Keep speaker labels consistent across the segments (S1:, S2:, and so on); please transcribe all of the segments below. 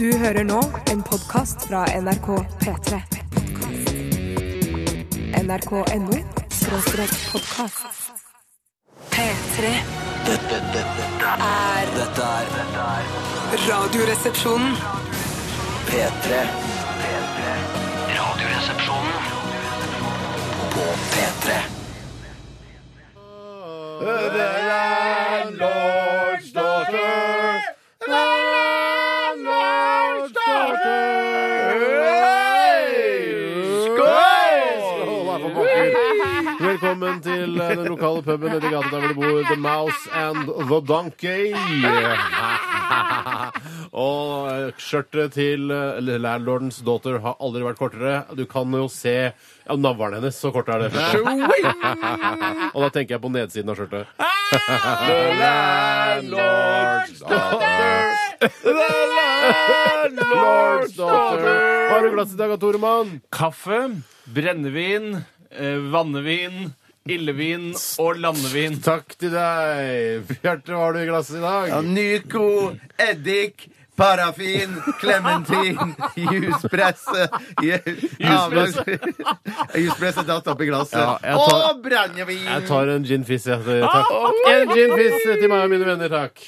S1: Du hører nå en podkast fra NRK P3. NRK.no skråstrek podkast. P3
S2: Dette, dette, dette,
S1: er
S2: dette er dette er
S1: Radioresepsjonen.
S2: P3. P3. Radioresepsjonen på P3.
S3: Velkommen til eh, den lokale puben nede i gata der hvor du bor, The Mouse and The Donkey. Og eh, skjørtet til eh, landlordens daughter har aldri vært kortere. Du kan jo se ja, navlen hennes, så kort er det. Og da tenker jeg på nedsiden av skjørtet. The landlord's daughter. The landlord's daughter. Har du glass i dag, Toremann?
S4: Kaffe, brennevin, eh, vannevin, illevin og landevin.
S3: Takk til deg. Bjarte, hva har du i glasset i dag?
S5: Nyco, eddik, parafin, klementin, juspresse Juspresse Juspresse datt oppi glasset.
S3: Ja, jeg tar-
S5: Og brennevin!
S3: Jeg tar en gin fizz, jeg. Takk. En gin fizz til meg og mine venner, takk.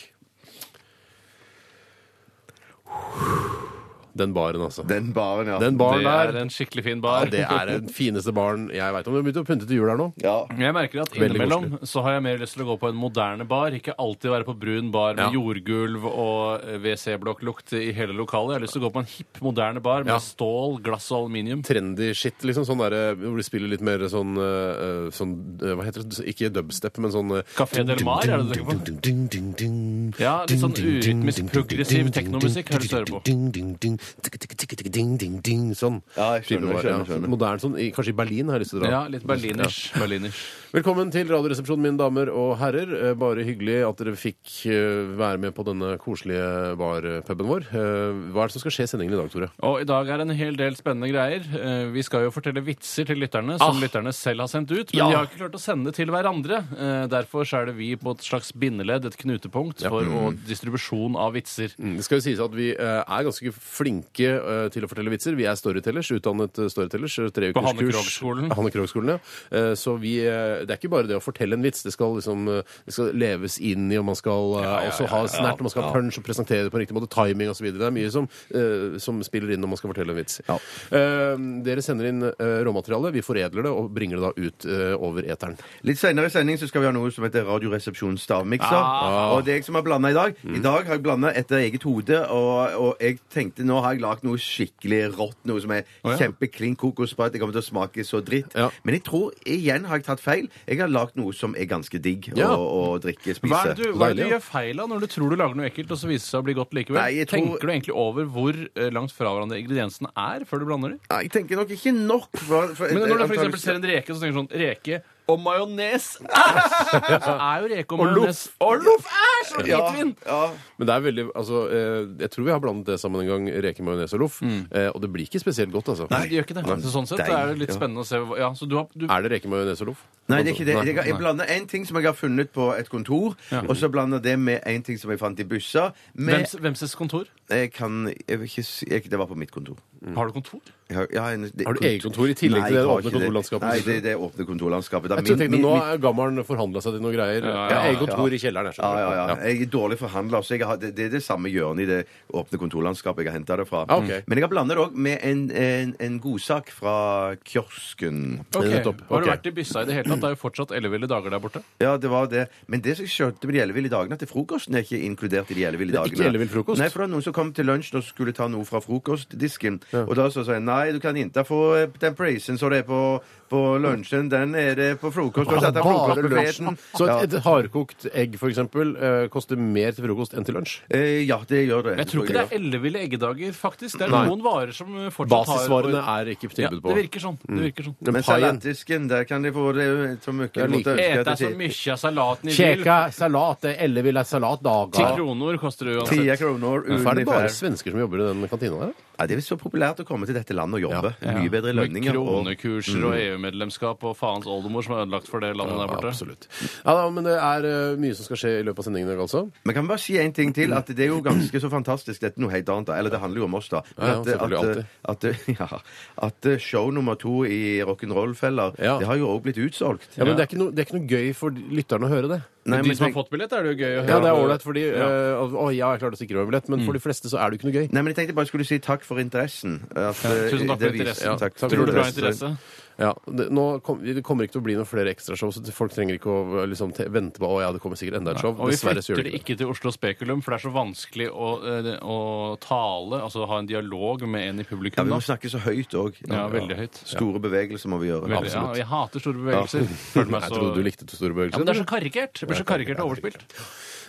S3: Den baren, altså.
S5: Den baren, ja.
S3: Den
S4: Det
S3: baren
S4: er
S3: der.
S4: en skikkelig fin bar.
S3: Det er den fineste baren jeg veit om. Vi har begynt å pynte til jul her nå.
S5: ja.
S4: Jeg merker at
S3: Veldig
S4: Innimellom så har jeg mer lyst til å gå på en moderne bar. Ikke alltid være på brun bar med
S3: Ja.
S4: jordgulv og eh, WC-blokklukt i hele lokalet. Jeg har lyst til å gå på en hipp, moderne bar med
S3: Ja.
S4: stål, glass og aluminium.
S3: Trendy shit, liksom. Sånn der, hvor de spiller litt mer sånn, eh, sånn eh, Hva heter det? Ikke dubstep, men sånn eh,
S4: Café Del Mar, er det det du Ja, litt sånn urytmisk, progressiv teknomusikk høres det på.
S3: Sånn.
S5: Ja, jeg skjønner,
S3: Typen var,
S5: skjønner,
S3: ja.
S5: skjønner.
S3: Moderne sånn. i- Kanskje i Berlin har jeg lyst til å dra.
S4: Ja, litt berliners. berliners.
S3: Velkommen til Radioresepsjonen, mine damer og herrer. Eh, Bare hyggelig at dere fikk eh, være med på denne koselige barpuben vår. Eh, Hva er det som skal skje i sendingen i dag, Tore?
S4: Og i dag er en hel del spennende greier. Eh, Vi skal jo fortelle vitser til lytterne som
S3: Ah.
S4: lytterne selv har sendt ut.
S3: Ja.
S4: Men de har ikke klart å sende til hverandre. Eh, Derfor så er det vi på et slags bindeledd, et knutepunkt, for å- distribusjon av vitser.
S3: Mm, Det skal jo sies at vi eh, er ganske flinke eh, til å fortelle vitser. Vi er storytellers, utdannet eh, storytellers. eh, Tre
S4: På
S3: ukers
S4: Hanne
S3: kurs.
S4: Krogh-skolen.
S3: Hanne Krogh-skolen, ja. Eh, Så vi, eh, det er ikke bare det å fortelle en vits. Det skal liksom eh, det skal leves inn i, og man skal eh, også ha snert, og man skal ha punch og presentere det på riktig måte. Timing osv. Det er mye som, eh, som spiller inn når man skal fortelle en vits. Eh, Dere sender inn eh, råmateriale, vi foredler det og bringer det da ut eh, over eteren.
S5: Litt senere i sending så skal vi ha noe som heter Radioresepsjonens stavmikser.
S4: Ah. Mm.
S5: Og det er jeg som har blanda i dag. I dag har jeg blanda etter eget hode, og, og jeg tenkte nå har jeg lagd noe skikkelig rått. Noe som er
S4: ja.
S5: kjempeklin kokosbrød. Det kommer til å smake så dritt.
S3: Ja.
S5: Men jeg tror igjen har jeg tatt feil. Jeg har lagd noe som er ganske digg
S3: Ja.
S5: å, å drikke, spise.
S4: Hva er det du, hva er
S3: Deilig,
S4: det du
S3: ja.
S4: gjør feil av når du tror du lager noe ekkelt, og så viser det seg å bli godt likevel?
S5: Nei, jeg tror-
S4: Tenker du egentlig over hvor eh, langt fra hverandre ingrediensene er, før du blander dem? Eh,
S5: Nei, jeg tenker nok ikke nok. For, for,
S4: Men når du
S5: antageligvis-
S4: f.eks. ser en reke, så tenker du sånn Reke og majones! Æsj! Så er jo reke og
S3: Og loff.
S4: majones Og loff! Æsj! Og
S5: ja,
S4: hvitvin!
S5: ja.
S3: Men det er veldig, altså, eh, jeg tror vi har blandet det sammen en gang, reke, majones og loff. Eh, Og det blir ikke spesielt godt, altså.
S4: Nei, det gjør ikke det. Så sånn sett
S5: Deilig,
S4: er det litt
S5: ja.
S4: spennende å se hva- ja, så du har, du,
S3: Er det reke, majones og loff?
S5: Nei, det er ikke det. Jeg, jeg
S4: nei.
S5: blander en ting som jeg har funnet på et kontor, og så blander jeg det med en ting som jeg fant i busser. Men
S4: Hvems, Hvemses kontor?
S5: jeg kan jeg vil ikke si jeg, Det var på mitt kontor.
S4: Har du kontor?
S5: Jeg har, jeg har, en, det,
S3: Har du eget kontor i tillegg til
S5: jeg
S3: det
S5: har
S3: åpne
S5: ikke
S3: kontorlandskapet?
S5: Nei, det, det åpne kontorlandskapet. Det er
S3: Jeg tror jeg tenkte,
S5: min- min-
S3: Nå
S5: min-
S3: har gammelen forhandla seg til noen greier.
S4: Ja, ja,
S3: Jeg har
S4: ja,
S3: eget kontor i kjelleren. jeg
S5: ja,
S3: skjønner.
S5: ja, ja. Jeg er dårlig forhandler, så jeg har, det, det er det samme hjørnet i det åpne kontorlandskapet jeg har henta det fra.
S3: Ah, ok.
S5: Men jeg har blandet det òg med en, en, en godsak fra kiosken.
S4: Ok.
S3: Nettopp.
S4: Har du
S3: Ok.
S4: vært i byssa i det hele tatt? Det er jo fortsatt elleville dager der borte.
S5: Ja, det var det. Men det som jeg skjønte med de elleville dagene, at frokosten er ikke inkludert i de elleville
S3: Det er
S5: dagene.
S3: ikke ellevill frokost?
S5: Nei, for det var noen som kom til lunsj og skulle ta noe fra frokostdisken. Og da så sa jeg nei, du kan ikke få eh, den prisen som det er på, på lunsjen, den er det på frokost. Og
S3: Altså,
S5: så satt jeg
S3: bare
S5: frokostbuffeten.
S3: lunsjen. Så
S5: Ja.
S3: et, et hardkokt egg for eksempel, eh, koster mer til frokost enn til lunsj?
S5: Eh, ja, det gjør det.
S4: Jeg tror ikke det er elleville eggedager, faktisk. Det er
S3: Nei.
S4: noen varer som eh, fortsatt har
S3: Basisvarene er ikke
S4: ja,
S3: tilbud
S4: Det
S3: på. Mm.
S4: virker sånn. Det virker sånn.
S3: Men
S5: Men
S3: paien
S5: salatdisken, der kan de få det så mye.
S3: Jeg
S5: du måtte
S3: liker-
S5: ønske at
S4: Ete så
S5: det-
S4: mye av salaten i vil.
S3: Kjeka salat, elle vil ha
S4: Ti
S3: salatdager.
S4: kroner koster det
S5: Ti
S4: uansett.
S5: kroner
S3: Er det
S5: utenfor.
S3: bare svensker som jobber i den kantina der?
S5: Ja, det er så populært å komme til dette landet og jobbe.
S4: Ja.
S5: Mye bedre lønninger.
S4: Med
S5: og-
S3: Mm.
S4: kronekurser og EU-medlemskap og faens oldemor som er ødelagt for det landet der borte.
S3: Absolutt. Ja, da, men det er eh, mye som skal skje i løpet av sendingen i dag, altså.
S5: Men kan vi bare si en ting til? At det er jo ganske så fantastisk. Dette er noe helt annet, da. Eller det handler jo om oss, da. Men
S3: Ja, ja,
S5: at,
S3: selvfølgelig
S5: at, at, ja, at eh, show nummer to i Rock'n'Roll-feller,
S3: Ja.
S5: det har jo òg blitt utsolgt.
S3: Ja, men det er, ikke noe, det er ikke noe gøy for lytterne å høre det.
S5: Nei,
S4: de
S5: men
S4: som har
S5: tenk-
S4: fått billett, er det jo gøy å høre.
S3: Ja, Mm. det er ålreit, fordi
S4: Ja.
S3: eh, Å ja, jeg klarte å sikre meg en billett, men for de fleste så er det jo ikke noe gøy.
S5: Nei, men jeg tenkte bare skulle si takk for interessen. At, eh,
S4: Tusen takk
S5: det
S4: for
S5: viser-
S4: interessen.
S5: takk for
S4: Tror du det var
S5: interessen.
S4: interesse?
S3: Ja, det, nå kom, det kommer ikke til å bli noen flere ekstrashow, så folk trenger ikke å liksom, te, vente på å ja, det kommer sikkert enda et show.
S4: Og vi
S3: Dessverre så gjør
S4: flytter det
S3: det ikke det.
S4: ikke til Oslo Spekulum, for det er så vanskelig å, eh, å tale, altså ha en dialog med en i
S5: Ja,
S4: publikum.
S5: vi
S4: da.
S5: må snakke så høyt òg.
S4: Ja, veldig høyt.
S5: Store bevegelser må vi gjøre.
S4: Veldig, ja,
S5: Absolutt.
S4: jeg hater store bevegelser. Følte meg
S3: Jeg
S4: så-
S3: trodde du likte to store
S4: ja, men Det
S3: bevegelser.
S4: er så karikert. Det blir så karikert og overspilt.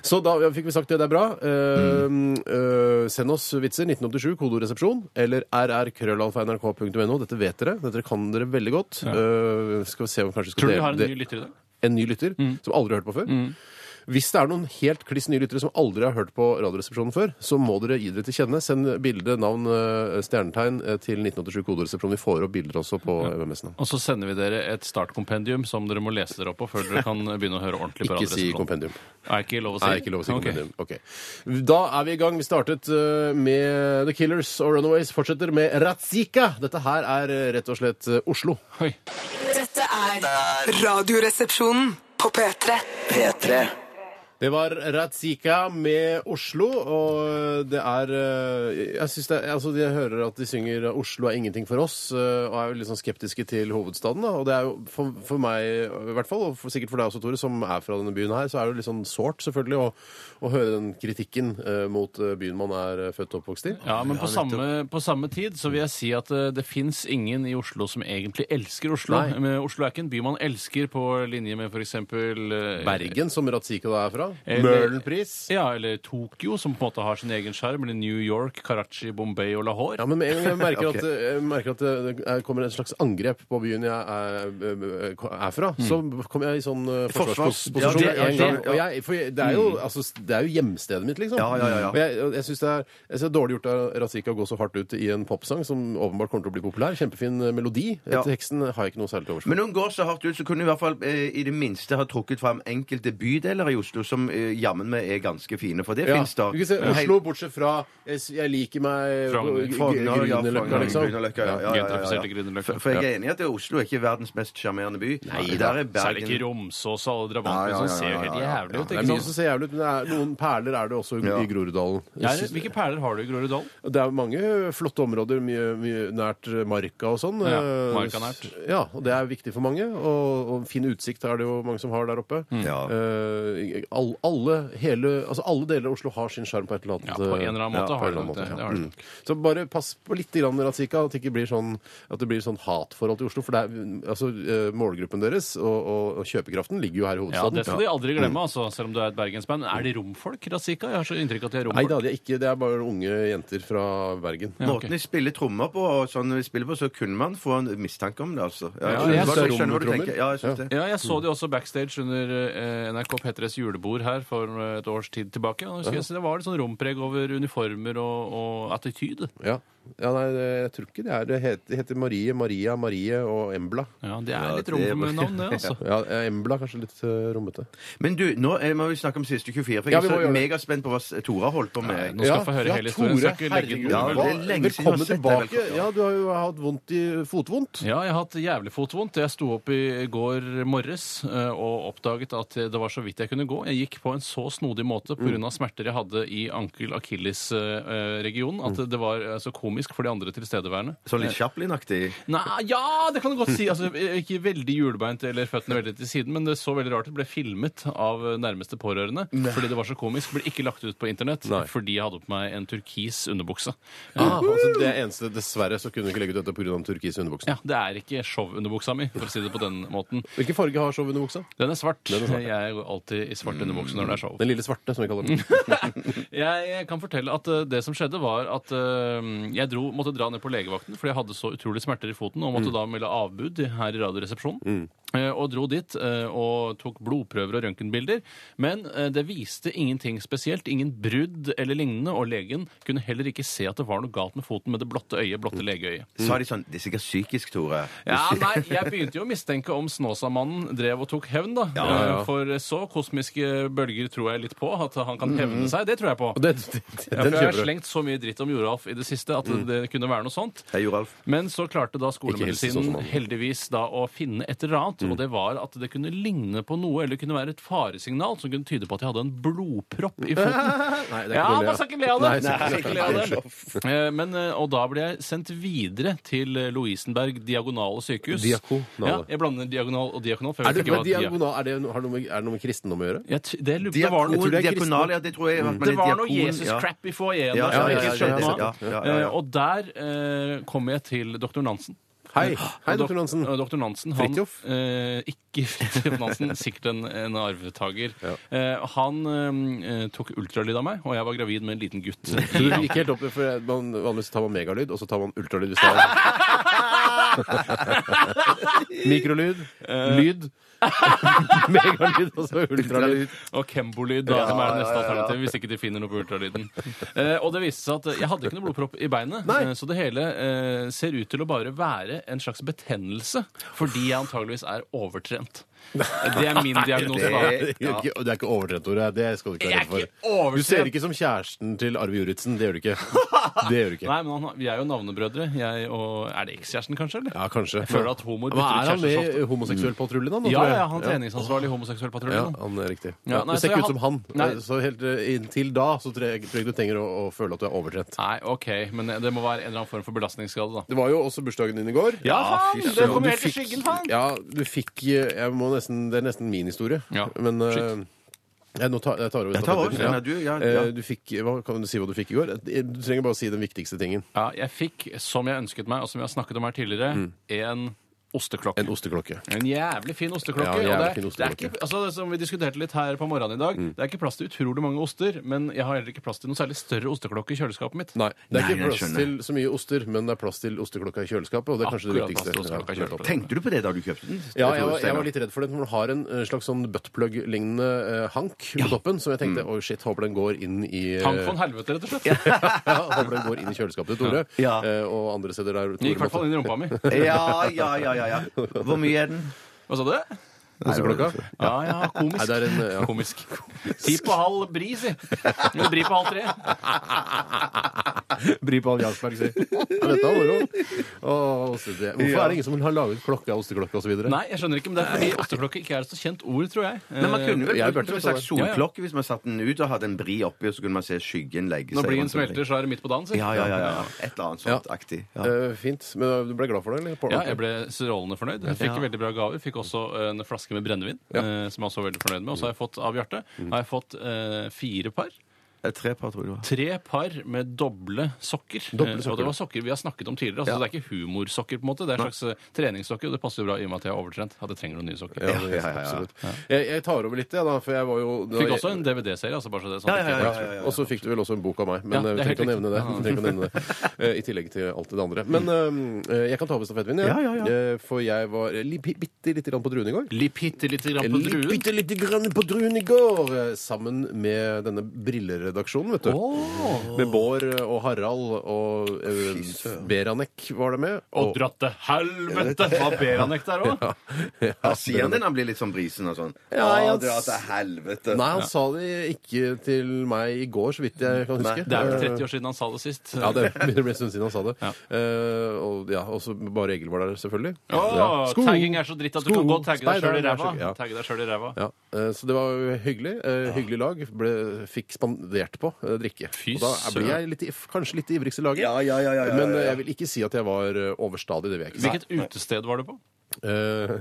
S3: så da ja, fikk vi sagt det. Det er bra. Eh, eh, send oss vitser 1987, kodoresepsjon, eller rrkrøllalfa.nrk.no. Dette vet dere. Dette kan dere veldig godt. Eh, skal vi se om vi kanskje skal
S4: Tror du vi
S3: dele-
S4: har en
S3: det-
S4: ny lytter i dag?
S3: en ny lytter
S4: Mm.
S3: som aldri har hørt på før. Hvis det er noen helt kliss nye lyttere som aldri har hørt på Radioresepsjonen før, så må dere gi dere til kjenne. Send bilde, navn, eh, stjernetegn eh, til 1987 Koderesepsjonen. Vi får opp bilder også på eh, MMS-en.
S4: Og så sender vi dere et startkompendium som dere må lese dere opp på før dere kan begynne å høre ordentlig på
S3: Ikke si
S4: Radioresepsjonen.
S3: kompendium.
S4: Er ikke lov å si?
S3: Nei, ikke lov å si
S4: Ok.
S3: kompendium. Ok. Da er vi i gang. Vi startet eh, med The Killers og Runaways. Fortsetter med Ratzika. Dette her er eh, rett og slett eh, Oslo.
S4: Oi.
S6: Dette er Radioresepsjonen på P3.
S2: P3
S3: Det var Ratzika med Oslo, og det er eh, Jeg synes det er, altså jeg hører at de synger 'Oslo er ingenting for oss', eh, og er jo litt sånn skeptiske til hovedstaden. da, og det er jo for, for meg, i hvert fall, og for, sikkert for deg også, Tore, som er fra denne byen her, så er det jo litt sånn sårt, selvfølgelig, å, å høre den kritikken eh, mot eh, byen man er eh, født og oppvokst i.
S4: Ja, men på samme, på samme tid så vil jeg si at eh, det fins ingen i Oslo som egentlig elsker Oslo.
S3: Nei.
S4: Men Oslo er ikke en by man elsker på linje med f.eks.
S3: Bergen, som Ratzika da er fra.
S4: Eller-
S3: Møhlenpris.
S4: Ja, eller Tokyo, som på en måte har sin egen sjarm. Eller New York, Karachi, Bombay og Lahore.
S3: Ja, men med en gang jeg merker, at, jeg merker at eh, det er- kommer et slags angrep på byen jeg er, eh, er fra, så kommer jeg i sånn eh,
S5: Mm. Forsvars-
S3: forsvarsposisjon.
S5: Ja,
S3: med
S5: det-
S3: en gang.
S5: det- Mm.
S3: Og jeg, for jeg, det, er jo, altså, det er jo hjemstedet mitt, liksom.
S5: Ja, ja, ja, ja.
S3: Og jeg, og jeg syns det, er- jeg synes det er dårlig gjort av Razika å gå så hardt ut i en popsang som åpenbart kommer til å bli populær. Kjempefin eh, melodi.
S5: Ja.
S3: Teksten har jeg ikke noe særlig til overs for.
S5: Men hun går så hardt ut, så kunne hun i hvert fall eh, i det minste ha trukket fram enkelte bydeler i Oslo som eh, jammen meg er ganske fine, for det
S3: Ja.
S5: fins da.
S3: Du kan se,
S5: Ja.
S3: Oslo, bortsett fra Jeg, s- jeg liker meg eh,
S4: Frogner.
S3: Gr-
S5: Frogner, ja,
S3: Grünerløkka,
S5: Frogner,
S3: liksom.
S5: Grünerløkka, ja, ja, ja,
S4: Gentrifiserte
S5: ja, ja.
S4: Grünerløkka.
S5: For, for jeg er enig i at Oslo er ikke verdens mest sjarmerende by. Nei, der er
S4: Særlig ikke
S5: Bergen
S4: Romsås og alle
S5: Ja,
S4: drabantene. som
S5: ja, ja,
S4: ser jo
S5: ja,
S4: helt
S5: ja, ja.
S4: jævlig ut.
S3: Det er
S4: ikke
S3: mye som
S4: sant?
S3: ser jævlig ut, men det er, noen perler er det også i,
S5: Ja.
S3: i Groruddalen. Jeg
S4: Ja,
S3: synes-
S4: hvilke perler har du i Groruddalen?
S3: Det er mange flotte områder mye, mye nært marka og sånn.
S4: Ja, marka nært.
S3: Ja, og det er viktig for mange. Og, og fin utsikt er det jo mange som har der oppe.
S4: Mm.
S5: Ja.
S3: Eh, all, alle, hele, altså alle deler av Oslo har sin sjarm på et eller annet
S4: Ja, på en eller annen måte
S3: på
S4: har
S3: en eller annen
S4: det
S3: måte,
S4: det. Det
S3: ja.
S4: har det.
S3: Mm. Så bare pass på litt grann, Ratzika, at det ikke blir sånn, at det blir sånn hatforhold til Oslo. For det er, altså, eh, målgruppen deres og, og, og kjøpekraften ligger jo her i
S4: Ja,
S3: hovedstaden.
S4: Det skal de aldri glemme, altså, selv om du er et bergensband. Er de romfolk, Razika? Jeg har så inntrykk av at de er
S3: Nei,
S4: romfolk.
S3: det er det ikke. Det er bare unge jenter fra Bergen.
S4: Ja, ok.
S5: Måten de spiller trommer på, og sånn de spiller på, så kunne man få en mistanke om det, altså. Ja,
S4: Ja,
S5: skjønner
S4: jeg
S5: hva du-
S3: ser
S5: skjønner hva du
S3: romertrommer.
S5: tenker. Ja, jeg synes det.
S4: Ja, jeg så de også backstage under eh, NRK P3s julebord her for eh, et års tid tilbake. Og da husker jeg, så det var litt sånn rompreg over uniformer og, og attityd.
S3: Ja. ja, nei, det- jeg tror ikke det er det. heter- Det heter Marie, Maria, Marie og Embla.
S4: Ja, det er
S5: Ja,
S4: litt
S5: det
S4: rom for
S5: var-
S4: mye navn, det, altså.
S3: Ja, eh, Embla er kanskje litt eh, rommete.
S5: Men du, nå eh, må vi snakke om siste 24, for jeg
S3: Ja,
S5: er
S3: vi må
S5: så
S3: gjøre det.
S5: megaspent på hva s- Tora holdt på med.
S4: Nå skal jeg få høre hele historien. så jeg skal ikke legge ut
S3: herregud,
S5: noe.
S4: noe
S5: Ja,
S4: mellom.
S5: det er lenge siden jeg har
S3: Velkommen
S5: sett deg, vel-
S3: tilbake. Ja, du har jo hatt vondt i fotvondt.
S4: Ja, jeg har hatt jævlig fotvondt. Jeg sto opp i går morges eh, og oppdaget at det var så vidt jeg kunne gå. Jeg gikk på en så snodig måte pga. smerter jeg hadde i ankel-akilles-regionen, eh, at det var eh, så komisk for de andre tilstedeværende.
S5: Sånn litt Chaplin-aktig.
S4: Nei, ja, det kan du godt si. Altså, ikke veldig julebeint eller føttene veldig til siden, men det så veldig rart ut. Det ble filmet av eh, nærmeste pårørende fordi det var så komisk. Ble ikke lagt ut på internett
S3: Nei.
S4: fordi jeg hadde på meg en turkis underbukse.
S3: Ah, altså det er eneste, Dessverre så kunne vi ikke legge ut dette pga. den turkise underbuksen.
S4: Ja, Det er ikke showunderbuksa mi, for å si det på den måten.
S3: Hvilken farge har showet under buksa?
S4: Den er svart.
S3: Den er svart, Mm.
S4: Jeg går alltid i svart underbukse når det er show.
S3: Den lille svarte, som vi kaller den.
S4: Jeg kan fortelle at eh, det som skjedde var at eh, jeg dro,
S3: Mm.
S4: måtte dra ned på legevakten fordi jeg hadde så utrolig smerter i foten og måtte da melde avbud her i radioresepsjonen. eh, Og dro dit eh, og tok blodprøver og røntgenbilder. Men eh, det viste ingenting spesielt. Ingen brudd eller lignende. Og legen kunne heller ikke se at det var noe galt med foten med det blotte øyet.
S3: Mm.
S4: blotte legeøyet.
S5: Sa de sånn Det er sikkert psykisk, Tore.
S4: Ja, nei, Jeg begynte jo å mistenke om Snåsamannen drev og tok hevn. da. Eh, For så kosmiske bølger tror jeg litt på. At han kan hevne seg. Det tror jeg på.
S3: Mm. Og det, det,
S4: Ja,
S3: den
S4: for jeg har
S3: kjøper du. Mm.
S4: slengt så mye dritt om Joralf i det siste at det kunne være noe sånt.
S5: Hei, Joralf.
S4: Men så klarte da
S3: hils sånn som
S4: skolemedisinen
S3: han.
S4: heldigvis da å finne et eller annet,
S3: Mm.
S4: og det var at det kunne ligne på noe, eller det kunne være et faresignal som kunne tyde på at jeg hadde en blodpropp i foten.
S3: Nei, det er
S4: Ja,
S3: ikke noe å le av.
S4: man skal ikke le av
S3: Nei,
S4: det! Man skal ikke le av det.
S5: Unnskyld.
S4: Eh, Men, eh, og da ble jeg sendt videre til eh, Lovisenberg diagonale sykehus.
S3: Diakonale.
S4: Ja, jeg blander diagonal og diakonal. For
S3: Er
S4: jeg vet
S3: det,
S4: ikke hva
S3: men
S4: dia...
S3: diagonal, er det, noe- har det noe med, er det noe med kristendom å gjøre?
S4: Jeg t- det, lurer- det var
S5: Diakon,
S4: noe
S3: tror de er
S5: diakonal, ja, det tror jeg. at man
S4: Det
S5: er
S4: var noe
S5: diakon, ja.
S4: Jesus-crap i foajeen
S5: Ja,
S4: der. som
S5: ja,
S4: jeg
S5: ja,
S4: ikke
S5: ja,
S4: skjønte
S5: ja,
S4: noe
S5: ja,
S4: av.
S5: ja, ja, ja.
S4: Eh, Og der eh, kom jeg til doktor Nansen.
S3: Hei, hei,
S4: Og dok-
S3: doktor Nansen.
S4: og Dr. Nansen han,
S3: Fridtjof?
S4: eh, ikke Fridtjof Nansen, sikkert en, en arvtaker. Eh, han eh, tok ultralyd av meg, og jeg var gravid med en liten gutt.
S3: Så du gikk helt opp, for man, Vanligvis tar man megalyd, og så tar man ultralyd. Hvis det er Mikrolyd, lyd, megalyd og så ultralyd.
S4: Og Kembolyd, da, som er det neste alternativet, hvis ikke de finner noe på ultralyden. Eh, og det viste seg at eh, jeg hadde ikke noe blodpropp i beinet, eh, så det hele eh, ser ut til å bare være en slags betennelse, fordi jeg antageligvis er overtrent. Det er min diagnose.
S3: Det
S4: da.
S3: er, ikke, det er ikke overtrent, Tore. Det skal du ikke
S4: Jeg
S3: være redd for.
S4: er ikke overtrent.
S3: Du ser ikke som kjæresten til Arve Juritzen. Det gjør du ikke. Det gjør du ikke.
S4: Nei, men han, har- vi er jo navnebrødre. Jeg og Er det ekskjæresten, kanskje? eller?
S3: Ja, kanskje.
S4: Jeg føler at homoer
S3: Men
S4: bytter
S3: er han
S4: kjærester så
S3: med i homoseksuell patrulje, da? nå,
S4: Ja,
S3: tror jeg?
S4: ja, han treningsansvarlig i homoseksuell patrulje.
S3: Ja,
S4: nå.
S3: han er riktig.
S4: Ja,
S3: Ja, du
S4: nei,
S3: ser
S4: så
S3: ikke
S4: jeg
S3: ut som han.
S4: had- Nei.
S3: Så helt eh, inntil da så tror jeg tror jeg ikke du trenger å, å føle at du er overtrent.
S4: Nei, OK, men det må være en eller annen form for belastningsskade, da.
S3: Det var jo også bursdagen din i går.
S4: Ja, faen! Det
S3: Og
S4: kom
S3: du
S4: helt i
S3: fikk-
S4: skyggen, faen!
S3: Ja, du fikk eh, jeg må nesten, Det er nesten min historie.
S4: Ja.
S3: Men eh,
S4: Shit.
S3: jeg, nå tar, jeg tar over.
S5: Jeg tar over,
S3: stafetten.
S5: Steinar. Du- ja, ja.
S3: Eh, du fikk, hva, kan du si hva du fikk i går? Eh, Du trenger bare å si den viktigste tingen.
S4: Ja, jeg fikk, som jeg ønsket meg, og som jeg har snakket om her tidligere, en osteklokke.
S3: Mm. En osteklokke.
S4: En jævlig fin
S3: Ja,
S4: osteklokke.
S3: en
S4: og
S3: jævlig
S4: det, er-
S3: fin
S4: det er
S3: osteklokke. Mm.
S4: ikke, altså, det som vi diskuterte litt her på morgenen i dag, det er ikke plass til utrolig mange oster, men jeg har heller ikke plass til noen særlig større osteklokke i kjøleskapet mitt.
S3: Nei, Det er
S5: Nei, jeg
S3: ikke plass
S5: skjønner.
S3: til så mye oster, men det er plass til osteklokka i kjøleskapet. Og det er kanskje
S4: Akkurat
S3: det
S4: plass til
S3: viktigste.
S4: osteklokka i
S3: Ja,
S4: kjøleskapet.
S5: Tenkte du på det da du kjøpte den?
S3: Ja, jeg var, jeg var litt redd for det. For den har en eh, slags sånn buttplug-lignende eh, hank på toppen. Som jeg
S5: Mm.
S3: tenkte oi shit, håper den går inn i eh,
S4: Tank von helvete, rett og slett.
S3: ja, Håper den går inn i kjøleskapet til Tore.
S5: Ja.
S3: eh, Og andre steder der
S4: Gikk i
S3: Tore
S4: hvert fall inn i rumpa mi.
S5: Ja, ja, ja, ja, ja. Hvor mye er den?
S4: Hva sa du?
S3: Osteklokka.
S4: Ja, ja, komisk.
S3: Nei, det er en, ja.
S4: komisk. Ti på halv bri, si. Eller bri på halv tre.
S3: Bry på all Jarlsberg, si. Ja, dette er moro. Å, ostete. Hvorfor
S5: Ja.
S3: er det ingen som har laget klokka, osteklokke osv.?
S4: Nei, jeg skjønner ikke, men det er fordi osteklokke ikke er et så kjent ord, tror jeg.
S5: Men man kunne
S3: Eh, jeg burde
S5: vel brukt det som en
S3: ta det.
S5: slags solklokke hvis man satte den ut og hadde en bri oppi, og så kunne man se skyggen legge seg.
S4: Eh, Når blien
S5: rundt omkring.
S4: smelter, så er det midt på dagen, si.
S5: Ja, ja, ja, ja. Et eller annet sånt aktig. Ja.
S3: Eh, fint. Men du ble glad for det, eller?
S4: Ja, jeg ble strålende fornøyd. Jeg fikk veldig bra gaver. Fikk også en flaske med brennevin, eh, som jeg også var veldig fornøyd med. Og så har jeg fått av Bjarte har jeg fått eh, fire par.
S5: Et trepar, tror jeg det var.
S4: Tre par med doble sokker.
S3: Doble
S4: Eh,
S3: sokker,
S4: Og det var sokker vi har snakket om tidligere. Altså,
S5: Ja.
S4: Det er ikke humorsokker, på en måte. Det er en slags eh, treningssokker, og det passer jo bra i og med at jeg er overtrent. At jeg trenger noen nye sokker.
S3: Ja, det-
S5: Ja, ja, ja, ja.
S3: absolutt. Jeg, jeg tar over litt, jeg, da. For jeg var jo
S4: Fikk også en DVD-serie, altså bare så det er sånn.
S5: Ja, ja, ja, ja, ja.
S3: Og så fikk du vel også en bok av meg. Men
S4: Ja,
S3: eh, vi
S4: det er
S3: trenger ikke å
S4: helt
S3: nevne det. Vi trenger ikke å nevne det. eh, I tillegg til alt det andre. Men eh, jeg kan ta over stafettpinnen, jeg.
S5: Ja, ja, ja.
S3: Eh, For jeg var li- bitte lite grann på druen i går.
S4: Lipp bitte lite grann på
S3: Litt,
S4: druen.
S3: bitte lite grann på druen i går! eh, Sammen med denne brilleredaksjonen, vet du. Med Bård og Harald og eh, Beranek var det med.
S4: Og dratt til helvete! Hva ber han ikke der òg?
S5: Ja, sier han det når han blir litt sånn brisen og sånn?
S3: Ja,
S5: Å,
S3: han-
S5: dra til helvete.
S3: Nei, han sa det ikke til meg i går, så vidt jeg kan huske.
S4: Det er vel
S3: Eh,
S4: 30 år siden han sa det sist.
S3: Ja, det begynner å bli en stund siden han sa det.
S4: Ja.
S3: Eh, og ja, også bare Egil var der, selvfølgelig.
S4: Åh,
S3: ja.
S4: Tagging er så dritt at du
S3: Sko.
S4: kan godt tagge deg sjøl i
S3: Speideren er
S4: ræva.
S3: så- ja.
S4: Tagge deg selv i ræva.
S3: Ja, eh, Så det var jo hyggelig. Eh, Hyggelig lag. Ble, fikk spandert på eh, drikke.
S4: Fy
S3: og da blir jeg litt, i- kanskje litt i ivrigste laget.
S5: Ja, ja, ja, ja, ja,
S3: Men
S5: ja,
S3: eh,
S5: ja.
S3: jeg vil ikke si at jeg var eh, overstadig. Det vil jeg ikke si.
S4: Hvilket utested var du på?
S3: Eh,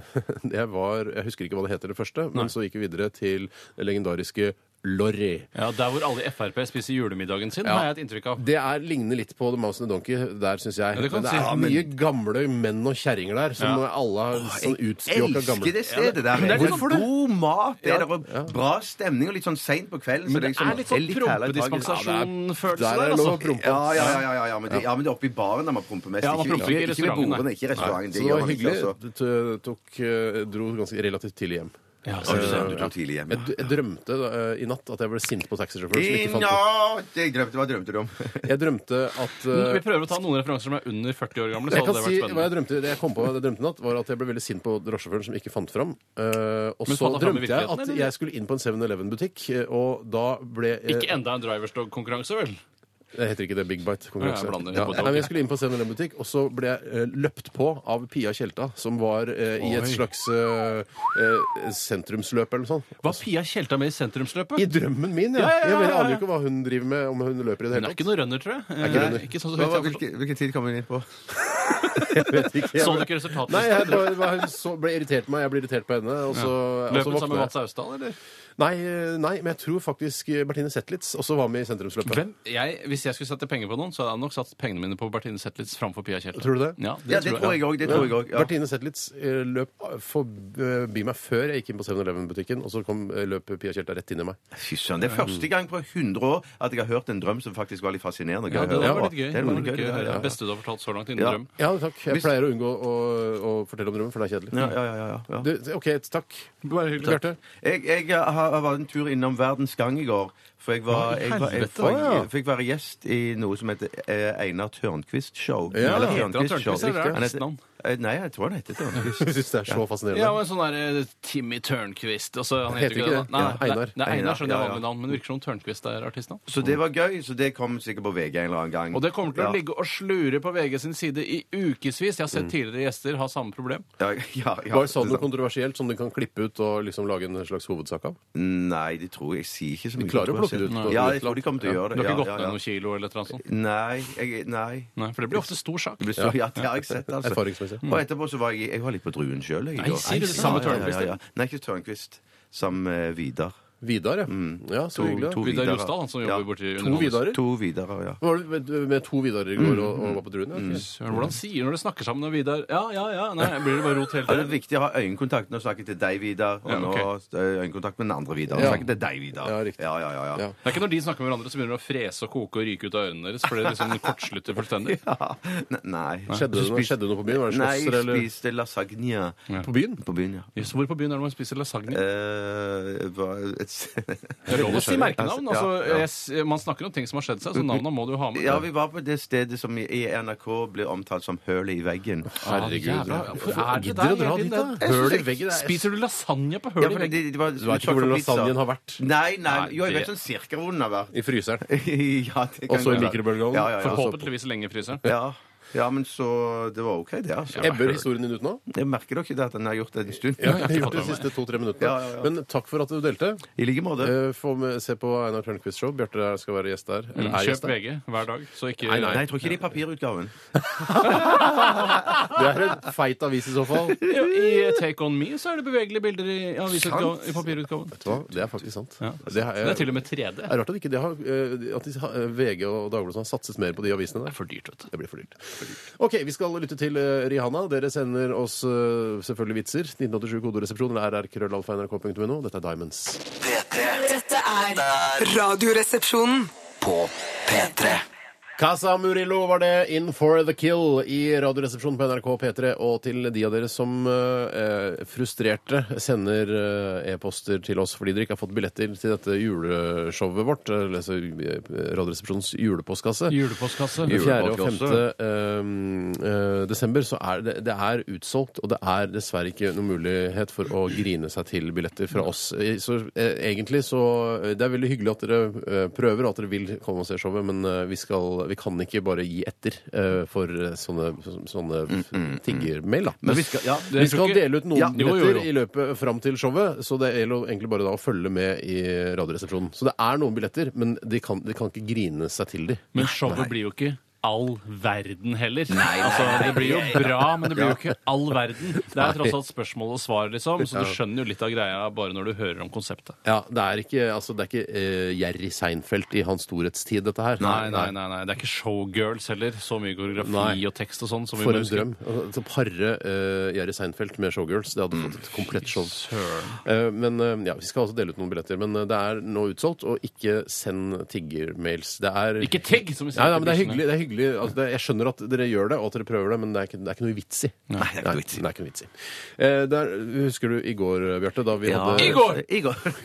S3: jeg, var, jeg husker ikke hva det heter det første, men så gikk vi videre til det legendariske lorry.
S4: Ja, Der hvor alle i Frp spiser julemiddagen sin,
S3: Ja.
S4: har jeg et inntrykk av.
S3: Det er, ligner litt på The Mouse and the Donkey der, syns jeg.
S4: Ja, det kan
S3: men det
S4: du
S3: er
S4: si. Ja,
S3: mye gamle menn og kjerringer der som alle er sånn utspjåka
S5: Elsker
S3: gamle.
S5: det stedet der.
S4: det er
S5: Det er
S4: hvorfor
S5: god mat, det er der, og bra stemning, og litt sånn seint på kvelden.
S4: Men det
S5: liksom-
S4: er litt sånn
S5: herlig tragisk.
S4: prompedispensasjon-følelse
S3: Der
S4: der,
S3: er det lov å
S4: altså.
S3: prompe.
S5: Ja, ja, ja, ja, ja, ja, men det, ja, men det er oppe i baren der man promper mest.
S4: Ja, man promper ikke i
S5: ikke ved
S4: restauranten,
S5: bordene,
S4: nei.
S5: ikke i
S3: Så
S5: restauranten. Det
S3: det var
S5: gjør man ikke,
S3: hyggelig.
S5: altså.
S3: Du t- tok, eh, dro ganske relativt tidlig hjem.
S4: Ja,
S5: Å,
S4: så-
S5: du ser, Du dro tidlig hjem.
S3: Jeg, d- jeg drømte eh, i natt at jeg ble sint på taxisjåføren. som ikke fant ut-
S5: Ja, det drømte, Hva drømte du om?
S3: Jeg drømte at eh,
S4: Vi prøver å ta noen referanser som er under 40 år gamle. så
S3: jeg
S4: hadde
S3: kan
S4: det
S3: si
S4: vært
S3: hva jeg
S4: spennende.
S3: drømte det jeg kom på hva jeg drømte i natt, var at jeg ble veldig sint på drosjesjåføren som ikke fant fram. Eh, og
S4: Men
S3: så
S4: fant
S3: drømte
S4: han fram i
S3: jeg
S4: virkeligheten,
S3: at
S4: eller?
S3: jeg skulle inn på en 7-Eleven-butikk, eh, og da ble eh,
S4: Ikke enda en driverstog-konkurranse, vel?
S3: Det heter ikke det Big Bite-konkurranse.
S4: Ja, jeg blander
S3: Ja,
S4: på det.
S3: nei, men jeg skulle inn på en butikk, og så ble jeg eh, løpt på av Pia Tjelta, som var eh, i et
S4: Oi.
S3: slags eh, eh, sentrumsløp eller noe sånt.
S4: Var Pia Tjelta med i sentrumsløpet?
S3: I drømmen min, ja!
S4: Ja, ja, ja,
S3: Jeg mener, jeg
S4: ja,
S3: aner
S4: ja.
S3: jo ikke hva hun driver med, om hun løper i det
S4: Hun er
S3: hele
S4: ikke
S3: tatt.
S4: noe runner, tror jeg.
S3: ikke
S4: Eh,
S3: runner.
S4: Ikke sånn som
S5: Hva-
S4: jeg
S5: Hvilken hvilken tid kom hun inn på?
S4: Så du ikke resultatet?
S3: Nei, jeg, det var- det var, hun så, ble irritert på meg, jeg ble irritert på henne, og så, og så
S4: Løpet sammen med
S3: våkna
S4: Mats
S3: jeg.
S4: Austdal, eller?
S3: Nei, eh, nei, men jeg tror faktisk eh, Bertine Zetlitz også var med i sentrumsløpet.
S4: Hvem? Jeg, hvis jeg skulle sette penger på noen, så hadde jeg nok satt pengene mine på Bertine Zetlitz framfor Pia Tjelta.
S3: Tror du det?
S4: Ja, det,
S5: Ja, det tror jeg òg. Det tror jeg også, ja.
S3: Bertine Zetlitz eh, løp forbi meg før jeg gikk inn på 7-Eleven-butikken, og så kom, eh, løp Pia Tjelta rett inn i meg.
S5: Fy søren, Det er første gang på 100 år at jeg har hørt en drøm som faktisk var litt fascinerende.
S4: Ja, det,
S5: å
S4: det
S5: høre
S4: var
S5: på.
S4: litt gøy.
S5: Det
S4: Det
S5: er
S4: var
S5: litt
S4: litt
S5: gøy,
S4: gøy.
S5: ja, ja,
S4: Det
S5: ja.
S4: beste du har fortalt så langt innen
S5: Ja.
S4: drøm.
S3: Ja, takk. Jeg
S5: Hvis-
S3: pleier å unngå å, å fortelle om drømmen, for det er kjedelig.
S5: Ja, ja, ja, ja, ja.
S3: Du, OK, takk.
S4: Bare hyggelig.
S3: Bjarte.
S5: Jeg, jeg har- var en tur innom Verdens Gang i går. For jeg, var, jeg, var, jeg,
S4: helvete?
S5: for
S3: Å, ja.
S5: jeg fikk være gjest i noe som heter eh, Einar Tørnquist-show.
S3: Ja.
S5: Eller
S4: Heter han
S5: Tørnquist-show.
S4: Tørnquist, eller er det
S5: Han heter-
S4: artistnavn?
S5: Eh, Nei, jeg tror han heter Tørnquist.
S3: Jeg syns det er så fascinerende.
S4: Ja, men sånn der eh, Timmy Tørnquist og så,
S3: Heter
S4: Han heter jo ikke det.
S3: ikke det.
S4: da. Nei,
S3: Ja, Einar.
S4: Einar. Nei,
S5: Einar,
S4: Einar skjønner
S5: ja,
S4: jeg
S5: ja.
S4: hva med navn, men det virker som Tørnquist er artistnavn.
S5: Så det var gøy, så det kom sikkert på VG en eller annen gang.
S4: Og det kommer til
S5: ja.
S4: å ligge og slure på VG sin side i ukevis. Jeg har sett tidligere gjester ha samme problem.
S5: ja, ja, ja.
S3: Var det sånn noe kontroversielt som du kan klippe ut og liksom lage en slags hovedsak av?
S5: Nei, de tror jeg sier ikke så mye.
S3: klarer å plukke det ut
S5: kontroversielt.
S3: på-
S5: Ja, jeg tror de kommer til å gjøre
S4: Du
S5: det.
S4: har ikke
S5: ja,
S4: gått
S5: ja,
S4: ned
S5: ja.
S4: noen kilo eller et eller annet sånt?
S5: Nei, jeg, nei.
S4: Nei, for det blir ofte stor sak.
S5: Det blir så- Ja, det har jeg sett, altså.
S3: Erfaringsmessig.
S5: Og etterpå så var jeg i- Jeg var litt på druen sjøl.
S4: Nei, sier du det? Samme Tørnquist, eller?
S5: Nei, ikke Tørnquist. Som eh, Vidar.
S3: Vidar, ja. Ja, så hyggelig. da.
S4: Vidar
S5: Vidarer.
S4: Rosdal, han som
S5: Ja.
S4: jobber borti
S3: To Vidarer?
S5: To Vidarer, ja.
S3: Var du med, med to Vidarer i går og, og var på druen? Ja, ok.
S4: Søren, hvordan sier når du snakker sammen med Vidar Ja, ja, ja. Nei, blir det bare rot hele
S5: Ja, det er
S4: tiden?
S5: viktig å ha øyekontakt når jeg snakker til deg, Vidar. Og
S4: Ja, ok.
S5: nå eh, øyekontakt med den andre Vidar.
S3: Ja.
S5: Ja. Snakker til deg, Vidar.
S3: Ja, riktig.
S5: Ja, ja, ja, ja.
S3: Ja.
S4: Det er ikke når de snakker med hverandre, så begynner det å frese og koke og ryke ut av ørene deres. For det liksom kortslutter fullstendig.
S5: Ja. Ne- Nei.
S3: Skjedde, det noe, skjedde det noe på byen? Var det
S5: Nei,
S3: slåsser
S5: jeg
S3: eller
S5: spiste lasagne
S3: På byen?
S4: Mm.
S5: på byen, ja.
S4: Jøss, hvor på byen er det man spiser lasagne?
S5: Eh, hva- et-
S4: Det er lov å si merkenavn.
S5: Ja,
S4: Altså,
S5: ja.
S4: jeg s- man snakker om ting som har skjedd seg, så navnene må du jo ha med.
S5: ja, vi var på det stedet som i i NRK ble omtalt som hølet i veggen.
S4: Herregud. Jævla, hvorfor er det
S3: Gidder å
S4: der
S3: dra
S4: hele
S3: dit,
S4: tiden?
S3: da?
S5: Jeg
S3: Høl i
S5: synes jeg-
S3: veggen? det er-
S4: Spiser du lasagne på
S5: Ja,
S4: hølet
S5: for
S4: i veggen?
S5: det, det var,
S3: Du vet ikke hvor lasagnen har vært?
S5: Nei, nei,
S4: Nei,
S5: jo, jeg
S4: det-
S5: vet sånn cirka hvor den har vært.
S3: I fryseren.
S5: ja, det kan
S3: Og så i
S5: godt være.
S3: mikrobølgeovnen?
S5: Ja, ja, ja.
S4: Forhåpentligvis lenge i fryseren.
S5: Ja. ja, men så Det var OK, det. altså.
S3: Ebber historien din ut nå?
S5: Jeg merker dere det at den har gjort det en stund.
S3: Ja, jeg har gjort det de siste to-tre minuttene.
S5: Ja, ja, ja.
S3: Men takk for at du delte.
S5: I like måte.
S3: Eh, Få med, se på Einar Tørnquist show. Bjarte skal være gjest der. Eller er gjest
S4: Mm, Kjøp
S3: der.
S4: VG hver dag, så ikke
S5: Nei, jeg tror ikke det er papirutgaven.
S3: Det er en feit avis i så fall. Vet
S4: Ja, I eh, Take On Me så er det bevegelige bilder i, avisutgaven- i papirutgaven.
S3: du hva? Det er faktisk sant.
S4: Ja.
S3: Det har,
S4: Det er til
S3: jeg,
S4: og med 3D.
S3: er rart at ikke det har, eh, at de, har- eh, VG og Dagbladet som har satset mer på de avisene der.
S4: for dyrt, vet du.
S3: Det blir for dyrt. OK, vi skal lytte til eh, Rihanna. Dere sender oss eh, selvfølgelig vitser. 1987 kodoresepsjon eller rrkrøllalfa.nrk.no. Dette er Diamonds.
S2: P3
S6: Dette er Radioresepsjonen.
S2: på P3.
S3: Casa Murillo var det, In for the kill i Radioresepsjonen på NRK P3. Og til de av dere som eh, frustrerte sender eh, e-poster til oss fordi dere ikke har fått billetter til dette juleshowet vårt, eller altså eh, Radioresepsjonens julepostkasse.
S4: Julepostkasse.
S3: 4. og 5. eh, eh, desember så er det, det er utsolgt, og det er dessverre ikke noen mulighet for å grine seg til billetter fra oss. Eh, Så eh, egentlig så eh, Det er veldig hyggelig at dere eh, prøver og at dere vil komme og se showet, men eh, vi, skal, vi kan ikke bare gi etter eh, for eh, sånne, så- sånne
S5: Mm,
S3: tiggermail, da.
S5: Men vi skal, ja,
S3: Vi
S4: Jeg tror
S3: skal
S4: ikke-
S3: dele ut noen
S5: Ja, jo,
S4: jo,
S3: billetter
S4: jo.
S3: i løpet fram til showet, så det gjelder jo egentlig bare da å følge med i Radioresepsjonen. Så det er noen billetter, men de kan, de kan ikke grine seg til de.
S4: Men showet blir jo ikke all verden heller. altså, det blir jo bra, men det blir jo ikke all verden. Det er tross alt spørsmål og svar, liksom, så du skjønner jo litt av greia bare når du hører om konseptet.
S3: Ja, det er ikke, altså, det er ikke eh, Jerry Seinfeld i hans storhetstid, dette her.
S4: Nei, nei, nei, nei. Det er ikke showgirls heller. Så mye koreografi
S3: Nei.
S4: og tekst og sånn. som vi må
S3: For en
S4: huske.
S3: drøm. Altså, Pare eh, Jerry Seinfeld med Showgirls. Det hadde fått et komplett show.
S4: Søren.
S3: Eh, men eh, ja, Vi skal også dele ut noen billetter, men eh, det er nå utsolgt. Og ikke send tiggermails. Det er
S4: Ikke tigg, som vi sier.
S3: Nei, nei, men det er
S4: til
S3: hyggelig. Det er hyggelig. Altså, det, jeg skjønner at dere gjør det, og at dere prøver det, men det er ikke, det er ikke noe vits i. Nei, det er ikke noe vits i. Nei, det er ikke noe vits i. Eh, der, husker du i går, Bjarte, da vi hadde
S4: Igor!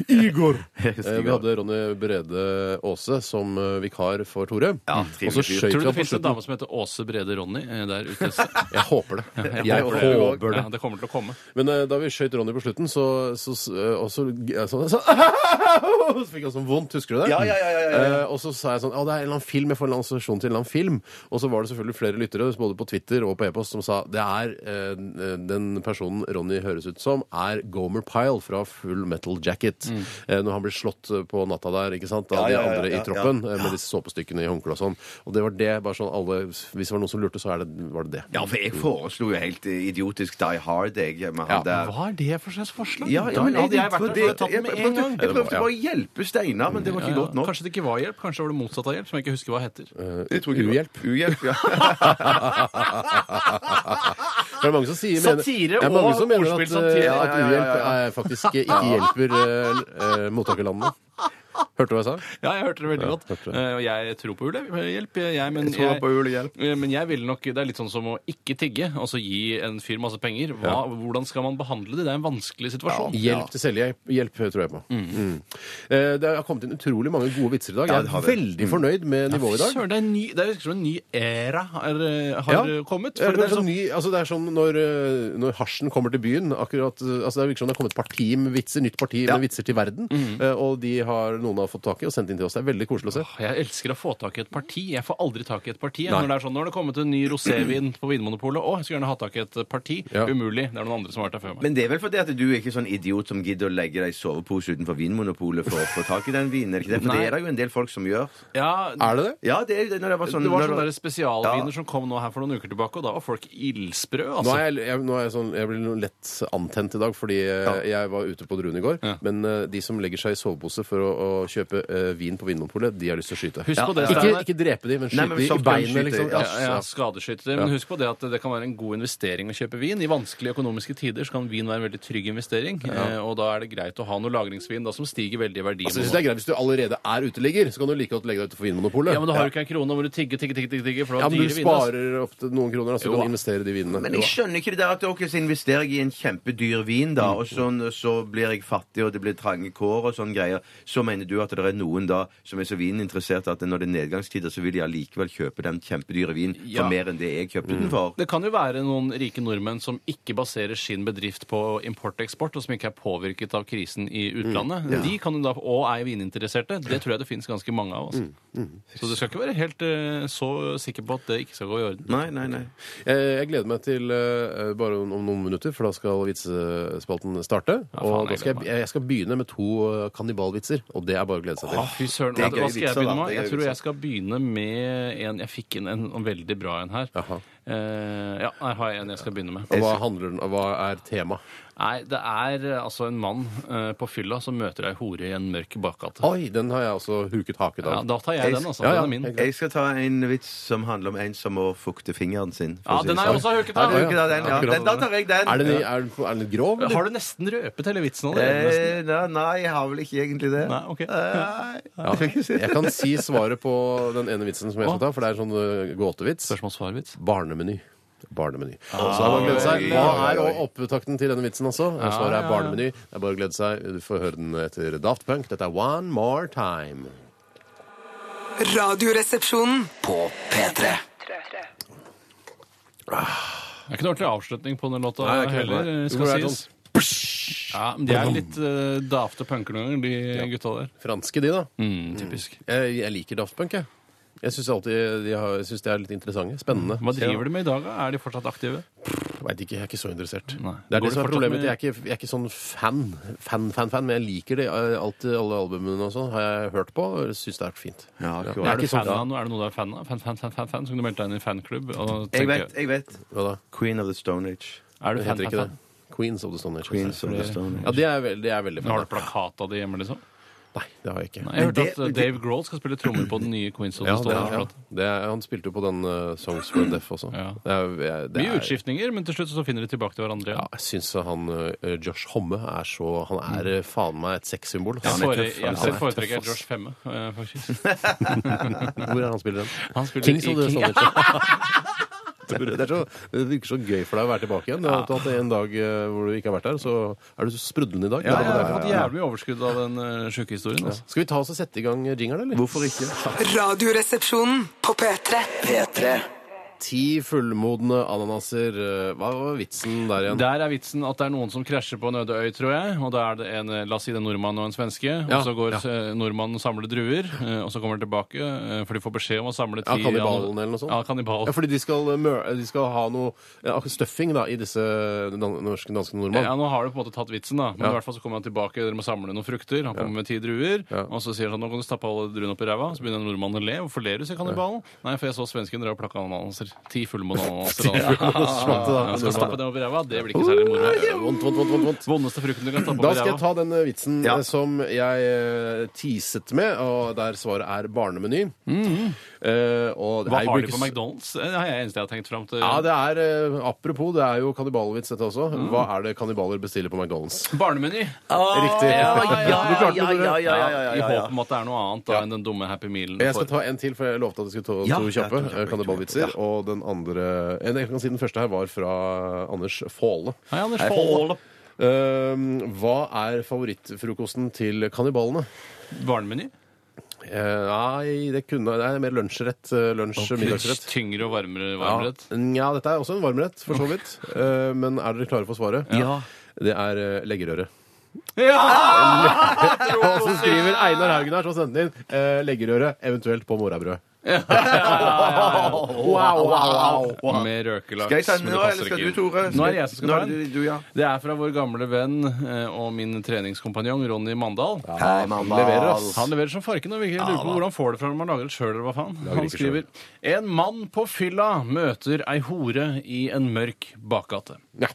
S5: Igor.
S3: Eh, Vi hadde Ronny Brede Aase som eh, vikar for Tore. Mm.
S5: trivelig
S3: og så
S5: fyr.
S3: skøyt
S4: Tror
S3: han
S4: du det
S3: på
S4: fins en
S3: slutten.
S4: dame som heter Åse Brede Ronny eh, der ute? Jeg
S3: Jeg håper det. Jeg, håper,
S5: håper det.
S3: det.
S4: Ja, det kommer til å komme.
S3: Men eh, da vi skøyt Ronny på slutten, så, så, så, og så, eh, så, så, så fikk han sånn vondt, husker du det?
S5: Ja, ja, ja, ja, ja, ja.
S3: Eh, og så sa jeg sånn, å det er en eller annen film, jeg får en eller annen assosiasjon til en eller annen film. Og så var det selvfølgelig flere lyttere, både på Twitter og på e-post, som sa, det er eh, den personen Ronny høres ut som, er Gomer Pyle fra Full Metal Jacket. Eh, når han blir slått på natta der, ikke sant, av de
S5: Mm. Ja, ja, ja,
S3: andre
S5: ja, ja.
S3: i troppen, eh, med disse såpestykkene i håndkle og sånn. Og det var det, bare sånn alle, hvis det var noen som lurte, så er det, var det det.
S5: Ja, for jeg foreslo jo helt idiotisk Die Hard, jeg, med
S3: Ja,
S5: han der.
S4: Hva er det for slags forslag?
S5: Ja, ja, men
S4: Da hadde jeg vært der,
S5: trodde-
S4: hadde jeg tatt den med
S5: jeg
S4: en
S5: prøvde-
S4: gang.
S5: Jeg prøvde bare å hjelpe Steinar, men det var ikke
S4: Ja,
S5: godt nok.
S4: Kanskje det ikke var hjelp? Kanskje var det motsatt av hjelp? Som jeg ikke husker hva heter.
S5: Jeg tror ikke det var-
S3: Uhjelp.
S5: Uhjelp, ja.
S3: Det er mange som sier, mener,
S4: Satire
S3: det er mange
S4: og
S3: som mener at,
S4: ordspill satire.
S3: eh,
S5: Ja,
S3: at
S5: ja, ja,
S3: uhjelp
S5: ja,
S3: er faktisk ikke ikke hjelper eh, eh, mottakerlandene. Hørte du hva jeg sa?
S4: Ja, jeg hørte det veldig godt.
S3: hørte det.
S4: Eh, Og jeg tror på julehjelp, eh, jeg, men
S5: tror på julehjelp.
S4: Eh, Men jeg vil nok, det er litt sånn som å ikke tigge, og så gi en fyr masse penger. Hva, Hvordan skal man behandle det? Det er en vanskelig situasjon.
S3: Hjelp til selvhjelp hjelp, tror jeg på. Mm. Eh, Det har kommet inn utrolig mange gode vitser i dag. Jeg
S5: det har
S3: er
S5: det.
S3: veldig fornøyd med nivået i dag.
S4: Søren, det, er en ny, det virker som en ny æra er, eh, har
S3: Ja.
S4: eh, kommet.
S3: Ja, det, er
S4: For det er
S3: sånn
S4: sånn,
S3: ny, altså det er sånn når, eh, når hasjen kommer til byen akkurat, eh, altså Det virker som det har kommet parti med vitser, nytt parti med vitser til verden. eh, Og de har noen har fått tak i og sendt inn til oss. Det er veldig koselig å se.
S4: jeg elsker å få tak i et parti. Jeg får aldri tak i et parti. jeg. Når det er sånn, nå har det kommet en ny rosévin på Vinmonopolet. Å, jeg skulle gjerne ha tak i et parti.
S3: Ja.
S4: Umulig. Det er noen andre som har vært der før meg.
S5: Men det er vel fordi at du er ikke sånn idiot som gidder å legge deg i sovepose utenfor Vinmonopolet for å få tak i den vinen? er det ikke det? For
S4: Nei.
S5: det er det jo en del folk som gjør.
S4: Ja,
S3: Er det det?
S5: Ja, det er jo det når det var sånn
S4: det var
S5: når
S4: sånne der
S5: det-
S4: spesialviner
S5: Ja.
S4: som kom nå her for noen uker tilbake, og da var folk ildsprø.
S3: Nå
S4: Altså.
S3: er jeg, jeg, nå er jeg, sånn, jeg blir noe lett antent i dag, fordi eh, jeg var ute på Druen i går. Men eh, de som legger seg i sovepose for å, å kjøpe eh, vin på Vinmonopolet, de har lyst til å skyte.
S4: Husk på det,
S3: ikke,
S4: Steinar.
S3: ikke drepe de, men
S5: Nei,
S3: skyte
S5: men
S3: de i
S5: shotgun
S3: beinet,
S5: skyter,
S3: liksom.
S5: ja.
S4: sånn Ja, ja, skadeskytte. Men husk på det at det kan være en god investering å kjøpe vin. I vanskelige økonomiske tider så kan vin være en veldig trygg investering, eh, og da er det greit å ha noe lagringsvin da, som stiger veldig i verdi.
S3: Altså, jeg synes det er greit, Hvis du allerede er uteligger, så kan du like godt legge deg utenfor Vinmonopolet.
S4: ja, men da har du ikke en krone, og må du tigge, tigge, tigge, tigge, tigge for
S3: Ja,
S4: det
S3: men
S4: var
S3: du
S4: dyre altså. vin. ass.
S3: sparer opp til noen kroner, da, så
S4: Jo
S3: du
S4: da.
S3: kan investere de vinene.
S5: Men
S3: Jo
S5: jeg
S3: da.
S5: skjønner ikke det der at ok, så investerer jeg i en kjempedyr vin, da, og sånn, så blir jeg fattig, og det blir trange kår og sånn greier. Så mener du at det er noen da som er så vininteressert at når det er nedgangstider, så vil de allikevel kjøpe den kjempedyre vinen for
S4: Ja.
S5: mer enn det jeg kjøpte den for?
S4: Det kan jo være noen rike nordmenn som ikke baserer sin bedrift på import-eksport, og som ikke er påvirket av krisen i
S3: Mm.
S4: utlandet. De kan jo da, og er vininteresserte. Det tror jeg det finnes ganske mange av. Altså.
S3: Mm.
S4: Så du skal ikke være helt eh, så sikker på at det ikke skal gå i orden.
S5: Nei, nei, nei.
S3: Eh, Jeg gleder meg til eh, bare om om noen minutter, for da skal vitsespalten starte.
S4: faen,
S3: og da
S4: jeg
S3: skal jeg,
S4: gleder meg.
S3: be- jeg skal begynne med to eh, kannibalvitser, og det er bare å glede seg til.
S4: Fy søren,
S5: det er
S4: vet du hva
S5: gøy
S4: skal jeg
S5: vitser, da.
S4: begynne med?
S5: Det er
S4: Jeg
S5: gøy
S4: tror jeg skal begynne med en Jeg fikk inn en, en veldig bra en her.
S3: Jaha. Eh.
S4: Eh, ja, her har jeg en jeg skal begynne med.
S3: Og hva handler den Hva er temaet?
S4: Nei, det er eh, altså en mann eh, på fylla som møter ei hore i en mørk bakgate.
S3: Oi, den har jeg også huket haket
S4: Ja,
S3: av.
S4: da tar jeg den, altså.
S3: Ja, ja,
S4: Den er min.
S3: helt klart.
S5: Jeg skal ta en vits som handler om en som må fukte fingeren sin. for
S4: Ja,
S5: å si
S4: den
S5: det
S4: er
S5: sånn.
S4: også huket
S5: Ja,
S4: av.
S5: du ikke da den? Ja,
S3: Akkurat.
S5: den, da tar jeg den.
S3: Er den, i- er, den- er den grov? eller?
S4: Har du nesten røpet hele vitsen allerede? nesten?
S5: Eh, nei, nei, jeg har vel ikke egentlig det. Eh,
S4: Nei, ok.
S3: eh.
S5: Nei.
S3: Jeg kan si svaret på den ene vitsen som jeg skal ta, for det er en sånn eh, gåtevits.
S4: Spørsmål-svar-vits.
S3: Barnemeny. Barnemeny. Så det er bare å glede seg. Hva er også opptakten til denne vitsen også? Svaret er barnemeny. Det er bare å glede seg. Du får høre den etter Daft Punk. Dette er One More Time.
S6: Radioresepsjonen.
S2: På P3.
S4: Det er ikke noe ordentlig avslutning på den låta
S3: Nei, det er ikke
S4: heller,
S3: det.
S4: eh,
S3: Jo,
S4: skal
S3: det er
S5: sånn
S4: sies. Ja, men de er litt eh, dafte punker noen ganger, de gutta der.
S3: Franske, de, da.
S4: Mm, typisk.
S3: Jeg, jeg liker Daft Punk, jeg.
S4: Mm.
S3: Jeg syns alltid de, har, jeg synes de er litt interessante. Spennende.
S4: Hva driver de med i dag, da? Er de fortsatt aktive?
S3: Veit ikke, jeg er ikke så interessert.
S4: Nei.
S3: Det er det
S4: Går det
S3: som er
S4: fortsatt
S3: problemet
S4: med-
S3: mitt. Jeg er ikke, jeg er ikke sånn fan, fan, fan, fan, men jeg liker det. eh, Alt, alle albumene og sånn har jeg hørt på og syns det er fint.
S5: Ja, akkurat.
S3: Jeg
S4: Er
S3: er
S4: du
S3: ikke sånn
S4: fan av noe? Er det noe du er fan av? Fan, fan, fan, fan, fan? Så kan du melde deg inn i fanklubb. og
S5: Jeg
S4: tenke-
S5: vet, jeg vet.
S3: Hva da?
S5: Queen of the Stone Age.
S4: Er du
S3: Det
S4: fan,
S3: heter
S4: fan,
S3: ikke det.
S4: fan?
S3: Queens of the Stone Age.
S5: Queens of the
S3: altså.
S5: Stone Age.
S3: Ja, det er, veld- det er veldig
S4: Har
S3: fan.
S4: du plakat av det hjemme, liksom?
S3: Nei, det har jeg ikke.
S4: Nei, jeg hørte
S5: det-
S4: at uh, Dave Grohl skal spille trommer på den nye Queens of the
S3: Ja, det, er-
S4: Stone
S3: ja.
S4: Age-plata.
S3: Det er, han spilte jo på den eh, Songs for Deaf også.
S4: Ja.
S3: Det er, jeg- det
S4: Mye
S3: er-
S4: utskiftninger, men til slutt så finner de tilbake til hverandre.
S3: Ja,
S4: igjen.
S3: jeg syns han eh, Josh Homme er så Han er eh, faen meg et sexsymbol.
S4: Jeg,
S3: ass.
S5: er
S4: fore,
S5: tøff,
S4: jeg
S5: altså.
S3: Han er
S4: foretrekker
S3: tøff, ass.
S4: Josh Femme, eh, faktisk.
S3: Hvor er han spiller den?
S4: Han spiller
S3: Kings
S4: i
S3: of the Stone
S4: King-
S3: Age. Det, er så, det virker så gøy for deg å være tilbake igjen. At at en dag eh, hvor du ikke har vært her, så er du så sprudlende i dag.
S4: Ja, jeg har hatt jævlig overskudd av den uh, sjuke historien. Altså.
S3: Skal vi ta oss og sette i gang jingeren, eller?
S5: Hvorfor ikke?
S6: Radioresepsjonen på P3.
S2: P3
S3: Ti fullmodne ananaser. eh, Hva var vitsen der igjen?
S4: Der er vitsen at det er noen som krasjer på en øde øy, tror jeg. Og da er det en, eh, la oss si det er en nordmann og en svenske.
S3: Ja,
S4: og så går
S3: ja.
S4: eh, nordmannen og samler druer, eh, og så kommer han tilbake, eh, for de får beskjed om å samle
S3: Ja,
S4: ti
S3: kannibalen eller noe sånt?
S4: Ja, kannibal.
S3: Ja, fordi de skal, eh, mør- de skal ha noe ja, stuffing da, i disse dan norske danske nordmann.
S4: Ja, nå har du på en måte tatt vitsen, da.
S3: Ja.
S4: Men i hvert fall så kommer han tilbake, dere må samle noen frukter. Han kommer med ti druer,
S3: Ja.
S4: og så sier han nå kan du stappe alle druene opp i ræva. Så begynner nordmannen å le. Hvorfor ler du, sier kannibalen. Nei, for jeg så svensken dra og plakke ananaser. Ti fullmåne ananaser.
S3: svante, da.
S4: Ja, jeg skal stappe dem opp i ræva. Det blir ikke særlig moro.
S3: Ja, Vondt, vondt, vondt, vondt, vondt.
S4: Vondeste frukten du kan stappe
S3: Da
S4: opp i
S3: skal jeg
S4: ræva.
S3: ta den eh, vitsen
S5: Ja.
S3: eh, som jeg eh, teaset med, og der svaret er barnemeny.
S5: Mhm.
S3: Eh, og det
S4: Hva
S3: er jo
S4: har
S3: ikke
S4: de på
S3: s-
S4: McDonald's? Det er det eneste jeg har tenkt fram til.
S3: Ja, det er, eh, Apropos, det er jo kannibalvits, dette også.
S4: Mhm.
S3: Hva er det kannibaler bestiller på McDonald's?
S4: Barnemeny.
S3: Riktig. Du klarte det, Tore.
S4: I håp om at det er noe annet da enn den dumme Happy Mealen.
S3: Jeg skal
S4: for-
S3: ta en til, for jeg lovte at jeg skulle ta
S5: Ja,
S3: to
S5: ja,
S3: kjappe
S5: to kjappe,
S3: eh, kannibalvitser. Og den andre en, jeg kan si Den første her var fra Anders Faale.
S4: Hei, Anders
S5: Hei,
S4: Fold.
S3: Ehm, hva er favorittfrokosten til kannibalene?
S4: Barnemeny.
S3: Eh, nei, det kunne Det er mer lunsjrett. eh, Lunsj- og middagsrett.
S4: Tyngre og varmere
S3: Ja.
S4: varmrett.
S3: ja, dette er også en varmrett, for så vidt. Eh, men er dere klare for svaret?
S5: Ja.
S3: Det er eh, leggerøre.
S4: Ja!
S3: Og så skriver Einar Haugen her, som sendte inn, eh, leggerøre, eventuelt på morabrød. Wow, wow, wow.
S4: Med røkelaks.
S5: Skal jeg ta den
S4: men
S5: nå,
S4: det passer
S5: eller skal
S4: ikke
S5: du,
S4: inn.
S5: Tore?
S4: Nå er det jeg som skal
S5: Nå
S4: ta
S5: er det
S4: den.
S5: Du, ja.
S4: Det er fra vår gamle venn eh, og min treningskompanjong Ronny Mandal.
S5: Hei, mamma.
S3: Leverer, ass.
S4: Han leverer som farken. og vi lurer på Hvordan får det fra når man lager det sjøl, eller hva faen? Han
S3: ikke
S4: skriver En mann på fylla møter ei hore i en mørk bakgate.
S3: Ja.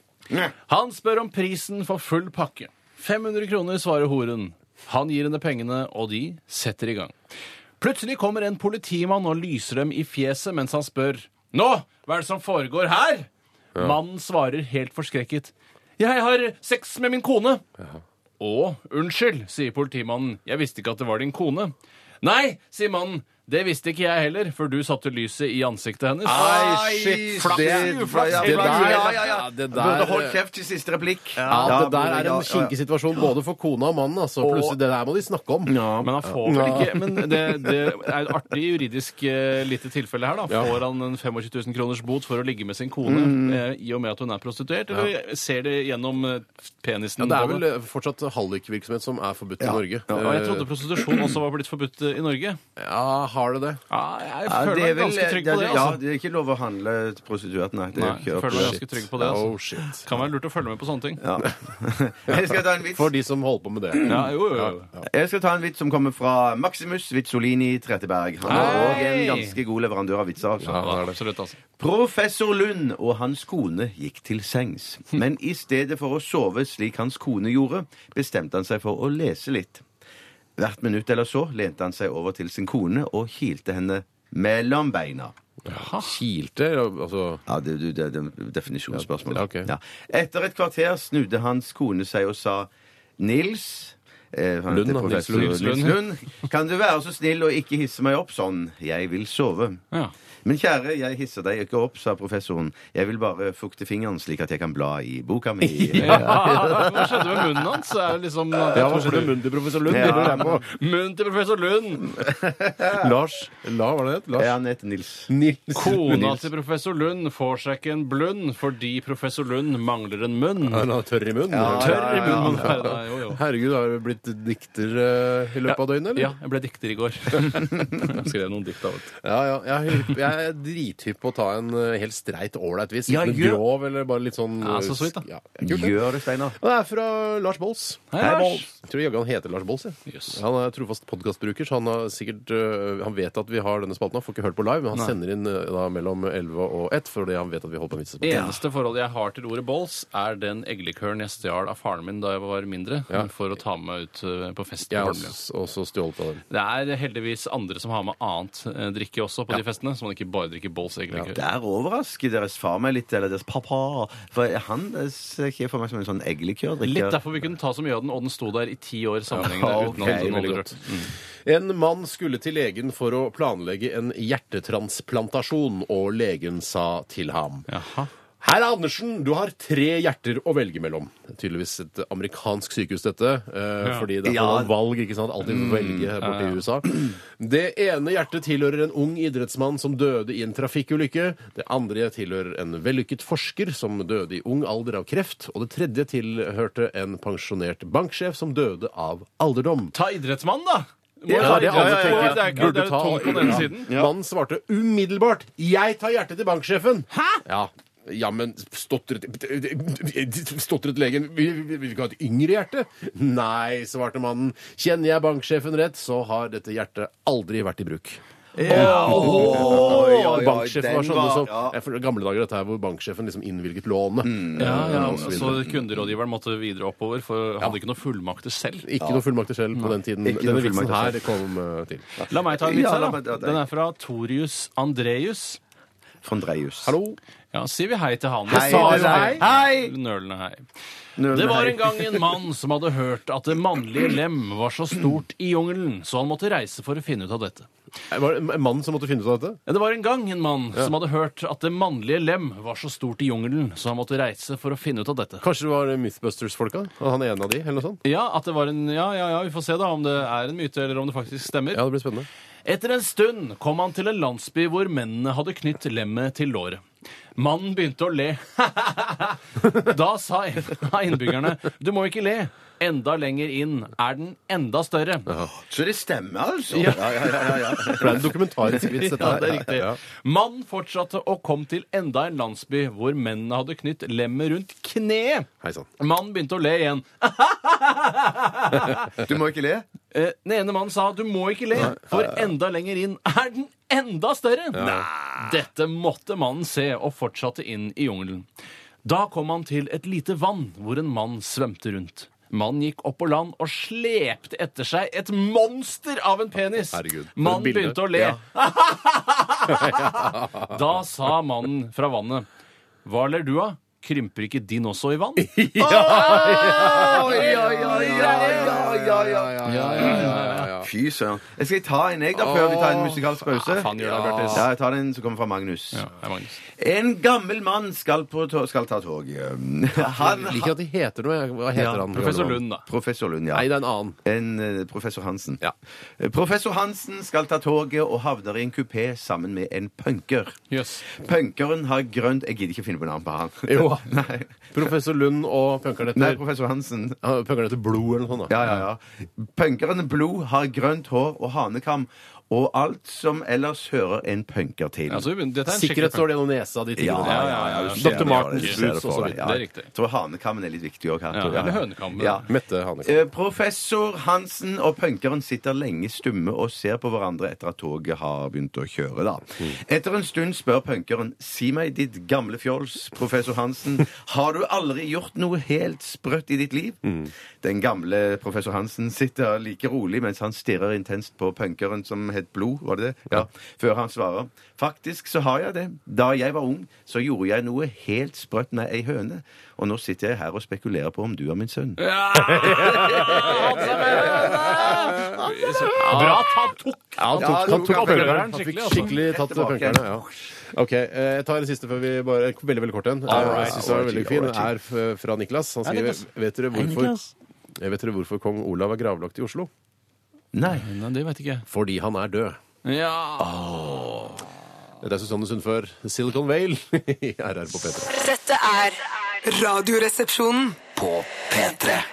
S4: Han spør om prisen for full pakke. 500 kroner, svarer horen. Han gir henne pengene, og de setter i gang. Plutselig kommer en politimann og lyser dem i fjeset mens han spør Nå, hva er det som foregår her? Mannen svarer helt forskrekket Jeg har sex med min kone. Å, unnskyld, sier politimannen. Jeg visste ikke at det var din kone. Nei, sier mannen. Det visste ikke jeg heller, for du satte lyset i ansiktet hennes.
S5: Ai, shit.
S4: Flaks,
S5: det-
S4: uflaks,
S5: ja,
S3: det
S5: ja,
S3: der-
S5: ja, ja, ja.
S3: ja, det
S5: Du burde
S3: der-
S5: holdt kjeft til siste replikk.
S3: Ja, det der
S5: burde-
S3: er
S5: ja,
S3: en
S5: ja.
S3: kinkig situasjon både for kona og mannen. Altså. Plutselig, det der må de snakke om.
S4: Men han får vel ikke Men det, det er et artig juridisk eh, lite tilfelle her, da. Får han en 25 000 kroners bot for å ligge med sin kone eh, i og med at hun er prostituert, eller ser det gjennom eh,
S3: Ja,
S4: penisen?
S3: det er
S4: på
S3: vel eh, fortsatt hallikvirksomhet som er forbudt i Norge.
S4: og jeg trodde
S3: Eh,
S4: prostitusjon også var blitt forbudt eh, i Norge.
S3: ja, har det det?
S4: Ja, jeg
S5: Ja,
S4: føler
S5: det er
S4: meg
S5: vel
S4: ganske trygg på det.
S5: Ja,
S4: altså.
S5: det er ikke lov å handle prostituert, nei. Det
S4: Nei,
S5: er
S4: jeg
S5: ikke
S4: føler meg ganske trygg på det.
S3: Oh,
S4: Altså.
S3: shit.
S4: Kan være lurt å følge med på sånne ting.
S5: Ja. Jeg skal ta en vits
S3: For de som holder på med det.
S4: Ja, jo, jo, jo.
S5: Jeg skal ta en vits som kommer fra Maximus Vitsolini Tretteberg. Han er
S4: Hei!
S5: òg en ganske god leverandør av vitser. altså.
S4: absolutt, altså.
S5: Professor Lund og hans kone gikk til sengs. Men i stedet for å sove slik hans kone gjorde, bestemte han seg for å lese litt. Hvert minutt eller så lente han seg over til sin kone og kilte henne mellom beina.
S3: Kilte, altså
S5: Ja, det, det, det, det er definisjonsspørsmål.
S3: Ja, ok.
S5: Ja. Etter et kvarter snudde hans kone seg og sa Nils eh, han
S3: Lund,
S5: heter
S3: da. Nils
S5: professor
S3: Lund.
S5: Nils Lund. Kan du være så snill å ikke hisse meg opp sånn? Jeg vil sove.
S4: Ja.
S5: Men kjære, jeg hisser deg ikke opp, sa professoren. Jeg vil bare fukte fingeren slik at jeg kan bla i boka mi.
S4: Ja. Hva skjedde med munnen hans? Er det liksom,
S3: Ja, hva skjedde med munnen til professor Lund?
S5: Ja.
S3: Lurer jeg på.
S4: Munnen til professor Lund!
S3: Lars La, var det det? het? Lars?
S5: Ja, Han heter Nils.
S3: Nils.
S4: Kona
S3: Nils.
S4: til professor Lund får seg ikke en blund fordi professor Lund mangler en munn.
S3: Han er tørr i munnen.
S5: Ja,
S4: Tørr i munnen. Ja, jo, jo.
S3: Herregud, har du blitt blitt dikter eh, i løpet av døgnet, eller?
S4: Ja, jeg ble dikter i går. jeg skrev noen dikt av og til.
S3: Ja, ja. Jeg, er hypp- jeg er drithypp på å ta en eh, helt streit, ålreit viss.
S5: Ja,
S3: Ikke noe
S5: gjør-
S3: grov eller bare litt sånn
S4: Ja, så sweet, da.
S3: Ja, kult, det.
S5: Gjør det, Steinar.
S3: Og Det er fra Lars Bolls.
S4: Hei, Lars.
S3: Jeg tror jaggu han heter Lars Bolls. jeg.
S4: Jøss.
S3: Han er trofast podkastbruker, så han, har sikkert, øh, han vet at vi har denne spalten. Han får ikke hørt på live, men han sender inn øh, da, mellom 11 og 1 fordi han vet at vi holder på en vitsespalte.
S4: Eneste forholdet jeg har til ordet bolls, er den eggelikøren jeg stjal av faren min da jeg var mindre, for å ta med meg ut eh, på fest.
S3: Jeg har
S4: på Holmlia.
S3: s- også stjålet av dem.
S4: Det er heldigvis andre som har med annet eh, drikke også på de festene, så man ikke bare drikker bolls eggelikør.
S5: Der overrasker deres far meg litt, eller deres pappa. For han eh, ser ikke for meg som en sånn eggelikørdrikker.
S4: Litt derfor vi kunne ta så mye av den, og den sto der i ti år sammenhengende.
S5: Ja,
S4: uten at
S5: ok,
S4: noen
S5: veldig
S4: hadde
S5: godt.
S4: rørt.
S3: En mann skulle til legen for å planlegge en hjertetransplantasjon, og legen sa til ham
S4: Jaha.
S3: Herr Andersen, du har tre hjerter å velge mellom. Det er Tydeligvis et amerikansk sykehus, dette. eh, Fordi det er
S5: Ja.
S3: noen valg, ikke sant? Alltid velge her borte i USA. Det ene hjertet tilhører en ung idrettsmann som døde i en trafikkulykke. Det andre tilhører en vellykket forsker som døde i ung alder av kreft. Og det tredje tilhørte en pensjonert banksjef som døde av alderdom.
S4: Ta idrettsmannen, da! Må
S3: Ja,
S4: ta
S3: det er alle tenker.
S4: idrettsmannen. Det er ikke- det er tungt på den
S3: Ja.
S4: siden.
S3: Mannen svarte umiddelbart 'Jeg tar hjertet til banksjefen'. Hæ? Ja. Jammen, stotret Stotret legen. Vil vi, vi ikke ha et yngre hjerte? Nei, svarte mannen. Kjenner jeg banksjefen rett, så har dette hjertet aldri vært i bruk.
S5: Oi, oi, oi,
S3: banksjefen var sånn,
S5: den
S3: sånne som
S5: ja.
S3: ja. for Gamle dager, dette her hvor banksjefen liksom innvilget lånet. Eh,
S4: Ja, ja,
S3: og så
S4: så kunderådgiveren måtte videre oppover, for hadde ikke noe fullmakter selv.
S3: Ikke noe fullmakter selv på den tiden.
S5: Ikke noe
S3: Denne vitsen
S5: fullmakter
S3: her kom eh, til.
S4: La meg ta en vits
S5: Ja,
S4: her,
S5: la meg
S4: da.
S5: ta den.
S4: Den er fra Torius Andreus.
S5: Von Dreyhus.
S3: Hallo?
S4: Ja, sier vi hei til han.
S5: Hei,
S4: Sa
S5: det er
S4: vi
S5: deg. Hei!
S4: Nølende hei.
S5: Nølende
S4: Det var
S5: hei.
S4: en gang en mann som hadde hørt at det mannlige lem var så stort i jungelen, så han måtte reise for å finne ut av dette.
S3: Var det en mann som måtte finne ut av dette?
S4: Ja, Det var en gang en mann som hadde hørt at det mannlige lem var så stort i jungelen, så han måtte reise for å finne ut av dette.
S3: Kanskje det var Mythbusters-folka? Og han er en av de? eller noe sånt?
S4: Ja, at det var en, ja, ja, ja, vi får se da om det er en myte, eller om det faktisk stemmer.
S3: Ja, det blir spennende.
S4: Etter en stund kom han til en landsby hvor mennene hadde knytt lemmet til låret. Mannen begynte å le. da sa en av innbyggerne du må ikke le. Enda lenger inn er den enda større.
S5: Så det stemmer, altså? Ja, ja, ja. ja, ja.
S3: For det er en dokumentarisk vits, dette
S4: Ja, det er
S3: her.
S4: riktig. Mannen fortsatte og kom til enda en landsby hvor mennene hadde knytt lemmet rundt kneet.
S3: Hei sann.
S4: Mannen begynte å le igjen.
S5: Du må ikke le?
S4: Eh, Den ene mannen sa du må ikke le, for enda lenger inn er den enda større. Dette måtte mannen se, og fortsatte inn i jungelen. Da kom han til et lite vann hvor en mann svømte rundt. Mannen gikk opp på land og slepte etter seg et monster av en penis.
S3: Herregud, for et
S4: mannen
S3: bilde.
S4: begynte å le. da sa mannen fra vannet, hva ler du av? Krymper ikke din også i vann?
S5: Oi, oi, oi, ja, ja, ja, ja. Fy søren. Jeg skal ta en jeg, da, før vi tar en musikalsk pause.
S4: faen, gjør det, Bjørtis.
S5: Ja, jeg tar en som kommer fra Magnus.
S4: Ja, det er Magnus.
S5: En gammel mann skal, på to skal ta tog. Han,
S3: Jeg liker at de heter noe. jeg- Hva heter
S5: Ja,
S3: han?
S4: Professor Lund, da.
S5: professor Lund, ja.
S3: Nei, det er en annen.
S5: En eh, professor Hansen.
S3: Ja.
S5: Eh, Professor Hansen skal ta toget og havner i en kupé sammen med en punker.
S4: Jøss.
S5: Punkeren har grønt Jeg gidder ikke finne på navn på han.
S3: Jo.
S5: Nei.
S3: Professor Lund og punkeren
S5: Nei,
S3: heter
S5: professor Hansen.
S3: Han- Punkeren heter Blod eller noe sånt. da.
S5: Ja, ja, ja. Punkeren Blod har grønt hår og hanekam og alt som ellers hører en punker til.
S4: Ja, så vi begynner- dette er en skikkelig
S3: Sikkerhet står det gjennom nesa, de tingene
S4: ja,
S3: der.
S4: ja, ja.
S5: du
S4: Dr.
S5: ser det,
S3: Martens
S5: ja, du ser det
S3: brus og
S5: for
S3: så
S5: deg,
S3: videre.
S5: ja.
S4: Det er riktig.
S5: Jeg tror hanekammen er litt viktig òg her.
S4: Ja,
S5: tror jeg.
S4: eller hønekammen.
S5: Ja.
S3: Mette Hanekam.
S5: Eh, Professor Hansen og punkeren sitter lenge stumme og ser på hverandre etter at toget har begynt å kjøre. da. Etter en stund spør punkeren Si meg, ditt gamle fjols, professor Hansen, har du aldri gjort noe helt sprøtt i ditt liv? Den gamle professor Hansen sitter like rolig mens han stirrer intenst på punkeren som het Blod, var det det? Ja. Før han svarer. Faktisk så har jeg det. Da jeg var ung, så gjorde jeg noe helt sprøtt med ei høne. Og nå sitter jeg her og spekulerer på om du er min sønn.
S4: Bra tatt, tok!
S3: Ja, han tok, han
S5: Ja, du
S3: tok
S5: kan
S3: punkeren.
S4: punkeren
S3: Han fikk
S4: skikkelig, altså.
S3: skikkelig tatt
S5: Rett tilbake.
S3: punkerne. Ja. OK, eh, jeg tar en siste før vi bare en Veldig, veldig kort en. Eh,
S5: Alright.
S3: Jeg synes den var veldig fin. Den er f- fra Niklas. Han
S4: Niklas.
S3: skriver Vet dere hvorfor, Eh, vet dere hvorfor kong Olav er gravlagt i Oslo?
S5: Nei.
S4: Nei, det vet ikke jeg.
S3: Fordi han er død.
S4: Ja.
S3: Dette er Susanne Sundfør, Silicon Vale i RR på P3.
S6: Dette er Radioresepsjonen.
S2: På P3.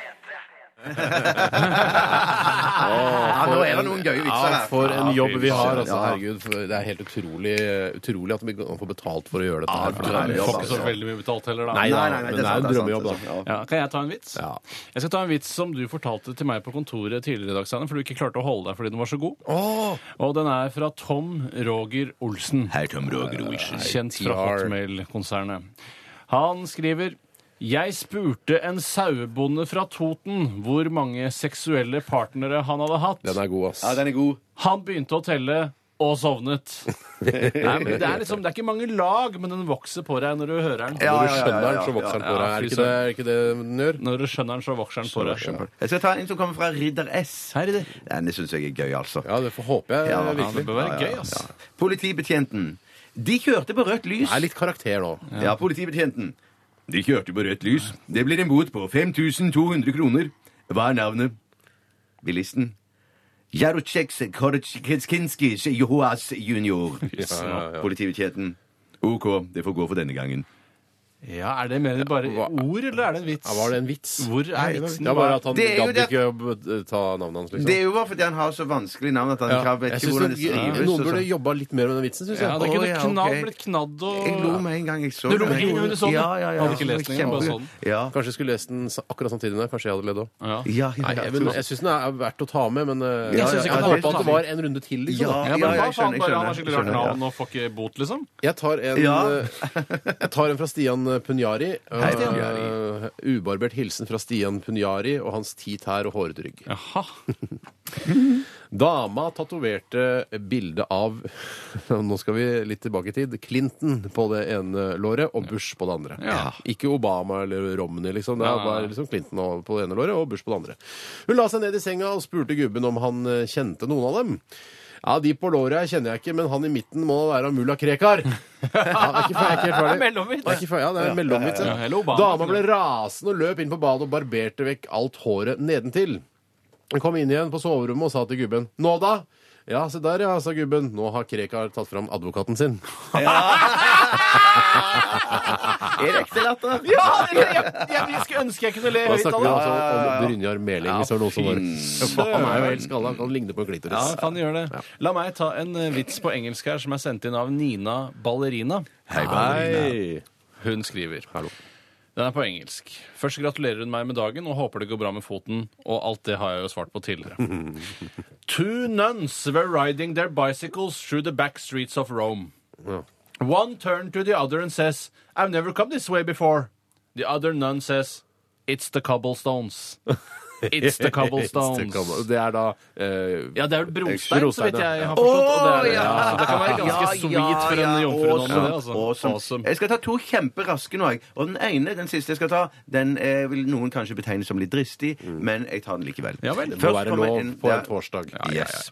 S5: Ja, nå er det noen gøye vitser
S3: Ja,
S5: her.
S3: for en
S4: Ja,
S3: jobb vi har.
S5: søren,
S3: Altså,
S5: ja.
S3: herregud, for det er helt utrolig, utrolig at vi får betalt for å gjøre dette.
S5: Ja,
S3: her, altså. for det er-
S5: drømmejobb,
S4: Får ikke så veldig mye betalt heller, da.
S3: Nei,
S5: Nei,
S3: da,
S5: nei, nei,
S3: men det er
S5: sant,
S3: jo en drømmejobb,
S5: sant, det er
S3: da.
S5: sant,
S4: Ja, kan jeg ta en vits?
S3: Ja.
S4: Jeg skal ta en vits som du fortalte til meg på kontoret tidligere i dag, Steinar, for du ikke klarte å holde deg fordi den var så god. Og den er fra Tom Roger Olsen. Hei, Tom Roger Olsen. Kjent fra
S3: TR.
S4: Hotmail-konsernet. Han skriver jeg spurte en sauebonde fra Toten hvor mange seksuelle partnere han hadde hatt.
S3: Den er god, ass.
S5: Ja, den er god.
S4: Han begynte å telle og sovnet. Nei, men det, er liksom, det er ikke mange lag, men den vokser på deg når du hører den.
S5: Ja,
S3: Når
S5: ja,
S3: du
S5: ja,
S3: skjønner
S5: ja,
S3: den, så
S5: ja,
S3: vokser den
S4: ja.
S3: på deg. Er ikke det, er ikke det den gjør?
S4: Når du skjønner den, så vokser den på deg.
S5: Jeg skal ta en som kommer fra Ridder S.
S4: Her er det.
S5: Den syns jeg er gøy, altså.
S3: Ja, det får- håper jeg
S5: Ja,
S4: Ja, det
S3: virkelig.
S4: bør være gøy, ass.
S5: Politibetjenten. De kjørte på rødt lys.
S3: Det er litt karakter nå.
S5: Ja, politibetjenten. De kjørte på rødt lys. Det blir en bot på 5200 kroner. Hva er navnet? Bilisten. Jarocek Koretskinski Joas junior. Politibetjenten. OK, det får gå for denne gangen.
S4: Ja, Er det mer enn bare
S3: hva-
S4: ord, eller er det en vits?
S3: Ja, var det en vits?
S4: Hvor er vitsen?
S3: Det er bare at han
S5: Det er jo
S3: gadd
S5: det-
S3: ikke å b- ta navnet hans, liksom.
S5: Det er jo bare fordi han har så vanskelig navn at han
S3: Ja.
S5: ikke vet
S3: Jeg
S5: ikke
S3: synes
S5: hvordan det
S3: det-
S5: skrives. og
S3: Noen burde
S5: sånn.
S3: jobba litt mer med den vitsen, syns jeg.
S4: Ja, det
S5: Å,
S4: kunne
S5: ja,
S4: knadd,
S5: ok.
S4: blitt knadd og
S5: Jeg lo med en gang jeg så
S4: Du lo
S5: den.
S4: med en gang du så den?
S5: Ja, ja, ja.
S4: Hadde ikke lest den engang, bare sånn. så den.
S5: Ja.
S3: Kanskje jeg skulle lest den sa- akkurat samtidig med deg. Kanskje jeg hadde ledd òg.
S4: Ja.
S5: Ja, ja,
S3: Nei,
S5: ja,
S3: jeg, men, jeg syns den er verdt å ta med, men eh,
S5: Ja,
S3: jeg synes ikke jeg
S5: ja, ja, det
S3: håper at
S5: er
S3: det var en runde til. Liksom,
S5: Ja.
S3: da.
S4: Ja, men hva
S5: jeg
S4: faen,
S5: skjønner, jeg
S4: bare han har
S5: skjønner,
S4: skikkelig rart
S5: jeg skjønner,
S4: navn og får ikke bot, liksom?
S3: Jeg tar en,
S5: Ja.
S3: eh, jeg tar en fra Stian Punjari.
S5: Hei, Punjari.
S3: Eh, ubarbert hilsen fra Stian Punjari og hans ti tær og hårete rygg.
S4: Jaha.
S3: Dama tatoverte bildet av Nå skal vi litt tilbake i tid. Clinton på det ene låret og Bush på det andre.
S4: Ja.
S3: Ikke Obama eller Romney, liksom. Det
S4: Nei, nei,
S3: var
S4: nei.
S3: liksom Clinton og- på det ene låret og Bush på det andre. Hun la seg ned i senga og spurte gubben om han eh, kjente noen av dem. Ja, De på låret her kjenner jeg ikke, men han i midten må være av mulla Krekar. Ja, det er ikke ferdig. Det er ikke
S4: Mellomvits.
S3: ferdig. Det er ikke ferdig. Ja, det er en mellomvits.
S4: Ja, eller
S3: Ja.
S4: Obama.
S3: Dama ble rasende og løp inn på badet og barberte vekk alt håret nedentil. Hun kom inn igjen på soverommet og sa til gubben Nå da? Ja, se der ja, sa gubben. Nå har Krekar tatt fram advokaten sin.
S5: Er det ekte latter?
S4: Ja, jeg, skulle ønske jeg kunne le
S3: Da snakker vi altså om Brynjar Meling, hvis det er noen som var
S4: søren.
S3: Han er jo helt skalla. Han ligner på en
S4: Ja,
S3: klitoris.
S4: kan gjøre det. La meg ta en eh, vits på engelsk her som er sendt inn av Nina Ballerina.
S5: Hei,
S3: Hei.
S4: Hun skriver. Den er på engelsk. Først gratulerer hun meg med dagen og håper det går bra med foten. Og alt det har jeg jo svart på tidligere. Two nuns were riding their bicycles through the back streets of Rome. One turned to the other and says, I've never come this way before. The other nun says, It's the cobblestones. It's the cobblestones.
S3: Det er da eh,
S4: Ja, det er vel brostein, så vidt
S3: Brostein, ja.
S4: jeg har forstått. Og det, er, det.
S5: ja.
S4: Så det kan være ganske
S5: Ja,
S4: sweet
S5: ja,
S4: for en
S5: ja,
S4: jomfru.
S5: awesome,
S4: nå, det, altså.
S5: awesome. Jeg skal ta to kjemperaske nå. jeg. Og den ene, den siste jeg skal ta, den eh, vil noen kanskje betegne som litt dristig, men jeg tar den likevel.
S4: Mm. Ja vel, det
S3: må
S5: Først
S3: være
S5: kommer
S3: lov
S5: en-
S3: på
S5: ja,
S3: en torsdag.
S5: Yes.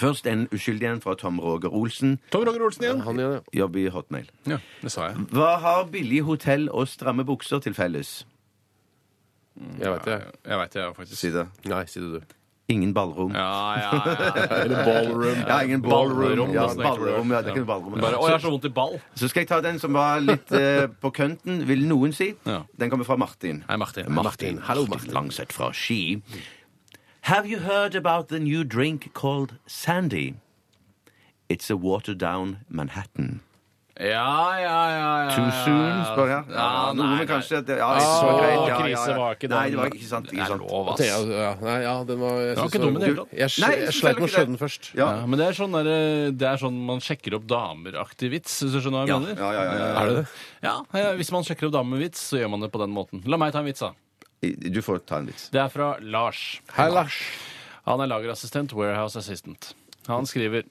S5: Først en uskyldig en fra Tom Roger Olsen.
S4: Tom Roger Olsen igjen.
S3: Han gjør det.
S5: Jobber i Hotmail.
S4: Ja, det sa jeg.
S5: Hva har billig hotell og stramme bukser til felles?
S3: Jeg veit det.
S4: Jeg veit det, jeg, faktisk.
S5: Si det.
S3: Nei, si det du.
S5: Ingen ballrom.
S4: Ja, ja, ja.
S3: Eller ballroom.
S5: Ja, ingen ballroom.
S4: Ballrom,
S5: Ja,
S4: da snakker du.
S5: ballroom, ja, det er ikke noe ballrom.
S4: Bare, Å, jeg har så vondt i ball.
S5: Så skal jeg ta den som var litt eh, på kønten, vil noen si.
S4: Ja.
S5: Den kommer fra Martin.
S4: Hei, Martin.
S5: Martin. Hallo, Martin. Langseth fra Ski. Have you heard about the new drink called Sandy? It's a watered down Manhattan.
S4: Ja, ja, ja. ja,
S5: Too
S4: ja,
S5: soon,
S4: ja.
S5: spør jeg.
S4: Eh, Ja, nei,
S5: noen
S4: nei.
S5: kanskje at det, ja,
S4: så
S5: ja,
S4: greit,
S5: ja, ja, ja.
S4: krise var ikke det.
S5: Nei, det var ikke sant.
S4: Det
S5: Ikke
S4: er
S5: sant.
S4: lov,
S3: Thea,
S4: ass.
S3: ja, nei, ja, den var jeg
S4: var
S3: synes
S4: ikke dum i det hele tatt.
S3: Jeg, sl-
S5: Nei,
S3: jeg
S5: selvfølgelig
S3: sleit med å
S5: ikke det.
S3: skjønne den først.
S5: Ja.
S4: Ja, men det er sånn der, det er sånn man sjekker opp damer-aktig vits, hvis du skjønner hva jeg
S5: Ja,
S4: mener?
S5: ja, ja, ja, ja.
S3: Er det det?
S4: Ja, eh, Hvis man sjekker opp damer-vits, så gjør man det på den måten. La meg ta en vits, da.
S5: Du får ta en vits.
S4: Det er fra Lars.
S3: Hei, Lars.
S4: Han er lagerassistent, warehouse assistant. Han skriver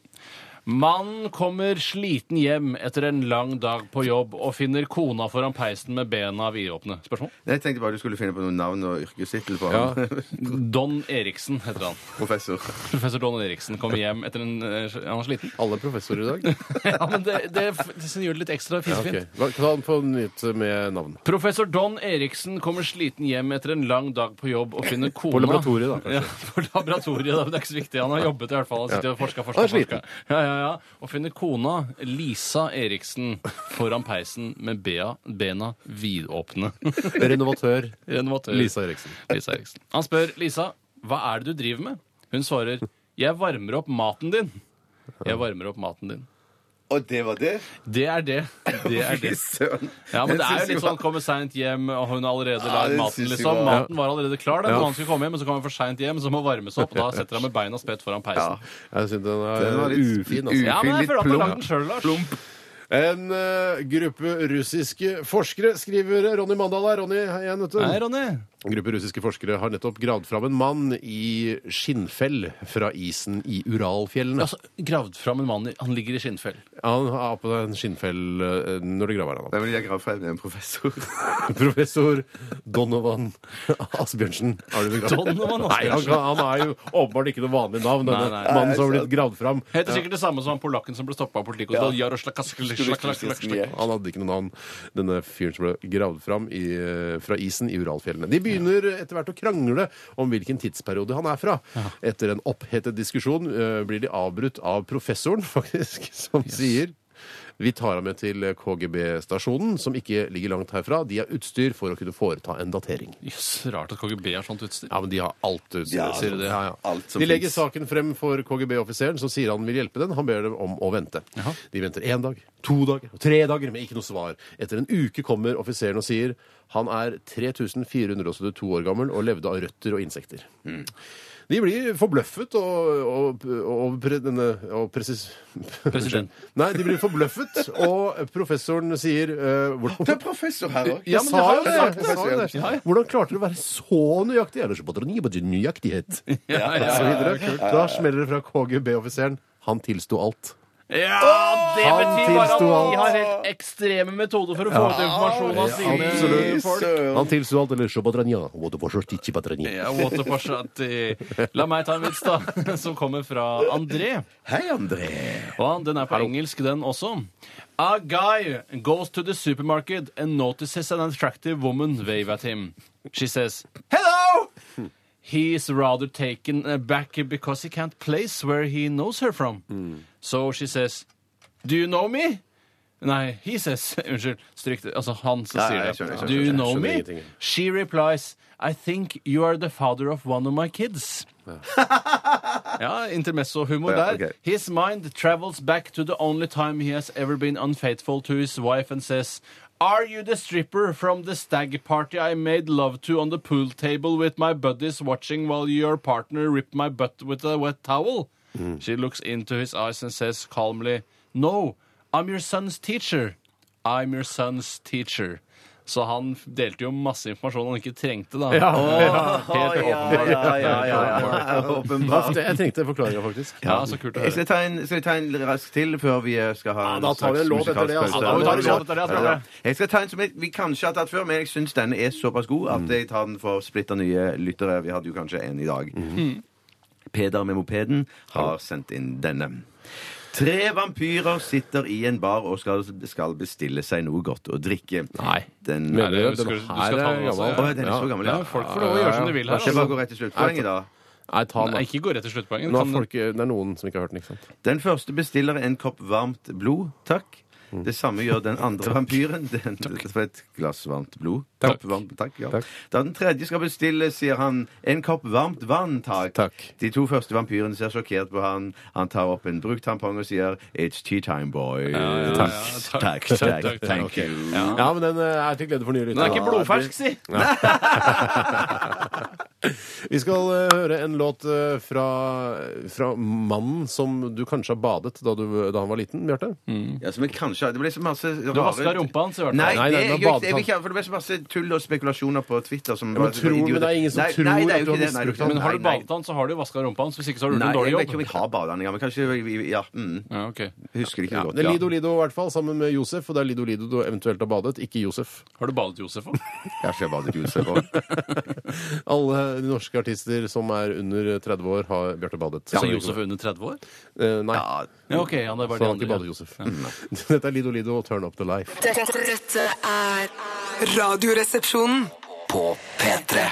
S4: Mannen kommer sliten hjem etter en lang dag på jobb og finner kona foran peisen med bena vidåpne. Spørsmål?
S5: Jeg tenkte bare du skulle finne på noen navn og yrkestittel på
S3: Ja.
S5: han.
S4: Don Eriksen heter han.
S5: Professor.
S4: Professor Don Eriksen kommer hjem etter en eh, Han er sliten.
S3: Alle er professorer i dag.
S4: Ja, men det, det, det gjør det litt ekstra
S3: Ja,
S4: fisefint.
S3: ok. Hva- Ta den på nytt med navn.
S4: Professor Don Eriksen kommer sliten hjem etter en lang dag på jobb og finner kona
S3: laboratoriet, da, kanskje.
S4: Ja, på laboratoriet, da. men Det er ikke så viktig. Han har jobbet i hvert fall. Han sitter og forsker, forsker,
S3: Han er sliten.
S4: forsker. Ja, ja, ja, og finner kona Lisa Eriksen foran peisen med bea, bena vidåpne.
S3: Renovatør
S4: Renovatør.
S3: Lisa Eriksen.
S4: Lisa Eriksen. Han spør Lisa hva er det du driver med. Hun svarer jeg varmer opp maten din. Jeg varmer opp maten din.
S5: Og det var det?
S4: Det er det. Det er det.
S5: Søren.
S4: Ja, men
S5: Jeg
S4: det er jo
S5: synes
S4: litt sånn komme seint hjem, og hun har allerede lagd
S5: det
S4: maten,
S5: synes jeg
S4: liksom.
S5: var-
S4: Maten var allerede klar, da,
S3: Ja.
S4: men han skulle komme hjem, men så kommer han for seint hjem, så må varmes opp, og da setter han med beina spredt foran peisen.
S3: Jeg syns den er,
S5: Den var litt
S3: ufin. Altså.
S5: u-
S4: Ja, men jeg
S5: litt
S4: føler at han har
S5: plump.
S4: lagd den sjøl, Lars.
S3: En eh, gruppe russiske forskere, skriver Ronny Mandal her. Ronny, hei igjen, vet du.
S4: Nei, Ronny.
S3: En gruppe russiske forskere har nettopp gravd fram en mann i skinnfell fra isen i Uralfjellene.
S4: Altså, gravd fram en mann i Han ligger i skinnfell.
S3: Han har på seg en skinnfell eh, når de graver han opp.
S5: Da vil jeg grave frem en professor.
S3: Professor Donovan Asbjørnsen. Har du begravd?
S4: Donovan Asbjørnsen.
S3: Nei, han, kan, han er jo åpenbart ikke noe vanlig navn, denne
S4: Nei, nei.
S3: mannen som har blitt gravd fram.
S4: Heter sikkert det samme som han polakken som ble stoppa av politiet. Ja.
S5: Ja.
S3: Han hadde ikke noe navn, denne fyren som ble gravd fram i, eh, fra isen i Uralfjellene. De begynner etter hvert å krangle om hvilken tidsperiode han er fra. Etter en opphetet diskusjon eh, blir de avbrutt av professoren, faktisk, som sier vi tar ham med til KGB-stasjonen, som ikke ligger langt herfra. De har utstyr for å kunne foreta en datering.
S4: Jøss, rart at KGB har sånt utstyr.
S3: Ja, men de har alt utstyr.
S5: Ja, altså,
S3: sier de. Ja, ja.
S5: alt som
S3: de legger
S5: finnes.
S3: saken frem for KGB-offiseren, som sier han vil hjelpe den. Han ber dem om å vente. De venter én dag, to dager, og tre dager, men ikke noe svar. Etter en uke kommer offiseren og sier han er 3472 år gammel og levde av røtter og insekter.
S5: Mm.
S3: De blir forbløffet og, og, og, pre- denne, og presis...
S4: President.
S3: Nei, de blir forbløffet, og professoren sier eh, hvordan
S5: Det er professor her òg.
S3: ja,
S4: men
S3: men
S4: det
S3: sa
S4: har
S3: jo
S4: jeg
S3: det!
S4: sagt,
S3: Jeg sa jo det.
S4: Ja, ja.
S3: Hvordan klarte du å være så nøyaktig? Eller så på ni på din nøyaktighet.
S4: Ja, ja,
S3: Og så
S4: ja.
S3: videre. Da smeller det fra KGB-offiseren. Han tilsto alt.
S4: ja, det
S3: Han
S4: betyr bare at
S3: tilsto alt.
S4: de har helt ekstreme metoder for å få ut informasjon av sine
S3: absolutt.
S4: folk.
S3: Han tilsto alt, eller så på dranja. Og det var så ikke på dranja.
S4: Ja, what the fuck, at, eh, La meg ta en vits, da, som kommer fra André.
S5: Hei, André.
S4: Og den er på engelsk, den også. A guy goes to the supermarket and notices an attractive woman wave at him. She says, Hello! He is rather taken aback because he can't place where he knows her from. So she says, Do you know me? Nei, he says Unnskyld. Stryk det. Altså, han som
S5: Nei,
S4: sier
S5: jeg
S4: det.
S5: skjønner, jeg skjønner,
S4: Do you
S5: jeg
S4: know
S3: skjønner
S4: me?
S3: ingenting.
S4: She replies, I think you are the father of one of my kids. Ja, intermezzo-humor
S5: Ja,
S4: der.
S5: ok.
S4: His mind travels back to the only time he has ever been unfaithful to his wife and says, Are you the stripper from the stag party I made love to on the pool table with my buddies watching while your partner ripped my butt with a wet towel?
S5: Mm.
S4: She looks into his eyes and says calmly, No, I'm your son's teacher. I'm your son's teacher. Så han delte jo masse informasjon han ikke trengte, da. Helt åpenbart.
S5: Åpenbart.
S3: Jeg trengte forklaringa, faktisk.
S4: Ja, så kult å høre.
S5: Skal jeg, ta en, skal jeg ta en rask til før vi eh, skal ha
S3: Ja,
S5: en
S3: da tar vi en
S5: slags
S3: låt etter det, altså.
S5: musikalsk
S4: Ja, da
S5: pause?
S4: tar vi en låt etter det, altså.
S5: Ja, ja. Jeg skal ta en som jeg, vi kanskje har tatt før, men jeg syns denne er såpass god at jeg tar den for splitter nye lyttere. Vi hadde jo kanskje en i dag. Peder med mopeden har sendt inn denne. Tre vampyrer sitter i en bar og skal, skal bestille seg noe godt å drikke.
S4: Nei.
S5: Den,
S3: Mener du
S4: det- du
S3: den
S4: skal- du skal
S3: her
S4: ta
S3: er
S4: den også,
S5: Å,
S3: gammel?
S5: ja, den er så gammel, ja.
S4: Ja, folk får lov å gjøre som de vil her.
S5: Skal jeg
S4: Altså.
S5: bare gå rett til sluttpoenget, da?
S3: Nei, ta den,
S4: Nei,
S3: da.
S4: ikke gå rett til sluttpoenget.
S3: Nå
S4: Kan-
S3: har folk, det er noen som ikke har hørt den, ikke sant?
S5: Den første bestiller en kopp varmt blod, takk. Det samme gjør den andre vampyren. Den, det var et glass varmt blod.
S4: Takk.
S5: Kopp varmt, takk, ja.
S3: Takk.
S5: Da den tredje skal bestille, sier han en kopp varmt vann, takk.
S3: Takk.
S5: De to første vampyrene ser sjokkert på han. Han tar opp en brukt tampong og sier It's tea time, boy.
S4: Takk.
S5: Takk,
S4: Takk,
S5: takk,
S4: takk,
S5: thank you.
S3: Ja, men den eh, er til glede for nye
S4: Den er ikke
S3: lyttere.
S4: blodfersk, si!
S3: Vi skal eh, høre en låt eh, fra, fra mannen som du kanskje har badet da, du, da han var liten, Bjarte.
S5: Ja, som jeg kanskje, det ble så masse
S4: Du
S5: rare...
S4: vaska rumpa hans, i hvert
S5: Nei,
S4: fall.
S3: Nei, nei,
S5: det, jeg,
S3: men
S5: jeg,
S3: badet
S5: jeg, vil ikke, for det ble så masse tull og spekulasjoner på Twitter. Som
S3: men
S5: var-
S3: tror du- men det er ingen som
S5: Nei,
S3: tror
S5: nei, det er
S3: at du har
S5: jo ikke det, nei, det er jo ikke
S3: misbrukt
S5: det.
S4: Men har du
S5: Nei, nei.
S4: badet han, så har du vaska rumpa hans. Hvis ikke, så har du gjort
S5: Nei,
S4: en dårlig
S5: jeg vet ikke om jeg
S4: jobb.
S5: har badet den engang. Men kanskje vi- vi- Ja. Mm.
S4: Ja, ok.
S5: Husker ikke
S3: Ja,
S5: så godt.
S3: det er Lido Lido i hvert fall, sammen med Josef, og det er Lido Lido du eventuelt har badet, ikke Josef.
S4: Har du badet Josef òg?
S5: Kanskje jeg badet Josef òg.
S3: Alle de norske artister som er under 30 år, har Bjarte badet.
S4: Så Josef er under 30 år?
S3: Eh, nei,
S5: Ja,
S4: Ja, ok, han er bare
S3: så han har
S4: de
S3: ikke
S4: andre.
S3: badet Josef. Dette er Lido Lido og Turn Up The Life.
S6: Dette, dette er Radioresepsjonen.
S2: På P3.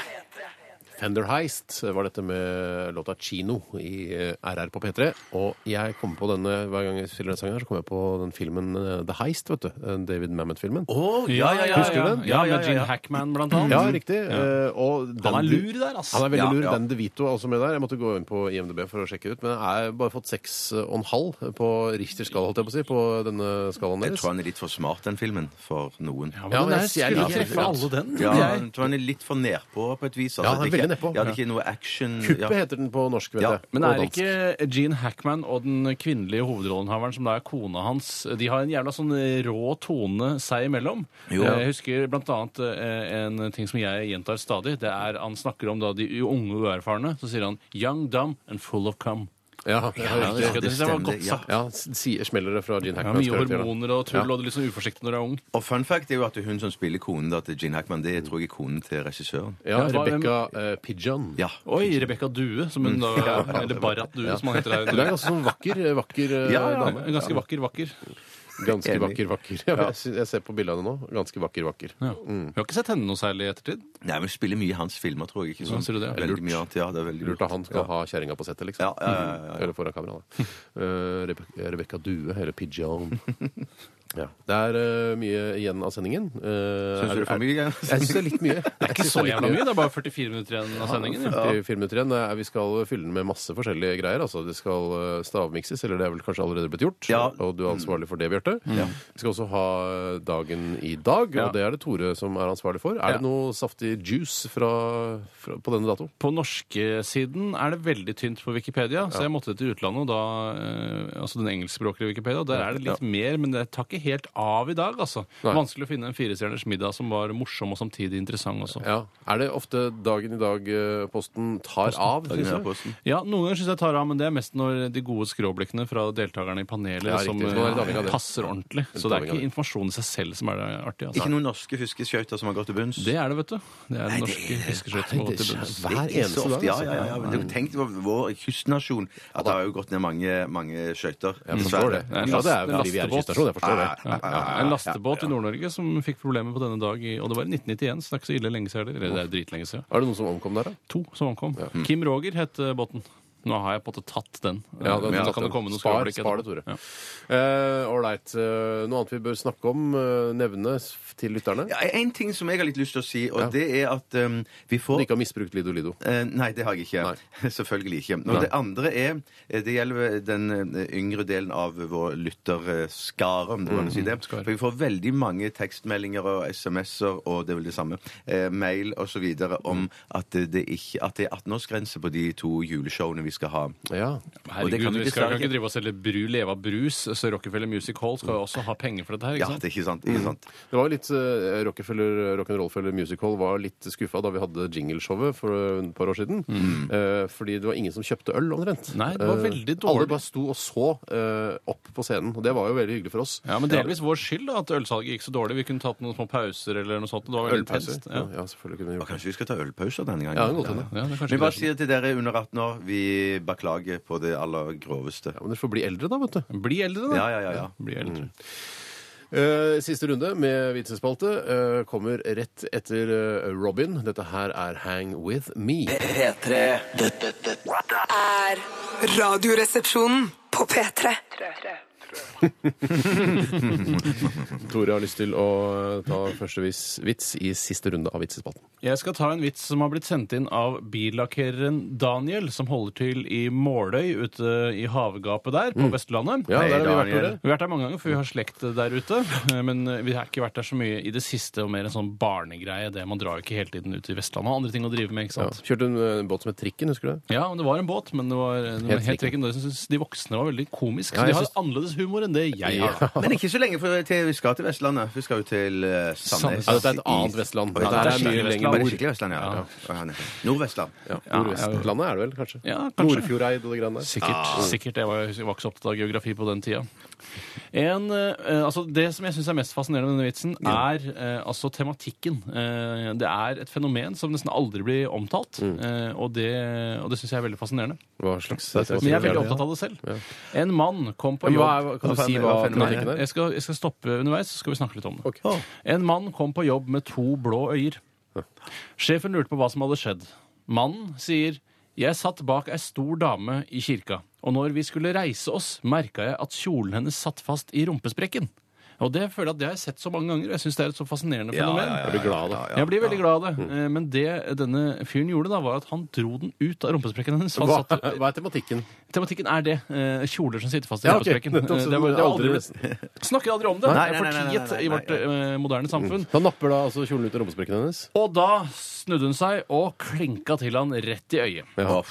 S3: Fender Heist var dette med låta 'Chino' i eh, RR på P3. Og jeg kommer på denne hver gang jeg spiller den sangen her, så kommer jeg på den filmen eh, The Heist, vet du. Den David Mamet-filmen.
S4: Ja, ja, ja,
S3: Husker du den?
S4: Ja, med Gene Hackman, blant annet.
S3: Ja, riktig. Eh, Og den,
S4: Han er lur der, ass.
S3: Han er veldig
S5: Mm. Ja,
S3: lur.
S5: ja.
S3: Den DeVito er også med der. Jeg måtte gå inn på IMDb for å sjekke ut, men jeg har bare fått seks eh, og en halv på Richters skala, holdt jeg på å si, på denne skalaen
S5: Jeg
S3: deres.
S5: tror han er litt for smart, den filmen, for noen. Ja,
S3: Ja,
S4: men
S3: men jeg
S4: jeg skulle
S3: liker
S4: treffe
S3: den.
S4: alle den.
S5: Ja,
S4: trodde jeg.
S5: jeg tror han er litt for nedpå på et vis. altså.
S3: Ja, han er
S5: det ikke-
S3: veldig nedpå.
S5: Ja, det er ikke noe action.
S3: Kuppet
S5: ja.
S3: heter den på norsk, vet
S5: Ja,
S3: jeg.
S4: Men
S3: Og
S4: er det
S3: dansk.
S4: ikke Gene Hackman og den kvinnelige hovedrollenhaveren, som da er kona hans, de har en jævla sånn rå tone seg imellom? Eh,
S5: Jo.
S4: Jeg husker blant annet eh, en ting som jeg gjentar stadig. Det er Han snakker om da de unge og uerfarne. Så sier han 'young, dumb and full of cum'.
S3: Ja, det er
S4: Ja, det,
S3: riktig.
S4: husker jeg. det synes jeg var godt
S5: stemmer, ja.
S4: sagt.
S3: Ja, sier smeller det fra Gene
S4: Ja,
S3: Hackman.
S4: mye hormoner og tull, og du er litt sånn uforsiktig når du er ung.
S5: Og fun fact er jo at hun som spiller konen da, til Gene Hackman, det tror jeg er konen til regissøren.
S3: Ja,
S4: Ja, hva-
S3: Rebekka eh, Pigeon.
S5: Ja.
S4: Oi, Rebekka Due, som hun da, eller Barrat Due, som han heter
S3: Hun
S4: her.
S3: er ganske sånn vakker, eh, vakker eh,
S5: Ja, ja.
S3: dame.
S4: Ganske vakker, vakker.
S3: Ganske
S5: Enig.
S3: vakker, vakker. Ja, jeg, sy- jeg ser på bildene nå. Ganske vakker, vakker.
S4: Ja. Vi har ikke sett henne noe særlig i ettertid.
S5: Nei, men hun spiller mye i hans filmer, tror jeg. ikke
S4: Ja,
S5: sant?
S4: sier du det?
S5: Veldig mye annet, ja, det er veldig
S3: Lurt at han skal ha kjerringa på settet, liksom.
S5: Ja, ja, ja, ja, ja.
S3: Eller foran kamera, da. Eh, Rebe- Rebekka Due, eller Pigeon. Ja. Det er eh, mye igjen av sendingen. Uh,
S5: Syns du det er for mye?
S3: Jeg syns det er litt mye. Det er
S4: Ikke så jævla mye, det er bare 44 minutter igjen av sendingen. Ja.
S3: 44 minutter igjen. Eh, Vi skal fylle den med masse forskjellige greier. Altså, det skal eh, stavmikses, eller det er vel kanskje allerede blitt gjort.
S5: Ja.
S3: Og du er ansvarlig for det, Bjarte. Vi skal også ha eh, dagen i dag, og
S4: Ja.
S3: det er det Tore som er ansvarlig for. Er
S4: Ja.
S3: det noe saftig juice fra, fra, på denne dato?
S4: På norskesiden er det veldig tynt på Wikipedia, så jeg måtte til utlandet, og da, eh, altså den engelskspråklige Wikipedia. og Der er det litt mer, men det tar ikke helt av i dag, altså.
S3: Nei.
S4: Vanskelig å finne en firestjerners middag som var morsom og samtidig interessant også.
S3: Ja. Er det ofte dagen i dag-posten tar av?
S5: Dagen
S3: synes
S5: er
S3: du?
S5: på oss.
S4: Ja, Noen ganger syns jeg tar av, men det er mest når de gode skråblikkene fra deltakerne i panelet
S3: Ja,
S4: som
S3: riktig. Så det er litt avhengig av
S4: eh,
S3: det.
S4: passer ordentlig. Så det er ikke informasjon i seg selv som er det artige.
S5: Ikke
S4: Altså.
S5: noen norske fiskeskøyter som har gått til bunns?
S4: Det er det, vet du. Det er den
S5: Nei, det
S4: norske
S5: er-
S4: fiskeskøyt
S3: Nei,
S4: som har gått
S3: det er
S4: til bunns.
S3: hver eneste dag.
S5: Ja,
S3: altså.
S5: ja, ja, ja. Men du, tenk på vår kystnasjon. At det har jo gått ned mange, mange skøyter.
S3: Jeg forstår det.
S4: Det er en
S3: Ja, det er
S4: last-
S3: fordi vi er i
S4: lastebåt.
S3: kyststasjon. Jeg forstår det.
S5: Ja, ja,
S4: Ja, en lastebåt i Nord-Norge som fikk problemer på denne dag, i, og det var i 1991, så det er ikke så ille lenge siden. heller. Eller det er dritlenge siden.
S3: Er det noen som omkom der, da?
S4: To som omkom.
S5: Mm.
S4: Kim Roger het eh, båten. Nå har jeg på en måte tatt den. Eh,
S3: Ja, den-
S4: Men
S3: tatt
S4: så kan
S3: den.
S4: det komme noen
S3: Spar-
S4: skråblikk
S3: spar
S4: etterpå.
S3: det, Tore. Eh,
S4: Ja.
S3: Ålreit. noe annet vi bør snakke om? eh, nevne s- til lytterne?
S5: Ja, en ting som jeg har litt lyst til å si, og det er at um, vi
S3: Du
S5: får
S3: ikke har misbrukt Lido Lido.
S5: Eh, nei, det har jeg ikke. Selvfølgelig ikke. Og det andre er eh, Det gjelder den eh, yngre delen av vår lytterskare, om
S3: Mm.
S5: det går an å si det. For vi får veldig mange tekstmeldinger og SMS-er og det er vel det samme, eh, mail osv. om
S3: Mm.
S5: at det, ikke, at det er 18-årsgrense på de to juleshowene vi skal ha.
S3: Ja.
S5: Og det
S4: Herregud,
S5: kan du
S4: vi skal
S5: dessverre
S4: jo ikke
S5: ikke-
S4: drive og selge bru, leve av brus, så Rockefeller Music Hall skal jo også ha penger for dette her,
S5: Ja,
S4: ikke sant?
S5: det er ikke sant?
S3: Mm.
S5: Ikke sant?
S3: Det var jo litt eh, Rockefeller Rock'n'Rollfeller Music Hall var litt skuffa da vi hadde jingleshowet for eh, et par år siden. Eh, fordi det var ingen som kjøpte øl, omtrent.
S4: Mm. Nei, det var
S3: Eh,
S4: veldig
S3: Alle
S4: dårlig.
S3: bare sto og så eh, opp på scenen, og det var jo veldig hyggelig for oss.
S4: Ja, men delvis vår skyld da, at ølsalget gikk så dårlig. Vi kunne tatt noen små pauser eller noe sånt. Det var veldig
S3: Ølpauser.
S4: intenst,
S3: Ja.
S4: Ja.
S3: ja, selvfølgelig kunne vi
S5: Og
S3: gjort det.
S5: kanskje vi skal ta ølpauser denne gangen?
S3: Ja, det kan godt hende.
S4: Ja, det er
S5: Vi
S4: kanskje
S5: bare
S4: det.
S5: sier til dere under 18 år vi beklager på det aller groveste.
S3: Ja, men dere får bli eldre, da, vet du.
S4: Bli eldre, da.
S5: Ja, ja, ja. ja.
S4: Bli eldre.
S3: Eh, Siste runde med vitsespalte eh, kommer rett etter eh, Robin. Dette her er Hang With Me.
S2: P3. Dette, dette, dette
S6: Er radioresepsjonen på P3.
S3: Tore har lyst til å eh, ta første vis- vits i siste runde av vitsespalten.
S4: Jeg skal ta en vits som har blitt sendt inn av billakkereren Daniel, som holder til i Måløy ute i havgapet der, på Vestlandet.
S3: Mm. Ja,
S5: Hei,
S3: der har vi vært,
S5: Daniel.
S3: Tore.
S4: Vi har vært der mange ganger, for vi har slekt der ute. Men eh, vi har ikke vært der så mye i det siste, og mer en sånn barnegreie. det Man drar jo ikke hele tiden ut til Vestlandet. Andre ting å drive med, ikke
S3: Ja.
S4: sant?
S3: Kjørte en eh, båt som het Trikken, husker du det?
S4: Ja, men Det var en båt, men det var, det var
S3: Helt
S4: helt trikken. Jeg synes de voksne var veldig komisk.
S3: Ja,
S4: Så
S3: jeg
S4: de har
S3: synes-
S4: annerledes humor enn det jeg har. da.
S5: Men ikke så lenge, for til, vi skal til Vestlandet. Vi skal jo til eh, Sandnes.
S4: Ja,
S3: dette er et annet Vestland.
S5: Oi,
S3: Ja,
S5: dette
S4: det er
S5: er skikkelig
S4: mye
S5: Vestland.
S4: lenger
S5: Bare
S4: nord.
S5: skikkelig Vestland, ja. ja. ja. Nordvestland.
S4: Ja,
S3: Nordvestlandet er det vel, kanskje?
S4: Ja, kanskje.
S3: Nordfjordeid og det greiene der.
S4: Sikkert. sikkert. Jeg var, jeg var ikke så opptatt av geografi på den tida. En, eh, altså det som jeg syns er mest fascinerende med denne vitsen, er eh, altså tematikken. Eh, det er et fenomen som nesten aldri blir omtalt,
S3: Mm.
S4: eh, og det, og det syns jeg er veldig fascinerende.
S3: Hva slags
S4: Men jeg er veldig opptatt av det selv. En mann kom på
S3: Men hva
S4: jobb
S3: er, kan du si hva
S5: Hva er
S4: Nei,
S5: fenomenet?
S3: tematikken er?
S4: jeg skal, jeg skal stoppe underveis, så skal vi snakke litt om det.
S3: Ok.
S4: En mann kom på jobb med to blå øyer. Sjefen lurte på hva som hadde skjedd. Mannen sier jeg satt bak ei stor dame i kirka, og når vi skulle reise oss, merka jeg at kjolen hennes satt fast i rumpesprekken. Og det føler jeg at det har jeg sett så mange ganger, og jeg syns det er et så fascinerende fenomen.
S3: Jeg blir glad av det.
S4: Jeg blir veldig glad av det. Eh, Men det denne fyren gjorde, da, var at han dro den ut av rumpesprekken hennes. Han
S3: Hva,
S4: satt,
S3: hva er tematikken?
S4: tematikken er det. eh, Kjoler som sitter fast i
S3: Ja, ok.
S4: rumpesprekken.
S3: Nettopp,
S4: Eh,
S3: så
S4: Det, var-
S3: det
S4: det har
S3: aldri
S4: aldri
S3: blitt-
S4: blitt Snakker aldri om det.
S5: Nei,
S4: det er
S5: nei, nei, nei, nei,
S4: fortiet
S5: nei,
S4: i
S5: nei,
S4: vårt eh, moderne samfunn.
S3: Da napper da altså kjolen ut av rumpesprekken hennes.
S4: Og da snudde hun seg og klinka til han rett i øyet.
S3: Ja.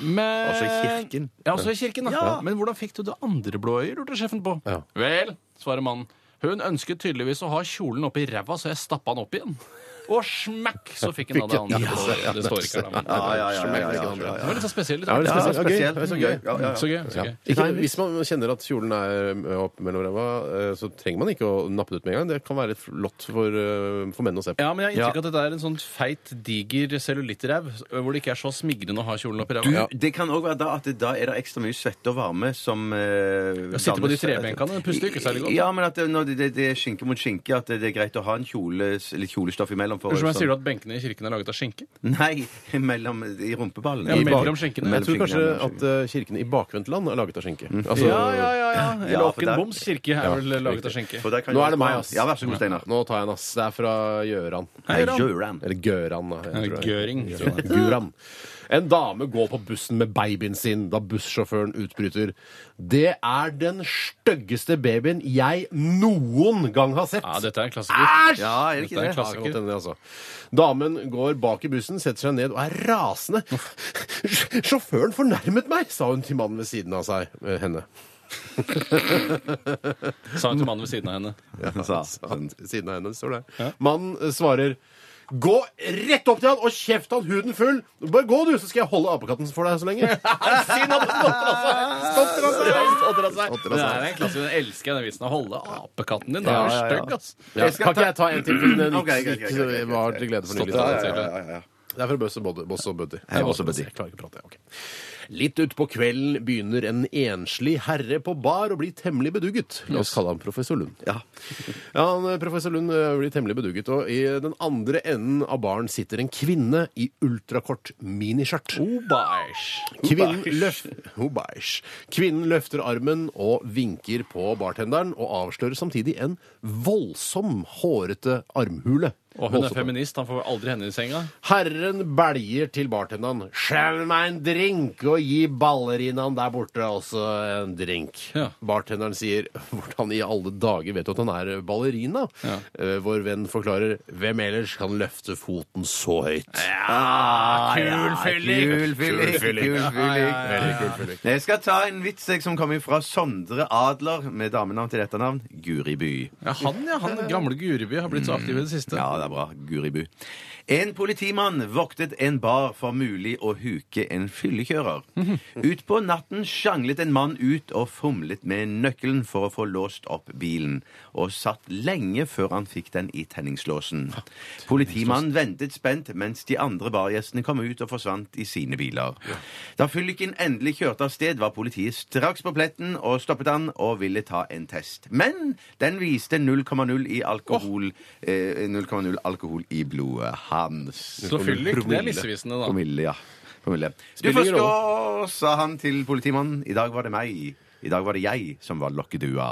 S4: Men...
S5: Altså i kirken.
S4: Ja, også i kirken da. Men hvordan fikk du det andre blå øyet, lurte sjefen på.
S3: Ja.
S4: Vel, svarer mannen. Hun ønsket tydeligvis å ha kjolen oppi ræva, så jeg stappa den opp igjen. Og smekk, så fikk han da det andre blå øyet. Det står ikke her, da. men-
S5: Ja, ja, ja, ja, ja, ja,
S4: Det var litt sånn spesielt.
S3: Ja, det
S5: Ja,
S3: er
S5: det er
S3: gøy.
S5: spesielt.
S3: Det er så
S5: men
S3: gøy.
S5: Ja, ja, ja.
S4: Så gøy. så gøy.
S3: Ikke, hvis man kjenner at kjolen er ø, opp mellom ræva, ø, så trenger man ikke å nappe det ut med en gang. Det kan være flott for, ø, for menn å se på.
S4: Ja, men jeg har inntrykk av at dette er en sånn feit, diger cellulittræv hvor det ikke er så smigrende å ha kjolen oppi ræva.
S5: Du, det kan òg være da at det, da er det ekstra mye svette og varme som eh,
S4: sitter på de
S5: dannes-
S4: trebenkene, det puster jo ikke særlig godt.
S5: Ja, men at det, når det, det, det er skinke mot skinke, at det, det er greit å ha en kjole, litt kjolestoff imellom. For,
S4: Unnskyld meg, sier du
S5: sånn-
S4: at benkene i kirken er laget av skinke?
S5: Nei, mellom i rumpeballene.
S4: Ja,
S5: I bak-
S4: mellom skinkene.
S3: Jeg
S5: mellom
S3: tror kanskje
S5: skinkene,
S3: at ø, kirken i bakvendtland er laget av skinke. Altså,
S4: Mm. Ja, ja, ja. ja.
S5: Ja,
S4: Eller
S5: for der-
S4: Åkenboms kirke er vel laget av skinke.
S5: For der kan
S3: Nå
S5: jeg-
S3: er det meg, ass.
S5: Ja, vær så god, Steinar.
S3: Nå tar jeg den, ass. Det er fra Gjøran.
S5: Nei, Gjøran.
S3: Eller Gøran. da, jeg tror det er.
S4: Gøring.
S3: Guran. En dame går på bussen med babyen sin da bussjåføren utbryter. Det er den styggeste babyen jeg noen gang har sett.
S4: Ja, dette er en klassiker.
S5: Ja, er
S4: Dette
S5: det ikke
S4: er
S5: det?
S4: klart.
S3: Ja, det kan godt hende det, altså. Damen går bak i bussen, setter seg ned og er rasende. Sj- Sjåføren fornærmet meg, sa hun til mannen ved siden av seg, eh, henne.
S4: Sa hun til mannen ved siden av henne.
S5: sa-
S3: Sa han til Sånn, siden av henne, står det. Mannen eh, svarer Gå rett opp til han og kjeft han huden full! Bare gå, du, så skal jeg holde apekatten for deg så lenge. Siden han stotter av seg! Stotter av seg! Stotter av seg.
S4: Det er en klassiker. Den elsker jeg, den vitsen. Å holde apekatten din. Den er jo stygg, ass.
S3: Ja, kan ikke jeg ta en til? fordi Den
S5: Ok, ok, ok,
S3: gikk,
S5: ok, ok,
S3: gikk,
S5: ok.
S3: var til glede for nylig.
S4: Ja, ja, ja,
S3: Det er fra Boss og Buddy. Boss og Buddy.
S5: Hei, Boss og Buddy.
S3: Jeg klarer ikke å prate, jeg. ok. Litt utpå kvelden begynner en enslig herre på bar å bli temmelig bedugget. La oss kalle ham professor Lund.
S5: Ja.
S3: Ja, han, eh, Professor Lund eh, blir temmelig bedugget, og i den andre enden av baren sitter en kvinne i ultrakort miniskjørt.
S4: Oh, bæsj.
S3: Kvinnen, løf oh, bæsj. Kvinnen løfter armen og vinker på bartenderen, og avslører samtidig en voldsom, hårete armhule.
S4: Og hun er
S3: Voldsomt.
S4: feminist. Han får aldri henne i senga.
S3: Herren beljer til bartenderen. Skjell meg en drink og gi ballerinaen der borte også en drink.
S4: Ja.
S3: Bartenderen sier hvordan i alle dager vet du at han er ballerina?
S4: Ja.
S3: Eh, vår venn forklarer hvem ellers kan løfte foten så høyt?
S5: Ah,
S4: Kul fyllik.
S5: Kul fyllik.
S3: Kul fyllik.
S5: Kul fyllik.
S3: Veldig kul fyllik.
S5: Jeg skal ta en vits jeg, som kommer fra Sondre Adler, med damenavn til dette navn, Guri By.
S4: Ja, han, ja. Han gamle Guriby har blitt så aktiv i det siste.
S5: Ja, det er bra. Guri Bu. En politimann voktet en bar for mulig å huke en fyllekjører. Utpå natten sjanglet en mann ut og fomlet med nøkkelen for å få låst opp bilen, og satt lenge før han fikk den i tenningslåsen. Politimannen ventet spent mens de andre bargjestene kom ut og forsvant i sine biler. Da fylliken endelig kjørte av sted, var politiet straks på pletten og stoppet han og ville ta en test. Men den viste 0,0 i alkohol eh, 0,0 alkohol i blodet hans.
S4: Så fyllik, det
S5: Promille.
S4: er misvisende, da.
S5: Promille, ja. Promille. Du
S3: Spiller ingen
S5: forstår, sa han til politimannen. I dag var det meg. I dag var det jeg som var lokkedua.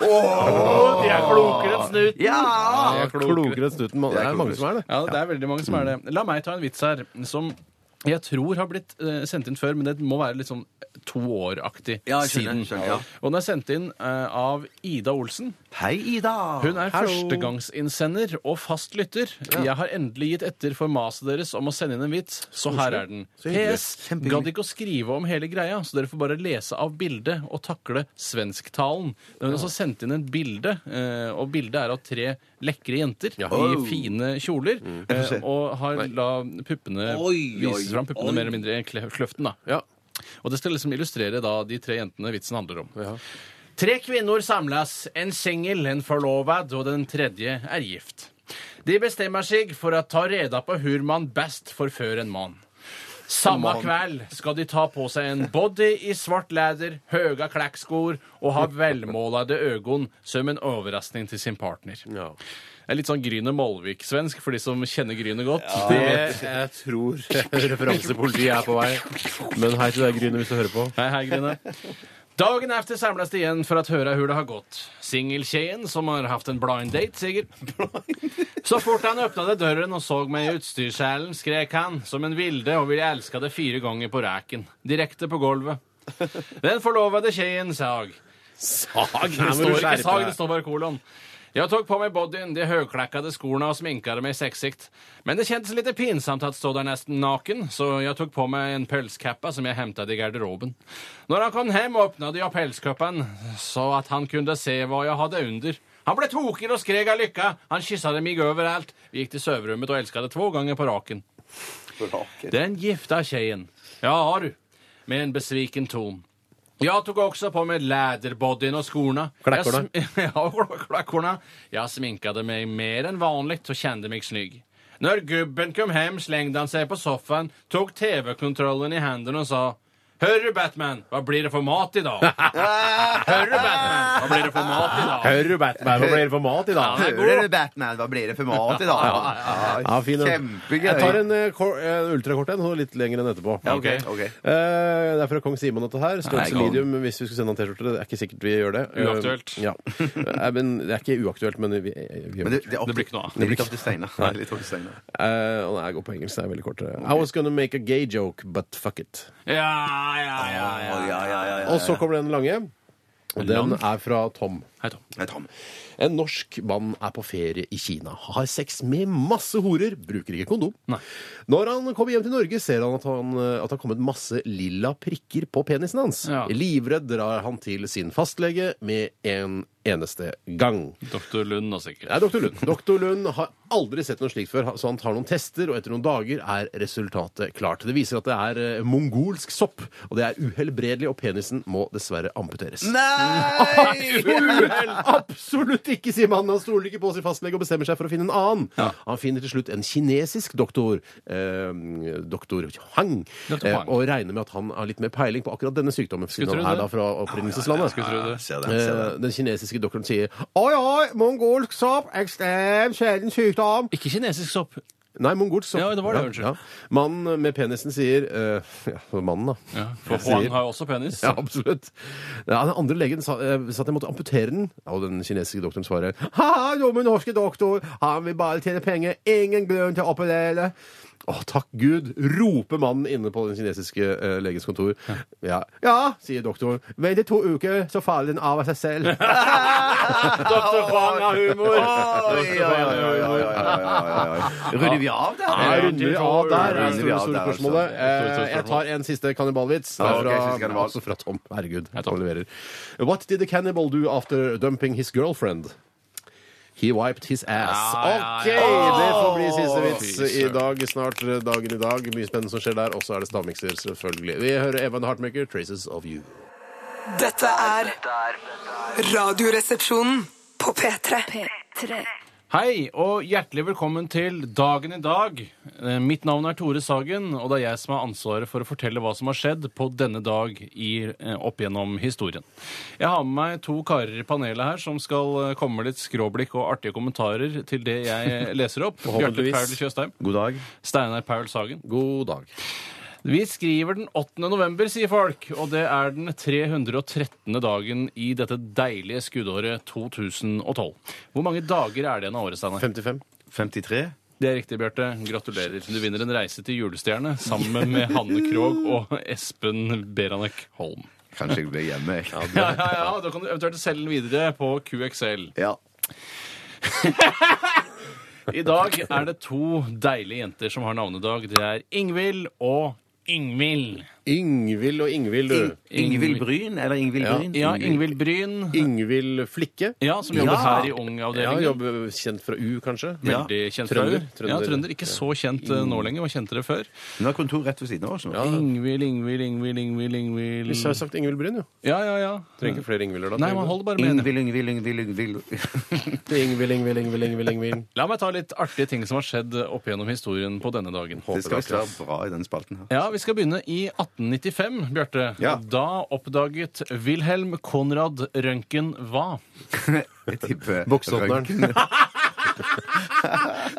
S3: De er klokere enn snuten!
S5: Ja!
S3: De er klokere enn snuten. man-
S5: De
S3: Det
S5: er
S3: er mange
S5: klokere.
S3: som er det.
S4: Ja, det er veldig mange som er det. La meg ta en vits her som jeg tror har blitt eh, sendt inn før, men det må være litt sånn to år-aktig
S5: Ja, jeg skjønner,
S4: siden.
S5: skjønner, ja.
S4: Og den er sendt inn eh, av Ida Olsen.
S5: Hei, Ida.
S4: Hun er førstegangsinnsender og fast lytter. Jeg har endelig gitt etter for maset deres om å sende inn en vits, så her er den. PS. Gadd ikke å skrive om hele greia, så dere får bare lese av bildet og takle svensktalen. Hun har også sendt inn et bilde, eh, og bildet er av tre lekre jenter i fine kjoler. eh, Og har la puppene vise fram puppene mer eller mindre i kle- kløften, da.
S3: Ja.
S4: Og det skal liksom illustrere da de tre jentene vitsen handler om. Tre kvinner samles, en singel, en forlovad og den tredje er gift. De bestemmer seg for å ta reda på hvor man best forfører en mann. Samme kveld skal de ta på seg en body i svart læder, høga klækkskor og ha velmålede øgon som en overraskning til sin partner. Det er litt sånn Gryne Molvik-svensk for de som kjenner Gryne godt.
S3: Det jeg tror referansepolitiet er på vei. Men hei til deg, Gryne, hvis du hører på.
S4: Hei, hei, Grine. Dagen efter samlas de igjen for at høre hur det har gått. Singeltjejen, som har hatt en blind date, sikkert. Så fort han åpnet døren og så meg i utstyrskjælen, skrek han som en vilde og ville elske det fire ganger på ræken. Direkte på gulvet. Den forlovede tjejen sag. Sag? Det står ikke sag, det står bare kolon. Jeg tok på meg bodyen, de høyklakkede skorna og sminkade meg sexigt. Men det kjentes litt pinsamt at stå der nesten naken, så jeg tok på meg en pølskappa som jeg hentet i garderoben. Når han kom hjem, åpnet jeg pølskappen så at han kunne se hva jeg hadde under. Han ble toker og skrek av lykke. Han kysset meg overalt. Vi gikk til soverommet og elsket det to ganger på raken. Den gifta tjejen. Ja, du. Med en besviken ton. Jeg tok også på meg læderbodyen og skorna.
S3: Klekkorna.
S4: Jeg sm- Ja, kl- klekkorna. Jeg sminkade meg mer enn vanlig og kjente meg snygg. Når gubben kom hjem, slengde han seg på sofaen, tok TV-kontrollen i hendene og sa Hørru, Batman, hva blir det for mat i dag?
S5: Ah!
S4: Hørru, Batman, hva blir det for mat i dag?
S3: Hører du, Batman? Hva blir det for mat i dag?
S5: Hører du, Batman? Hva blir det for mat i dag?
S3: Ja, fin, den.
S5: Kjempegøy.
S3: Jeg tar en, eh, kor- en ultrakort en, og litt lenger enn etterpå.
S5: Ja, ok, ok.
S3: Eh, det er fra kong Simon dette her. Størrelse
S4: Nei,
S3: medium hvis vi skulle sende han T-skjorte. Det er ikke sikkert vi gjør det.
S4: Uaktuelt.
S3: Eh, Ja. Eh, men det er ikke uaktuelt, men vi, vi gjør
S5: Men
S3: det.
S5: det, det, er opp,
S4: Det blir ikke noe av.
S5: Det blir ikke opp til Steinar. Det er litt opp til Steinar.
S3: Eh, og den er god på engelsk. Det er veldig kort. eh. I was gonna make a gay joke, but fuck it.
S4: Ja, ja, ja. ja.
S5: Å, ja, ja, ja, ja.
S3: Og så kommer den lange. Og den er fra Tom.
S4: Hei, Tom.
S5: Nei, Tom.
S3: En norsk mann er på ferie i Kina, har sex med masse horer, bruker ikke kondom. Når han kommer hjem til Norge, ser han at, han eh, at det har kommet masse lilla prikker på penisen hans.
S4: Ja.
S3: Livredd drar han til sin fastlege med en eneste gang.
S4: Doktor Lund altså, og sikkert.
S3: Det er doktor Lund. Doktor Lund har aldri sett noe slikt før, så han tar noen tester, og etter noen dager er resultatet klart. Det viser at det er eh, mongolsk sopp, og det er uhelbredelig, og penisen må dessverre amputeres. Uhell! Absolutt ikke, sier mannen. Han stoler ikke på sin fastlege og bestemmer seg for å finne en annen. Han finner til slutt en kinesisk doktor, eh, doktor Hang,
S4: Doktor
S3: eh,
S4: Hang.
S3: og regner med at han har litt mer peiling på akkurat denne sykdommen, siden
S4: Skulle tro
S3: han er da
S4: det. Ah,
S3: fra opprinnelseslandet.
S4: Skulle tro det.
S5: Ser det, ser det.
S3: Eh, Den kinesiske doktoren sier Oi, oi, mongolsk sopp, ekstremt sjelden sykdom.
S4: Ikke kinesisk sopp.
S3: Nei, mongolsk sopp.
S4: Ja, det var det, unnskyld.
S3: Mannen med penisen sier eh, Ja, mannen, da.
S4: Ja, for
S3: sier-
S4: Huang har jo også penis.
S3: Ja, absolutt. Ja, den andre legen sa, eh, sa at jeg måtte amputere den. Ja, Og den kinesiske doktoren svarer Ha, dumme norske doktor, han vil bare tjene penger, ingen grunn til å operere. Å, takk Gud, roper mannen inne på den kinesiske eh, legens kontor. Ja. ja, sier doktoren. Vent i to uker, så faller den av av seg selv.
S4: Doktor Huang har humor!
S5: Oi, oi, oi, oi, oi, oi, oi, oi. Runder vi av der?
S3: Ja,
S5: eller?
S3: runder vi av der, er det
S5: Runder vi
S3: store,
S5: av
S3: store
S5: der,
S3: spørsmålet.
S4: altså. Store, store
S3: Eh, Jeg tar en siste kannibalvits. Det
S5: Ja,
S3: er
S5: ok,
S3: fra,
S5: siste kannibal.
S3: også fra Tom. Herregud,
S4: Tom.
S3: han leverer. What did the cannibal do after dumping his girlfriend? He wiped his ass.
S4: Ja, ja,
S3: OK!
S4: ja.
S3: Det får bli siste
S4: Fy
S3: vits i
S4: søren.
S3: dag. Snart eh, dagen i dag. Mye spennende som skjer der. Og så er det stavmikser, selvfølgelig. Vi hører Evan Hartmaker, 'Traces of You'.
S6: Dette er Radioresepsjonen på P3.
S4: Hei, og hjertelig velkommen til Dagen i dag. Eh, Mitt navn er Tore Sagen, og det er jeg som har ansvaret for å fortelle hva som har skjedd på denne dag i, eh, opp gjennom historien. Jeg har med meg to karer i panelet her som skal eh, komme med litt skråblikk og artige kommentarer til det jeg eh, leser opp. Bjarte
S3: Forhåpentligvis.
S4: Paul Tjøstheim.
S5: God dag.
S4: Steinar Paul Sagen.
S3: God dag.
S4: Vi skriver den 8. november, sier folk, og det er den 313. dagen i dette deilige skuddåret 2012. Hvor mange dager er det igjen av året, Steinar?
S3: 55.
S5: 53?
S4: Det er riktig, Bjarte. Gratulerer. Du vinner en reise til julestjerne sammen med Hanne Krogh og Espen Beranek Holm.
S5: Kanskje jeg blir hjemme, jeg.
S4: Ja, ja, ja. Da kan du eventuelt selge den videre på QXL.
S5: Ja.
S4: I dag er det to deilige jenter som har navnedag. Det er Ingvild og Ingvild.
S3: Ingvild og Ingvild,
S5: Ing-
S3: du.
S5: Ingvild Bryn, eller Ingvild
S3: Ja.
S5: Bryn?
S4: Ja, Ingvild Bryn.
S3: Ingvild Flikke.
S4: Ja, som jobber
S5: Ja.
S4: her i
S3: Ja,
S4: Ung-avdelingen.
S3: jobber kjent fra U, kanskje.
S5: Ja.
S4: Veldig kjent
S3: Trønder,
S4: trønder.
S3: trønder.
S4: Ja, trønder. Ikke så kjent eh, nå lenger, var kjent dere før.
S5: Hun har kontor rett ved siden av oss. nå.
S4: Ingvild, Ingvild, Ingvild, Ingvild, Ingvild.
S3: Vi har sagt Ingvild Bryn, jo.
S4: Ja, ja, ja.
S3: Trenger ikke flere Ingvilder da.
S4: Nei, man holder bare med en.
S5: Ingvild, Ingvild, Ingvild, Ingvild.
S3: Ingvild, Ingvild, Ingvild, Ingvild, Ingvild.
S4: La meg ta litt artige ting som har skjedd opp gjennom historien på denne dagen.
S5: Det skal visst være bra i den spalten her.
S4: Ja, Vi skal begynne i 1895, Bjarte.
S5: Ja.
S4: Da oppdaget Wilhelm Konrad Røntgen hva?
S5: Jeg tipper
S3: Bokseåpneren.
S5: røntgen.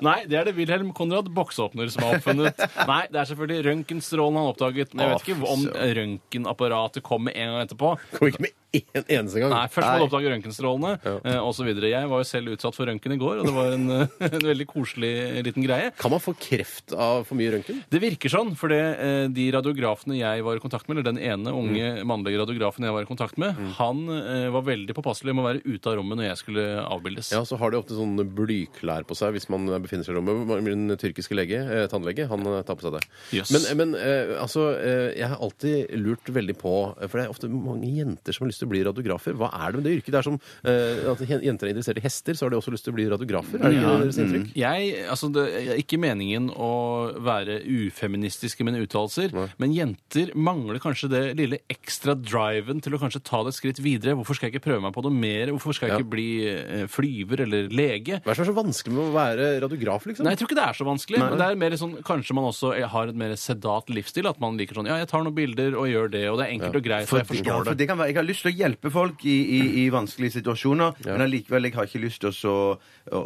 S4: Nei, det er det Wilhelm Konrad Boksåpner som har oppfunnet. Nei, det er selvfølgelig røntgenstrålen han oppdaget. Men jeg vet ikke om
S5: Å, fy
S4: røntgenapparatet kom med en gang etterpå.
S3: Kom ikke med én eneste gang.
S4: Nei, først må du oppdage røntgenstrålene eh, og så videre. Jeg var jo selv utsatt for røntgen i går, og det var en, eh, en veldig koselig liten greie.
S3: Kan man få kreft av for mye røntgen?
S4: Det virker sånn, for de radiografene jeg var i kontakt med, eller den ene
S3: Mm.
S4: unge mannlige radiografen jeg var i kontakt med, han eh, var veldig påpasselig med å være ute av rommet når jeg skulle avbildes.
S3: Ja, så har de ofte sånne blyklær på seg hvis man befinner seg i rommet. Min tyrkiske lege, eh, tannlege, han eh, tar på seg det.
S4: Jøss.
S3: Men, men eh, altså, eh, jeg har alltid lurt veldig på eh, For det er ofte mange jenter som har lyst til å bli radiografer. Hva er det med det yrket? Det er som eh, at jen- jenter er interessert i hester, så har de også lyst til å bli radiografer. Er det ikke deres inntrykk?
S4: Jeg, altså det er ikke meningen å være ufeministisk i mine uttalelser, men jenter mangler kanskje det lille ekstra driven til å kanskje ta det et skritt videre. Hvorfor skal jeg ikke prøve meg på noe mer? Hvorfor skal jeg
S3: Ja.
S4: ikke bli eh, flyver eller lege?
S3: Hva er det som er så vanskelig med å være radiograf, liksom?
S4: Nei, jeg tror ikke det er så vanskelig. Men det er mer sånn, Kanskje man også har et mer sedat livsstil. At man liker sånn Ja, jeg tar noen bilder og gjør det, og det er enkelt og greit, og jeg
S5: Ja,
S4: forstår
S5: for
S4: det.
S5: det kan være, Jeg har lyst til å hjelpe folk i, i, i vanskelige situasjoner, men allikevel jeg har ikke lyst til å så,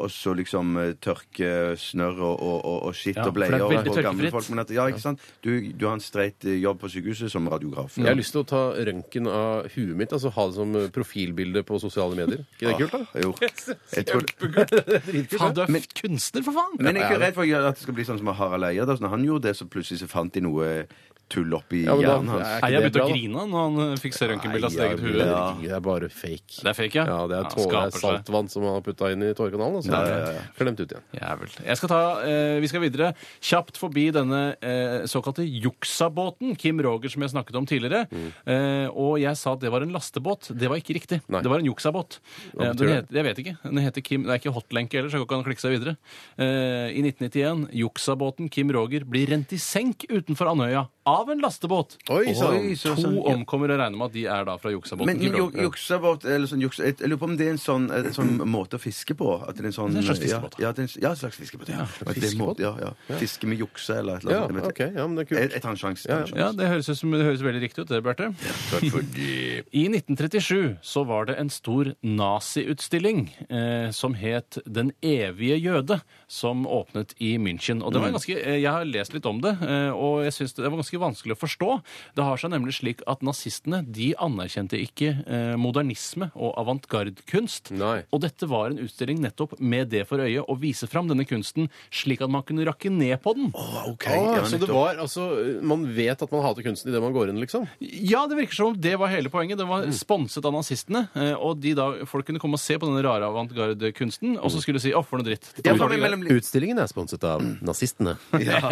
S5: å så liksom eh, tørke snørr og, og, og, og skitt
S4: Ja,
S5: og bleier
S4: for det er
S5: og,
S4: veldig
S5: og gamle
S4: tørkefritt.
S5: folk. Men at, ja, ikke sant? Du, du har en streit eh, jobb på sykehuset som radiograf.
S3: Jeg har lyst til å ta røntgen av huet mitt, altså ha det som profilbilde på sosiale medier. Ikke det kult, da?
S5: Jo. Jeg tror,
S4: Faen, du er f- kunstner, for faen!
S5: men jeg er ikke redd for å gjøre at det skal bli sånn som Harald Eia. da. Når han gjorde det, så plutselig så fant de noe tull oppi
S3: Ja, men da-
S5: hjernen hans.
S3: er ikke
S4: Nei, jeg
S3: det
S4: begynte
S3: bra,
S4: å
S3: da?
S4: grine når han eh, fikk se røntgenbilde av sitt
S3: Nei,
S4: eget
S3: ja,
S4: hue.
S3: herregud, Det er bare fake.
S4: Det er fake, ja.
S3: Ja, det er altså.
S4: Ja,
S3: tårer,
S4: skaper seg.
S3: saltvann som han har putta inn i tårekanalen, og så er det klemt ut igjen.
S4: Jævel. Jeg skal ta, eh, vi skal videre kjapt forbi denne eh, såkalte juksabåten, Kim Roger, som jeg snakket om tidligere. Eh, og jeg sa at det var en lastebåt. Det var ikke riktig.
S3: Nei.
S4: Det var en juksabåt.
S3: Hva
S4: Eh,
S3: betyr
S4: den
S3: det?
S4: het- jeg vet ikke. Den heter Kim, det er ikke hotlenke heller, så jeg kan klikke seg videre. Eh, I 1991, juksabåten Kim Roger blir rent i senk utenfor Andøya av en lastebåt.
S3: Oi, sann.
S5: Oi, så-
S4: To
S5: sånn, ja.
S4: omkommer og regner med at de er da fra juksabåten
S5: Men
S4: Kim
S5: ju-
S4: Roger.
S5: juksa vårt eller sånn, juksa, Jeg lurer på om det er en sånn, en sånn måte å fiske på. At det er en sånn
S4: Det er en slags fiskebåt.
S5: Ja, ja, det er en, ja en slags fiskebåt. Ja. At det er en måte- ja, ja. Fiske med jukse eller et eller
S3: Ja, Eh,
S5: annet.
S3: ok, ja, men det er
S5: jeg,
S3: kult.
S5: jeg tar en sjanse.
S3: Ja,
S5: Ja,
S3: ja.
S4: Ja, det høres, ut som, det høres veldig riktig ut, det, Bjarte. I 1937 så var det en stor naziutstilling eh, som het Den evige jøde, som åpnet i München. Og det var ganske, eh, Jeg har lest litt om det, eh, og jeg synes det var ganske vanskelig å forstå. Det har seg nemlig slik at nazistene de anerkjente ikke eh, modernisme og avantgardekunst.
S3: Nei.
S4: Og dette var en utstilling nettopp med det for øye å vise fram denne kunsten, slik at man kunne rakke ned på den.
S3: Ah, så det var altså Man vet at man hater kunsten idet man går inn, liksom?
S4: Ja, det virker som om det var hele poenget. Den var
S5: Mm.
S4: sponset av nazistene. eh, Og de da, folk kunne komme og se på denne rare avantgarde-kunsten, og så skulle de si 'å, for noe dritt'.
S5: Mm. Ja, for meg mellom-
S3: Utstillingen er sponset av nazistene.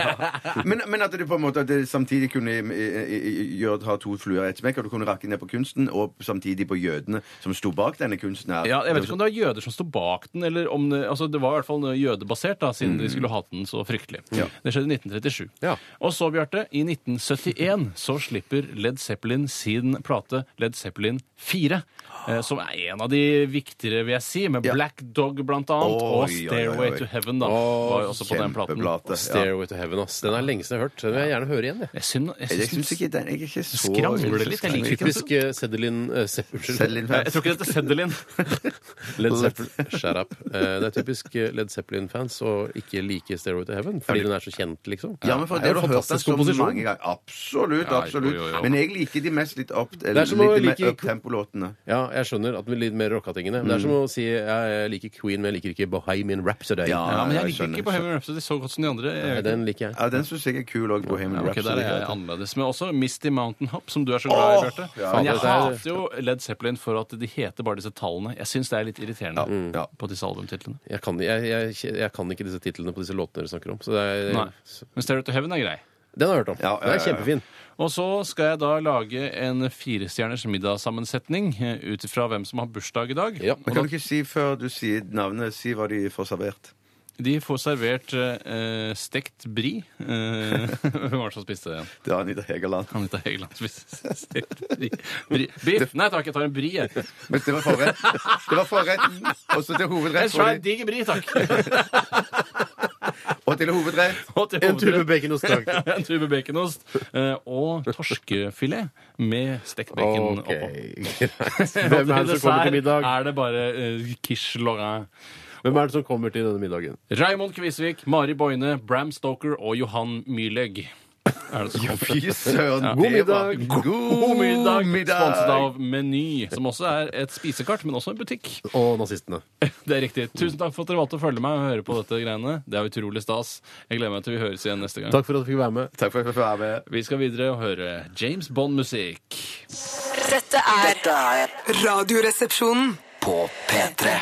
S5: men, men at du på en måte at det samtidig kunne eh, eh, gjøre ha to fluer i ett smekk, og du kunne rakke ned på kunsten, og samtidig på jødene som sto bak denne kunsten. her. sånn
S4: Ja, jeg vet ikke om det var jøder som sto bak den, eller om det, altså det var i hvert fall jødebasert, da, siden
S5: Mm.
S4: de skulle hate den så fryktelig. Det skjedde i 1937.
S3: Ja.
S4: Og så, Bjarte, i 1971 så slipper Led Zeppelin sin plate Led Zeppelin 4, eh, som er en av de viktigere, vil jeg si, med
S5: Ja.
S4: Black Dog blant annet,
S5: Oi,
S4: og Stairway
S5: oi, oi, oi.
S4: to Heaven da,
S3: Å,
S4: var jo også på den platen.
S5: Kjempeplate. Ja.
S3: Stairway to heaven, ass. Den er lenge siden jeg har hørt. Den vil jeg gjerne høre igjen. jeg.
S4: Jeg syns, jeg
S5: Jeg
S4: syns
S5: syns ikke den jeg er ikke så
S4: Skramler litt, jeg liker ikke
S3: Typisk eh, Seddelin eh, Se- Unnskyld.
S5: Selv litt
S4: Jeg tror ikke det heter Seddelin.
S3: Led Zeppelin. Shut up. Eh, Det er typisk eh, Led Zeppelin-fans å ikke like Stairway to heaven fordi den er så kjent, liksom.
S5: Ja, men for
S3: Det er jo
S5: det har
S3: en
S5: du hørt den
S3: fantastisk
S5: så
S3: komposisjon.
S5: mange ganger. Absolutt.
S4: Ja,
S5: absolutt.
S4: jo, jo, jo.
S5: Men jeg liker de mest litt opp,
S3: Det
S5: eller,
S3: er som å
S5: litt
S3: like-
S5: mer up-tempo-låtene.
S3: Ja, jeg skjønner at vi litt mer rockatingene. Men det er som å si jeg liker Queen, men jeg liker ikke Bohemian Rhapsody.
S5: Ja,
S4: Ja, men jeg
S5: jeg
S4: liker
S5: skjønner,
S4: ikke Bohemian Rhapsody så godt som de andre. Jeg
S3: Nei,
S4: gjør ikke det.
S3: den liker jeg.
S5: Ja, den syns jeg er kul òg, Bohemian
S4: Ja, ok, der
S5: Rhapsody.
S4: er jeg annerledes. Men også Misty Mountain Hop, som du er så glad i, Bjarte. Men jeg
S3: det er-
S4: hater jo Led Zeppelin for at de heter bare disse tallene. Jeg syns det er litt irriterende
S5: ja.
S4: på disse albumtitlene.
S3: Jeg kan, jeg, jeg, jeg kan ikke disse titlene på disse låtene dere snakker om. Så det er,
S4: Nei. Men Stair to Heaven er grei.
S3: Den har jeg hørt om.
S5: Ja, ja,
S3: Den
S5: ja,
S3: er
S5: ja.
S3: kjempefin.
S4: Og så skal jeg da lage en firestjerners middagssammensetning eh, ut ifra hvem som har bursdag i dag.
S3: Ja.
S5: Men kan du ikke si før du sier navnet, si hva de får servert?
S4: De får servert eh, stekt bri. Eh, hvem var det som spiste det igjen?
S5: Det er Anita Hegeland.
S4: Anita Hegeland spiste stekt bri. bri. Biff? Nei takk, jeg tar en bri, jeg.
S5: Men det var forrett. Det var forretten, og så til
S4: En
S5: hovedrett. får
S4: svær,
S5: de-
S4: digg bri, takk.
S5: Og til hovedrett.
S4: Og til
S3: En tube
S4: hovedrett-
S3: baconost, takk.
S4: Ja, en tube baconost. eh, Og torskefilet med stekt bacon
S3: Ok,
S4: oppå.
S3: greit. Hvem er det som kommer til middag?
S4: er det bare uh, quiche lorrain.
S3: Hvem er det som kommer til denne middagen?
S4: Raymond Kvisvik, Mari Boine, Bram Stoker og Johan Myrlegg. Er det som kommer til-
S5: Fy søren.
S3: God
S5: det var-
S3: middag.
S5: God
S4: middag,
S5: middag.
S4: sponset av Meny, som også er et spisekart, men også en butikk.
S3: Og nazistene.
S4: Det er riktig. Tusen takk for at dere valgte å følge meg og høre på dette greiene. Det er utrolig stas. Jeg gleder meg til vi høres igjen neste gang.
S3: Takk for at du fikk være med.
S5: Takk for at jeg fikk være med.
S4: Vi skal videre og høre James Bond-musikk.
S6: Dette er
S2: Dette er
S6: Radioresepsjonen.
S2: på P3.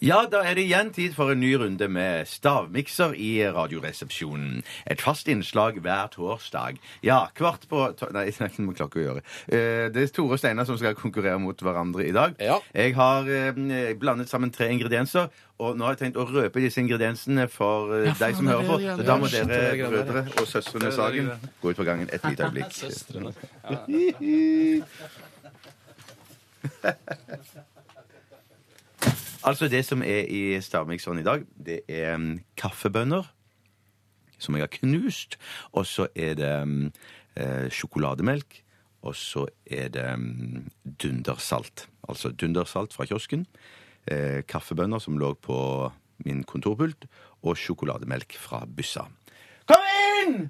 S5: Ja, da er det igjen tid for en ny runde med stavmikser i Radioresepsjonen. Et fast innslag hver torsdag. Ja, kvart på to Nei, det har ikke noe med klokka å gjøre. Eh, Det er Tore og Steinar som skal konkurrere mot hverandre i dag.
S3: Ja.
S5: Jeg har eh, blandet sammen tre ingredienser, og nå har jeg tenkt å røpe disse ingrediensene for eh, deg som hører på. Så da må dere brødre og søstrene Sagen gå ut på gangen et lite øyeblikk.
S4: Søstrene.
S5: Altså, det som er i stavmikseren i dag, det er mm, kaffebønner som jeg har knust, og så er det mm, eh, sjokolademelk, og så er det mm, dundersalt. Altså dundersalt fra kiosken, eh, kaffebønner som lå på min kontorpult, og sjokolademelk fra byssa. Kom inn!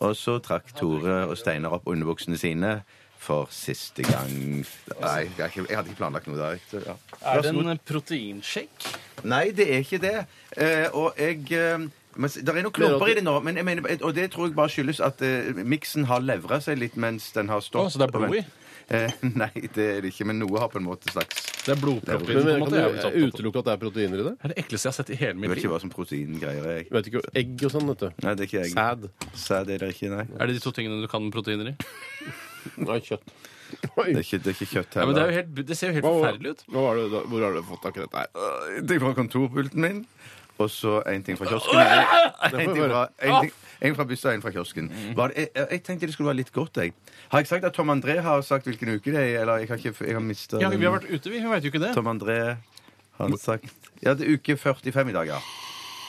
S5: Og så trakk Tore og Steinar opp underbuksene sine for siste gang. Nei, jeg, har ikke- jeg hadde ikke planlagt noe der. ikke- Ja.
S4: Er det en proteinshake?
S5: Nei, det er ikke det. Eh, og jeg eh, men s- Det er noen klumper i det nå, men jeg mener, eh, og det tror jeg bare skyldes at eh, miksen har levra seg litt mens den har stått.
S4: Å, så det er blod i?
S5: Eh, nei, det er det ikke, men noe har på en måte slags
S4: Det er blodpropp i
S5: Det
S4: den.
S3: Men,
S4: på en
S3: men
S4: måte. Jeg
S3: Kan du
S4: er litt opptatt av det.
S3: utelukke at det er proteiner i det?
S4: Det er det ekleste jeg har sett i hele
S5: Jeg
S4: mitt
S5: vet ikke
S4: liv.
S5: hva som proteingreier er. jeg.
S3: Jeg vet ikke, Egg og sånn, vet du.
S5: Nei, det er ikke jeg.
S3: Sæd.
S5: Sæd er det ikke, nei.
S4: Er det de to tingene du kan med proteiner i?
S3: Nei, kjøtt.
S5: Det er ikke, det er ikke kjøtt
S4: Ja,
S5: heller.
S4: men det, er jo helt, det ser jo helt forferdelig ut.
S3: Hva var det, da? Hvor har du fått tak i dette her?
S5: Øh, En ting fra kontorpulten min, og så en ting fra kiosken. En, en, ting, fra, en, ting, en fra bussa og en fra kiosken.
S4: Mhm.
S5: Var det, jeg, jeg tenkte det skulle være litt godt, jeg. Har jeg sagt at Tom André har sagt hvilken uke det er? Eller jeg har, ikke, jeg har mistet
S4: Ja, vi har
S5: den.
S4: vært ute, vi. Vi veit jo ikke det.
S5: Tom André har sagt Ja, det er uke 45 i dag, ja.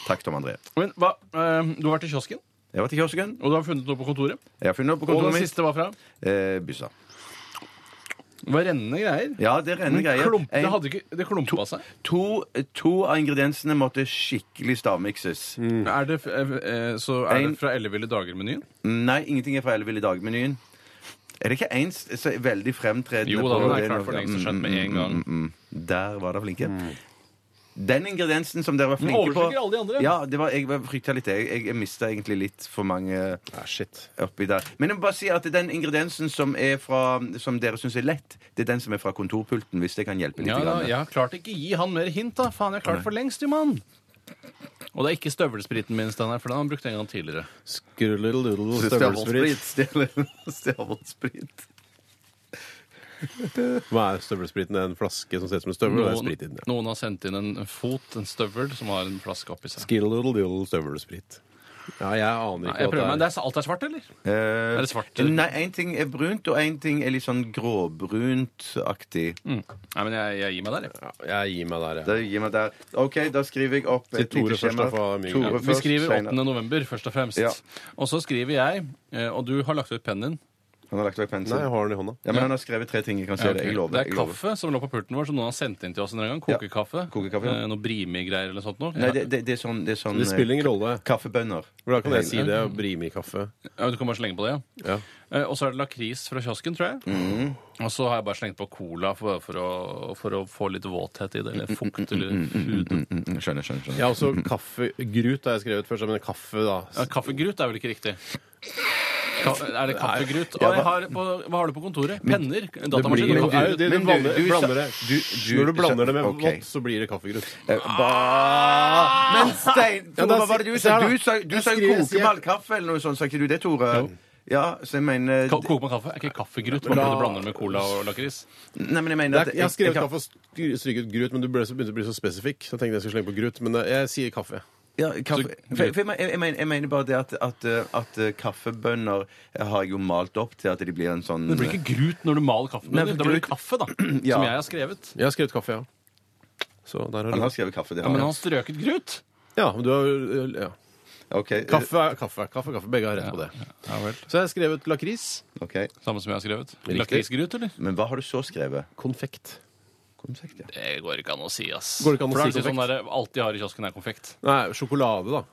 S5: Takk, Tom André.
S4: Men hva, eh, Du har vært i kiosken,
S5: Jeg var til kiosken.
S4: og du har funnet noe på kontoret.
S5: Jeg har funnet opp på
S4: Og den
S5: kontoret mitt.
S4: siste var fra?
S5: Eh, bussa.
S4: Det var rennende greier.
S5: Ja, det er rene greier.
S4: Klump, det
S5: En-
S4: hadde ikke, det klumpa seg.
S5: to, to av ingrediensene måtte skikkelig stavmikses.
S4: Er det, eh, eh, så er
S5: En-
S4: det fra Elleville dager-menyen?
S5: Nei, ingenting er fra Elleville i dag-menyen. Er det ikke en s- så veldig fremtredende
S4: Jo da,
S5: på- Mm,
S4: den er klart for lengst og skjønt med en gang.
S5: Der var dere flinke. Den ingrediensen som dere var
S4: Den
S5: flinke på
S4: overskygger alle de andre.
S5: Ja, det var, jeg var- frykta litt. Jeg, jeg mista egentlig litt for mange
S3: Ah, shit.
S5: oppi der. Men jeg må bare si at den ingrediensen som, er fra, som dere syns er lett, det er den som er fra kontorpulten, hvis det kan hjelpe litt.
S4: Ja, da,
S5: grann.
S4: jeg har klart ikke gi han mer hint, da. Faen, jeg har klart for lengst, jo, mann. Og det er ikke støvelspriten min, Steinar, for den har han brukt en gang tidligere.
S3: Skrulleluddel
S5: Støvelsprit.
S3: støvelsprit.
S5: Støvelsprit. Støvelsprit.
S3: Hva er støvelspriten? Det er en flaske som ser ut som en støvel? og det er sprit i den, ja.
S4: noen har sendt inn en fot, en støvel, som har en flaske oppi seg.
S3: Skirreludel støvelsprit. Ja, jeg aner
S4: Nei,
S3: ikke
S4: jeg prøver,
S3: hva
S4: men
S3: det
S4: det er, Alt er svart, eller?
S5: Eh,
S4: Er det svart?
S5: Nei, én ting er brunt, og én ting er litt sånn gråbrunt-aktig.
S4: Mm. Nei, men jeg, jeg gir meg der, jeg.
S3: er. Ja, jeg gir meg der,
S5: Da
S3: jeg.
S5: gir meg der. OK, da skriver jeg opp
S3: Til
S5: et lite
S3: Tore først,
S5: skjema.
S3: da, for mye-
S5: Tore
S3: Ja,
S4: Vi skriver
S5: Steinar.
S4: 8. november, først og fremst.
S5: Ja.
S4: Og så skriver jeg, eh, og du har lagt ut pennen din.
S5: Han har lagt vekk penselen.
S3: Nei, jeg har den i hånda.
S5: Ja, men han har skrevet tre ting. Jeg kan se
S4: Ja, ok.
S5: det. Jeg lover.
S4: Det er
S5: jeg lover.
S4: kaffe som lå på pulten vår, som noen har sendt inn til oss en gang. Kokekaffe.
S5: kokekaffe, ja.
S4: Eh, Noe brimi-greier eller sånt noe.
S5: Nei, det, det, det er sånn, det er sånn
S3: Det spiller ingen rolle.
S5: eh, Kaffebønner.
S3: For da kan jeg si det. og Brime i kaffe.
S4: Ja, du kan bare slenge på det, ja.
S3: Ja.
S4: Eh, Og så er det lakris fra kiosken, tror jeg.
S5: Mm.
S4: Og så har jeg bare slengt på cola for, for, å, for å få litt våthet i det, eller fukt eller hud.
S5: Mm, mm, Skjønner, skjønner. skjønner.
S3: Jeg har også kaffegrut har jeg skrevet først, men kaffe, da.
S4: Ja, kaffegrut er vel ikke riktig? Ka er det kaffegrut?
S5: Ja,
S4: Og jeg
S5: hva-
S4: har på, hva har du på kontoret? Penner? Datamaskin?
S3: Men
S5: blir jo-
S4: og
S3: du,
S4: kaffe.
S5: du-
S3: det, du,
S5: men du-
S3: blander,
S5: du sa-
S3: blander det.
S5: du- du-
S3: Når du blander det med
S5: Ok.
S3: vått, så blir det kaffegrut.
S5: Eh, ba- Men Stein, Tore,
S3: da
S5: hva var det du
S3: sier-
S5: sa?
S3: der, da.
S5: Du sa, du
S3: Jeg
S5: sa
S3: skriver- sier-
S5: kokeballkaffe eller noe sånt, sa ikke du det, Tore? Ja, så jeg mener
S4: Ka- Koke med kaffe? Er ikke kaffegrut bare fordi du blander det med cola og lakris?
S5: Nei, men
S3: Det
S5: jeg mener
S3: er,
S5: at
S3: jeg har skrevet
S5: kan-
S3: kaffe og stry- stryket grut, men du ble så, begynte å bli så spesifikk. Så jeg tenkte jeg skulle slenge på grut, men eh, jeg sier kaffe.
S5: Ja, kaffe. For, for jeg, men- jeg, mener, jeg mener bare det at, at, eh, at eh, kaffebønner har jeg jo malt opp til at de blir en sånn
S4: Det blir ikke grut når du maler kaffen.
S5: Nei,
S4: din.
S5: for
S4: Da blir det
S5: grut-
S4: kaffe, da.
S5: Ja.
S4: Som jeg har skrevet.
S3: Jeg har skrevet kaffe, ja. Så der
S5: Han
S3: har
S5: har
S3: du
S5: skrevet kaffe, det
S4: Ja,
S5: har
S4: men han
S5: han.
S4: har strøket grut.
S3: Ja, men du har ja.
S5: Ok, eh,
S3: Kaffe er kaffe. Kaffe, er kaffe. Begge har rett på det.
S4: Ja vel.
S3: Så jeg har skrevet lakris.
S5: ok.
S4: Samme som jeg har skrevet. Lakrisgrut, eller?
S5: Men hva har du så skrevet?
S3: Konfekt.
S5: Konfekt, ja.
S4: Det går ikke an å si, ass.
S3: Går det ikke an å
S4: For
S3: si
S4: det er ikke sånn
S3: konfekt?
S4: der, alt de har i kiosken, er konfekt.
S3: Nei, sjokolade, da.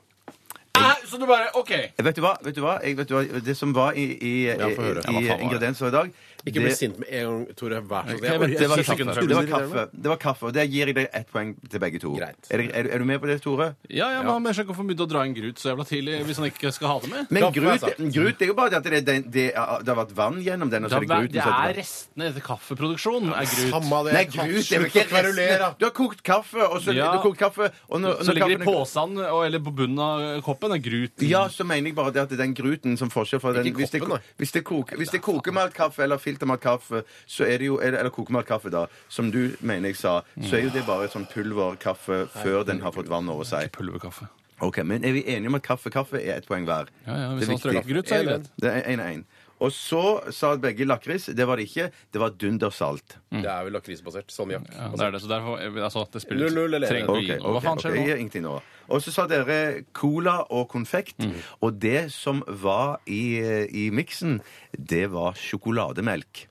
S4: Så du bare OK.
S5: Eh, Vet du hva? Vet du hva? Jeg, vet du hva? Det som var i, i, i,
S3: Ja, få høre.
S4: Ja, hva
S5: i
S4: faen var det?
S5: ingredienser i dag
S3: Ikke bli
S5: det-
S3: sint med en gang, Tore. Vær så
S4: Jeg vet,
S3: snill.
S4: det var
S3: Jeg-
S4: kaffe.
S3: jeg-
S5: Det var kaffe. Det var kaffe, Og der gir jeg deg ett poeng til begge to.
S3: Greit.
S5: Er, du- er, du- er du med på det, Tore?
S4: Ja, ja, men Han skjønner ikke hvorfor han begynte å dra inn grut så jævla tidlig hvis han ikke skal ha det med.
S5: Men
S3: Kaffe,
S5: grut,
S3: altså.
S5: grut er jo bare det at det, er den- det, er- det har vært vann gjennom den, og så
S4: Da,
S5: er det gruten
S4: det
S5: som er
S4: er restene etter kaffeproduksjon er grut.
S3: Samme det.
S5: Nei, grut det
S3: Slutt
S5: er jo
S3: å
S5: ikke restene.
S3: kverulere.
S5: Du har kokt kaffe, og så
S4: Ja.
S5: du har kokt kaffe og når,
S4: Så
S5: når
S4: ligger det i
S5: kaffen er-
S4: posen og- eller på bunnen av koppen er grut.
S5: Ja, så mener jeg bare det at den gruten som forskjell fra den
S3: Ikke
S5: Hvis det,
S3: koppen, da.
S5: hvis det, koker, hvis det er kokemalt kaffe eller filtermalt kaffe, så er det jo Eller, eller kokemalt kaffe, da, som du mener jeg sa, så er jo det bare et sånn pulverkaffe før den har fått vann over seg.
S4: Pulverkaffe.
S5: Ok, Men er vi enige om at kaffe kaffe er ett poeng hver?
S4: Ja, ja,
S5: Det
S4: Hvis
S5: er
S4: han har strøket
S5: viktig.
S4: grut, så er det greit.
S5: Det er en og en. Og så sa begge lakris. Det var det ikke. Det var dundersalt.
S3: Det er vel lakrisbasert. Sånn, Salmiakk.
S4: Ja, det er det. Så derfor, altså, det spiller
S3: Null, null, eller-
S4: trenger ikke å gi
S5: Ok,
S4: noe. Hva
S5: ok,
S4: faen
S5: ok,
S4: skjer
S5: jeg
S4: nå?
S5: gjør ingenting nå. Og så sa dere cola og konfekt.
S3: Mm.
S5: Og det som var i, i miksen, det var sjokolademelk.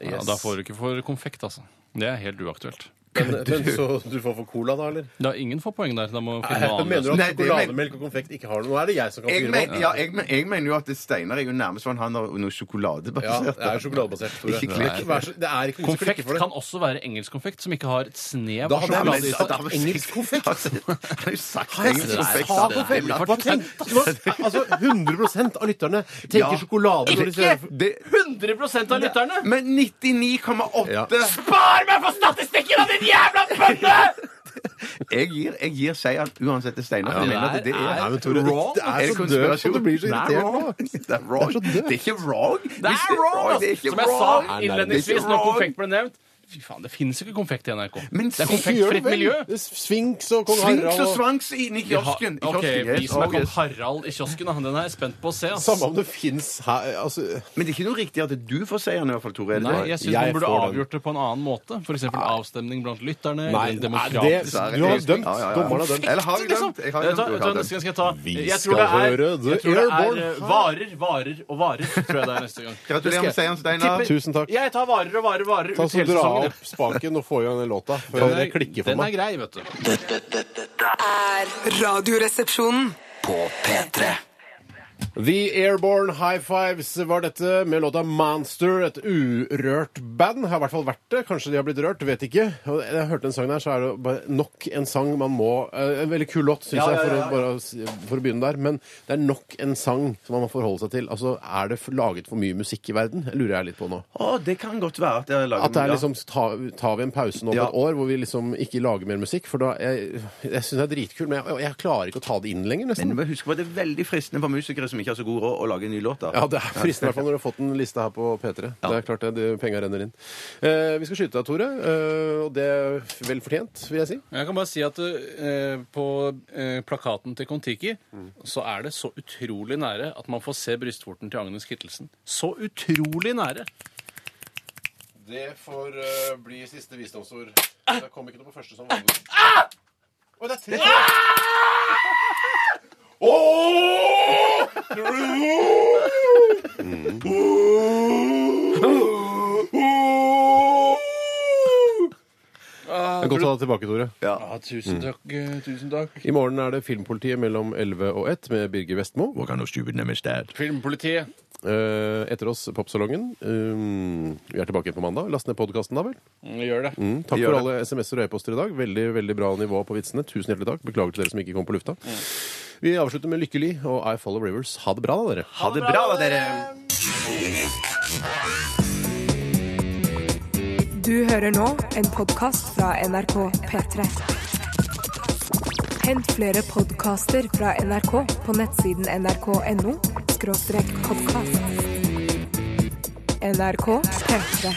S4: Ja, da får du ikke for konfekt, altså. Det er helt uaktuelt.
S3: Men, men så du får for cola, da, eller?
S4: Da ingen får poeng der. Da må vi finne noe
S3: Jeg
S4: annet.
S3: mener du at
S5: Nei, det men-
S3: sjokolademelk og konfekt ikke har noe? Nå er det jeg som kan
S5: Jeg,
S3: fyre
S5: men,
S3: meg.
S5: ja, jeg, men, jeg mener jo at Steinar er jo nærmest sånn han har noe
S3: Ja,
S5: sjokoladebasert.
S3: det er jo sjokoladebasert. Tore.
S5: Ikke klikk.
S3: Nei, vær så- Det er ikke noe som klikker
S4: Konfekt
S3: for det.
S4: kan også være engelsk konfekt, som ikke har et snev
S3: Da
S4: av
S3: hadde jeg
S4: sjokolade i
S3: mest-
S4: seg.
S3: da hadde jeg engelsk konfekt.
S5: Altså, Han har jo sagt
S3: Jeg
S5: engelsk
S3: sa
S5: konfekt.
S3: på feil, hva tenkte du? Altså, 100 av lytterne tenker
S5: Ja.
S3: sjokolade. når de ser det.
S5: Det,
S4: 100 av lytterne!
S5: men 99,8
S3: Ja.
S4: Spar meg for statistikken av din jævla bønne!
S5: Jeg gir, jeg gir seieren uansett til Steinar.
S4: Ja,
S5: for jeg mener
S4: det
S5: at det
S4: er-
S5: er
S3: Nei, men Tore,
S4: Wrong?
S3: det er så døvt at du blir så irritert. nå.
S5: Det er wrong.
S3: Det er så døvt.
S5: Det er ikke wrong.
S4: Det
S5: Hvis
S4: er wrong!
S5: det er
S4: ass.
S5: ikke
S4: Som jeg sa
S5: wrong.
S3: nei, det er
S4: innledningsvis
S5: ikke
S4: når
S5: wrong.
S4: konfekt ble nevnt. Fy faen, det finnes ikke konfekt i NRK.
S5: Men
S4: det er
S5: så
S3: Gjør det
S4: konfektfritt
S3: vel.
S4: miljø.
S3: Det er Sfinks og kong
S5: Svinks og
S3: Harald. og-
S5: svanks inn i kiosken. I
S4: Ok,
S5: kiosken,
S4: Vi
S5: yes,
S4: som er
S5: oh,
S4: kong
S5: yes.
S4: Harald i kiosken, da, den er jeg spent på å se. ass.
S3: Samme om det fins her altså,
S5: Men det er ikke noe riktig at du får seieren, i hvert fall, Tore. Er det
S4: Nei,
S5: det?
S4: jeg syns
S3: Jeg
S4: man burde
S3: får den. Ah.
S4: avgjort det på en annen måte. F.eks. avstemning blant
S3: Nei,
S4: lytterne. eller en
S3: nei,
S4: demokratisk
S3: det-
S5: Så er det
S3: Du har
S5: det.
S3: dømt.
S5: Ja, ja, ja.
S3: Dommeren har dømt.
S5: Eller har jeg
S4: liksom.
S5: dømt? Jeg har dømt.
S4: Vet du- vet du
S5: jeg har
S4: hva,
S5: dømt.
S4: neste gang skal jeg ta
S3: Vi
S4: Jeg tror
S3: skal
S4: det er,
S3: høre The
S4: jeg tror det er
S3: Airborne.
S4: eh, varer, varer og varer. Tror jeg det er neste gang.
S5: Gratulerer med seieren, Steinar.
S4: Tipper-
S3: Tusen takk.
S4: Jeg tar varer og varer og varer
S3: Ta
S4: ut
S3: så
S4: hele
S3: Dra
S4: sesongen.
S3: opp spaken og få i gang den låta før det klikker for
S4: den er
S3: meg.
S4: grei, vet du.
S6: Er Radioresepsjonen.
S2: På P3
S3: The Airborne High Fives var dette med låta Monster, et urørt band. Har i hvert fall vært det. Kanskje de har blitt rørt, vet ikke. Og Jeg hørte en sang der, så er det bare nok en sang man må eh, En veldig kul låt, syns jeg, for, Å, bare, å si- for å begynne der. Men det er nok en sang som man må forholde seg til. Altså, er det for- laget for mye musikk i verden? Det lurer jeg litt på nå.
S5: Å, det kan godt være at jeg har laget
S3: At det er
S5: ja.
S3: liksom, ta, Tar vi en pause nå på
S5: Ja.
S3: et år hvor vi liksom ikke lager mer musikk? For da Jeg, jeg syns det er dritkult, men jeg, jeg klarer ikke å ta det inn lenger, nesten.
S5: Men bare husk på at det er veldig fristende for musikere som ikke har så god råd, å lage en ny låt. da.
S3: Ja, det er fristende i hvert fall når du har fått en liste her på P3. Det er klart det, det penga renner inn. Eh, vi skal skyte deg, Tore, eh, og det er vel fortjent, vil jeg si.
S4: Jeg kan bare si at eh, på eh, plakaten til Kon-Tiki
S3: Mm.
S4: så er det så utrolig nære at man får se brystvorten til Agnes Kittelsen. Så utrolig nære!
S3: Det får eh, bli siste visdomsord. Det kom ikke noe på første som vanlig. Oi, det er tre! Det er godt å ha deg tilbake, Tore.
S4: Ja,
S3: Mm.
S4: tusen takk. eh, tusen takk.
S3: I morgen er det Filmpolitiet mellom 11 og 1 med Birger Vestmo.
S5: Vågan og Stupid Nemmer Stad.
S4: Filmpolitiet.
S3: Eh, etter oss Popsalongen. Um, vi er tilbake på mandag. Last ned podkasten, da vel.
S4: Mm, Gjør det.
S3: Mm, takk
S5: Gjør
S3: for alle SMS-er og e-poster i dag. Veldig veldig bra nivå på vitsene. Tusen hjertelig takk. Beklager til dere som ikke kom på lufta. Vi avslutter med Lykkelig og I Follow Rivers. Ha det bra, da, dere.
S5: Ha det bra, da, dere!
S1: Du hører nå en podkast fra NRK P3. Hent flere podkaster fra NRK på nettsiden nrk.no podkast. NRK P3.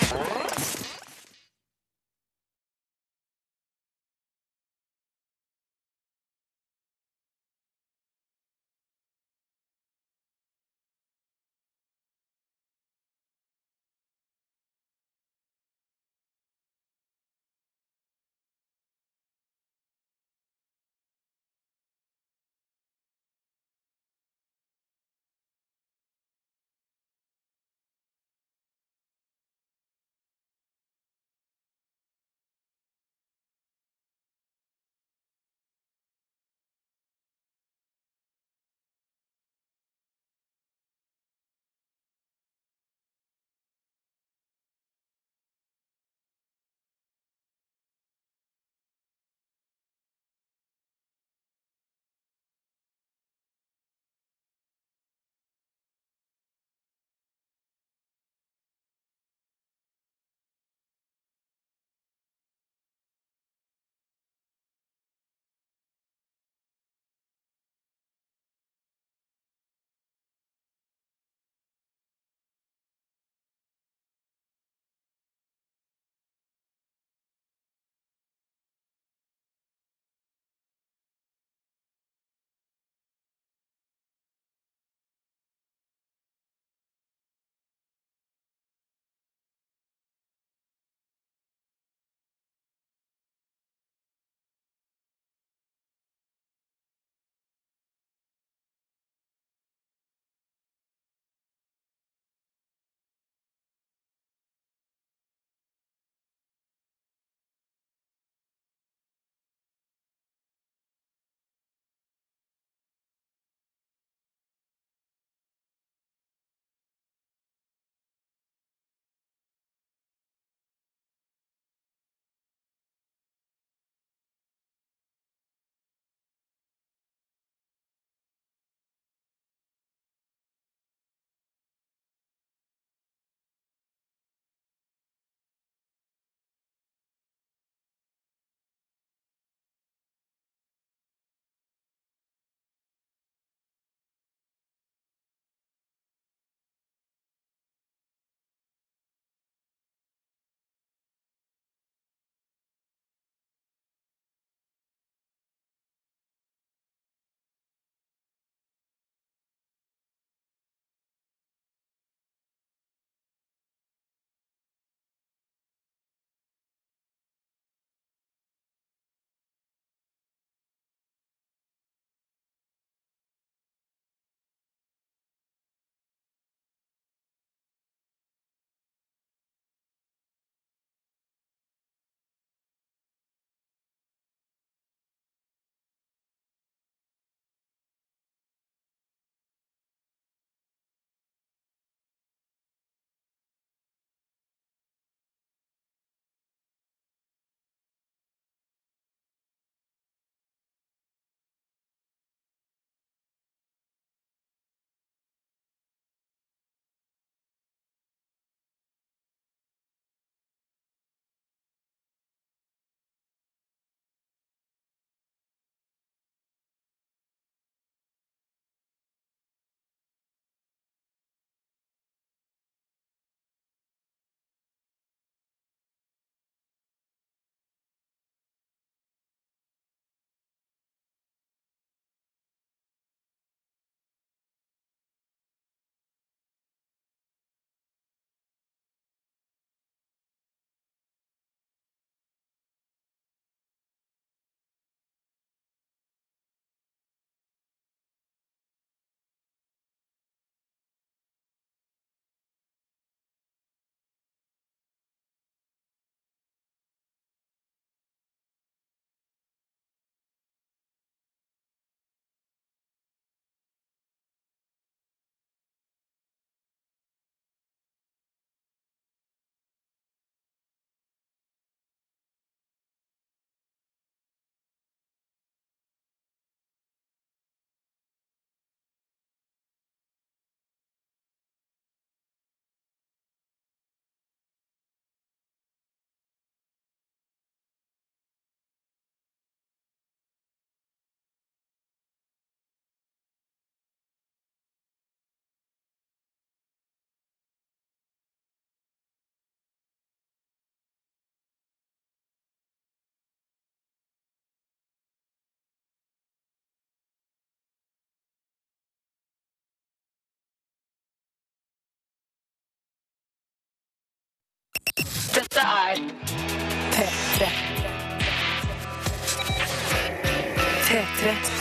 S7: Dette er
S1: P3. P3.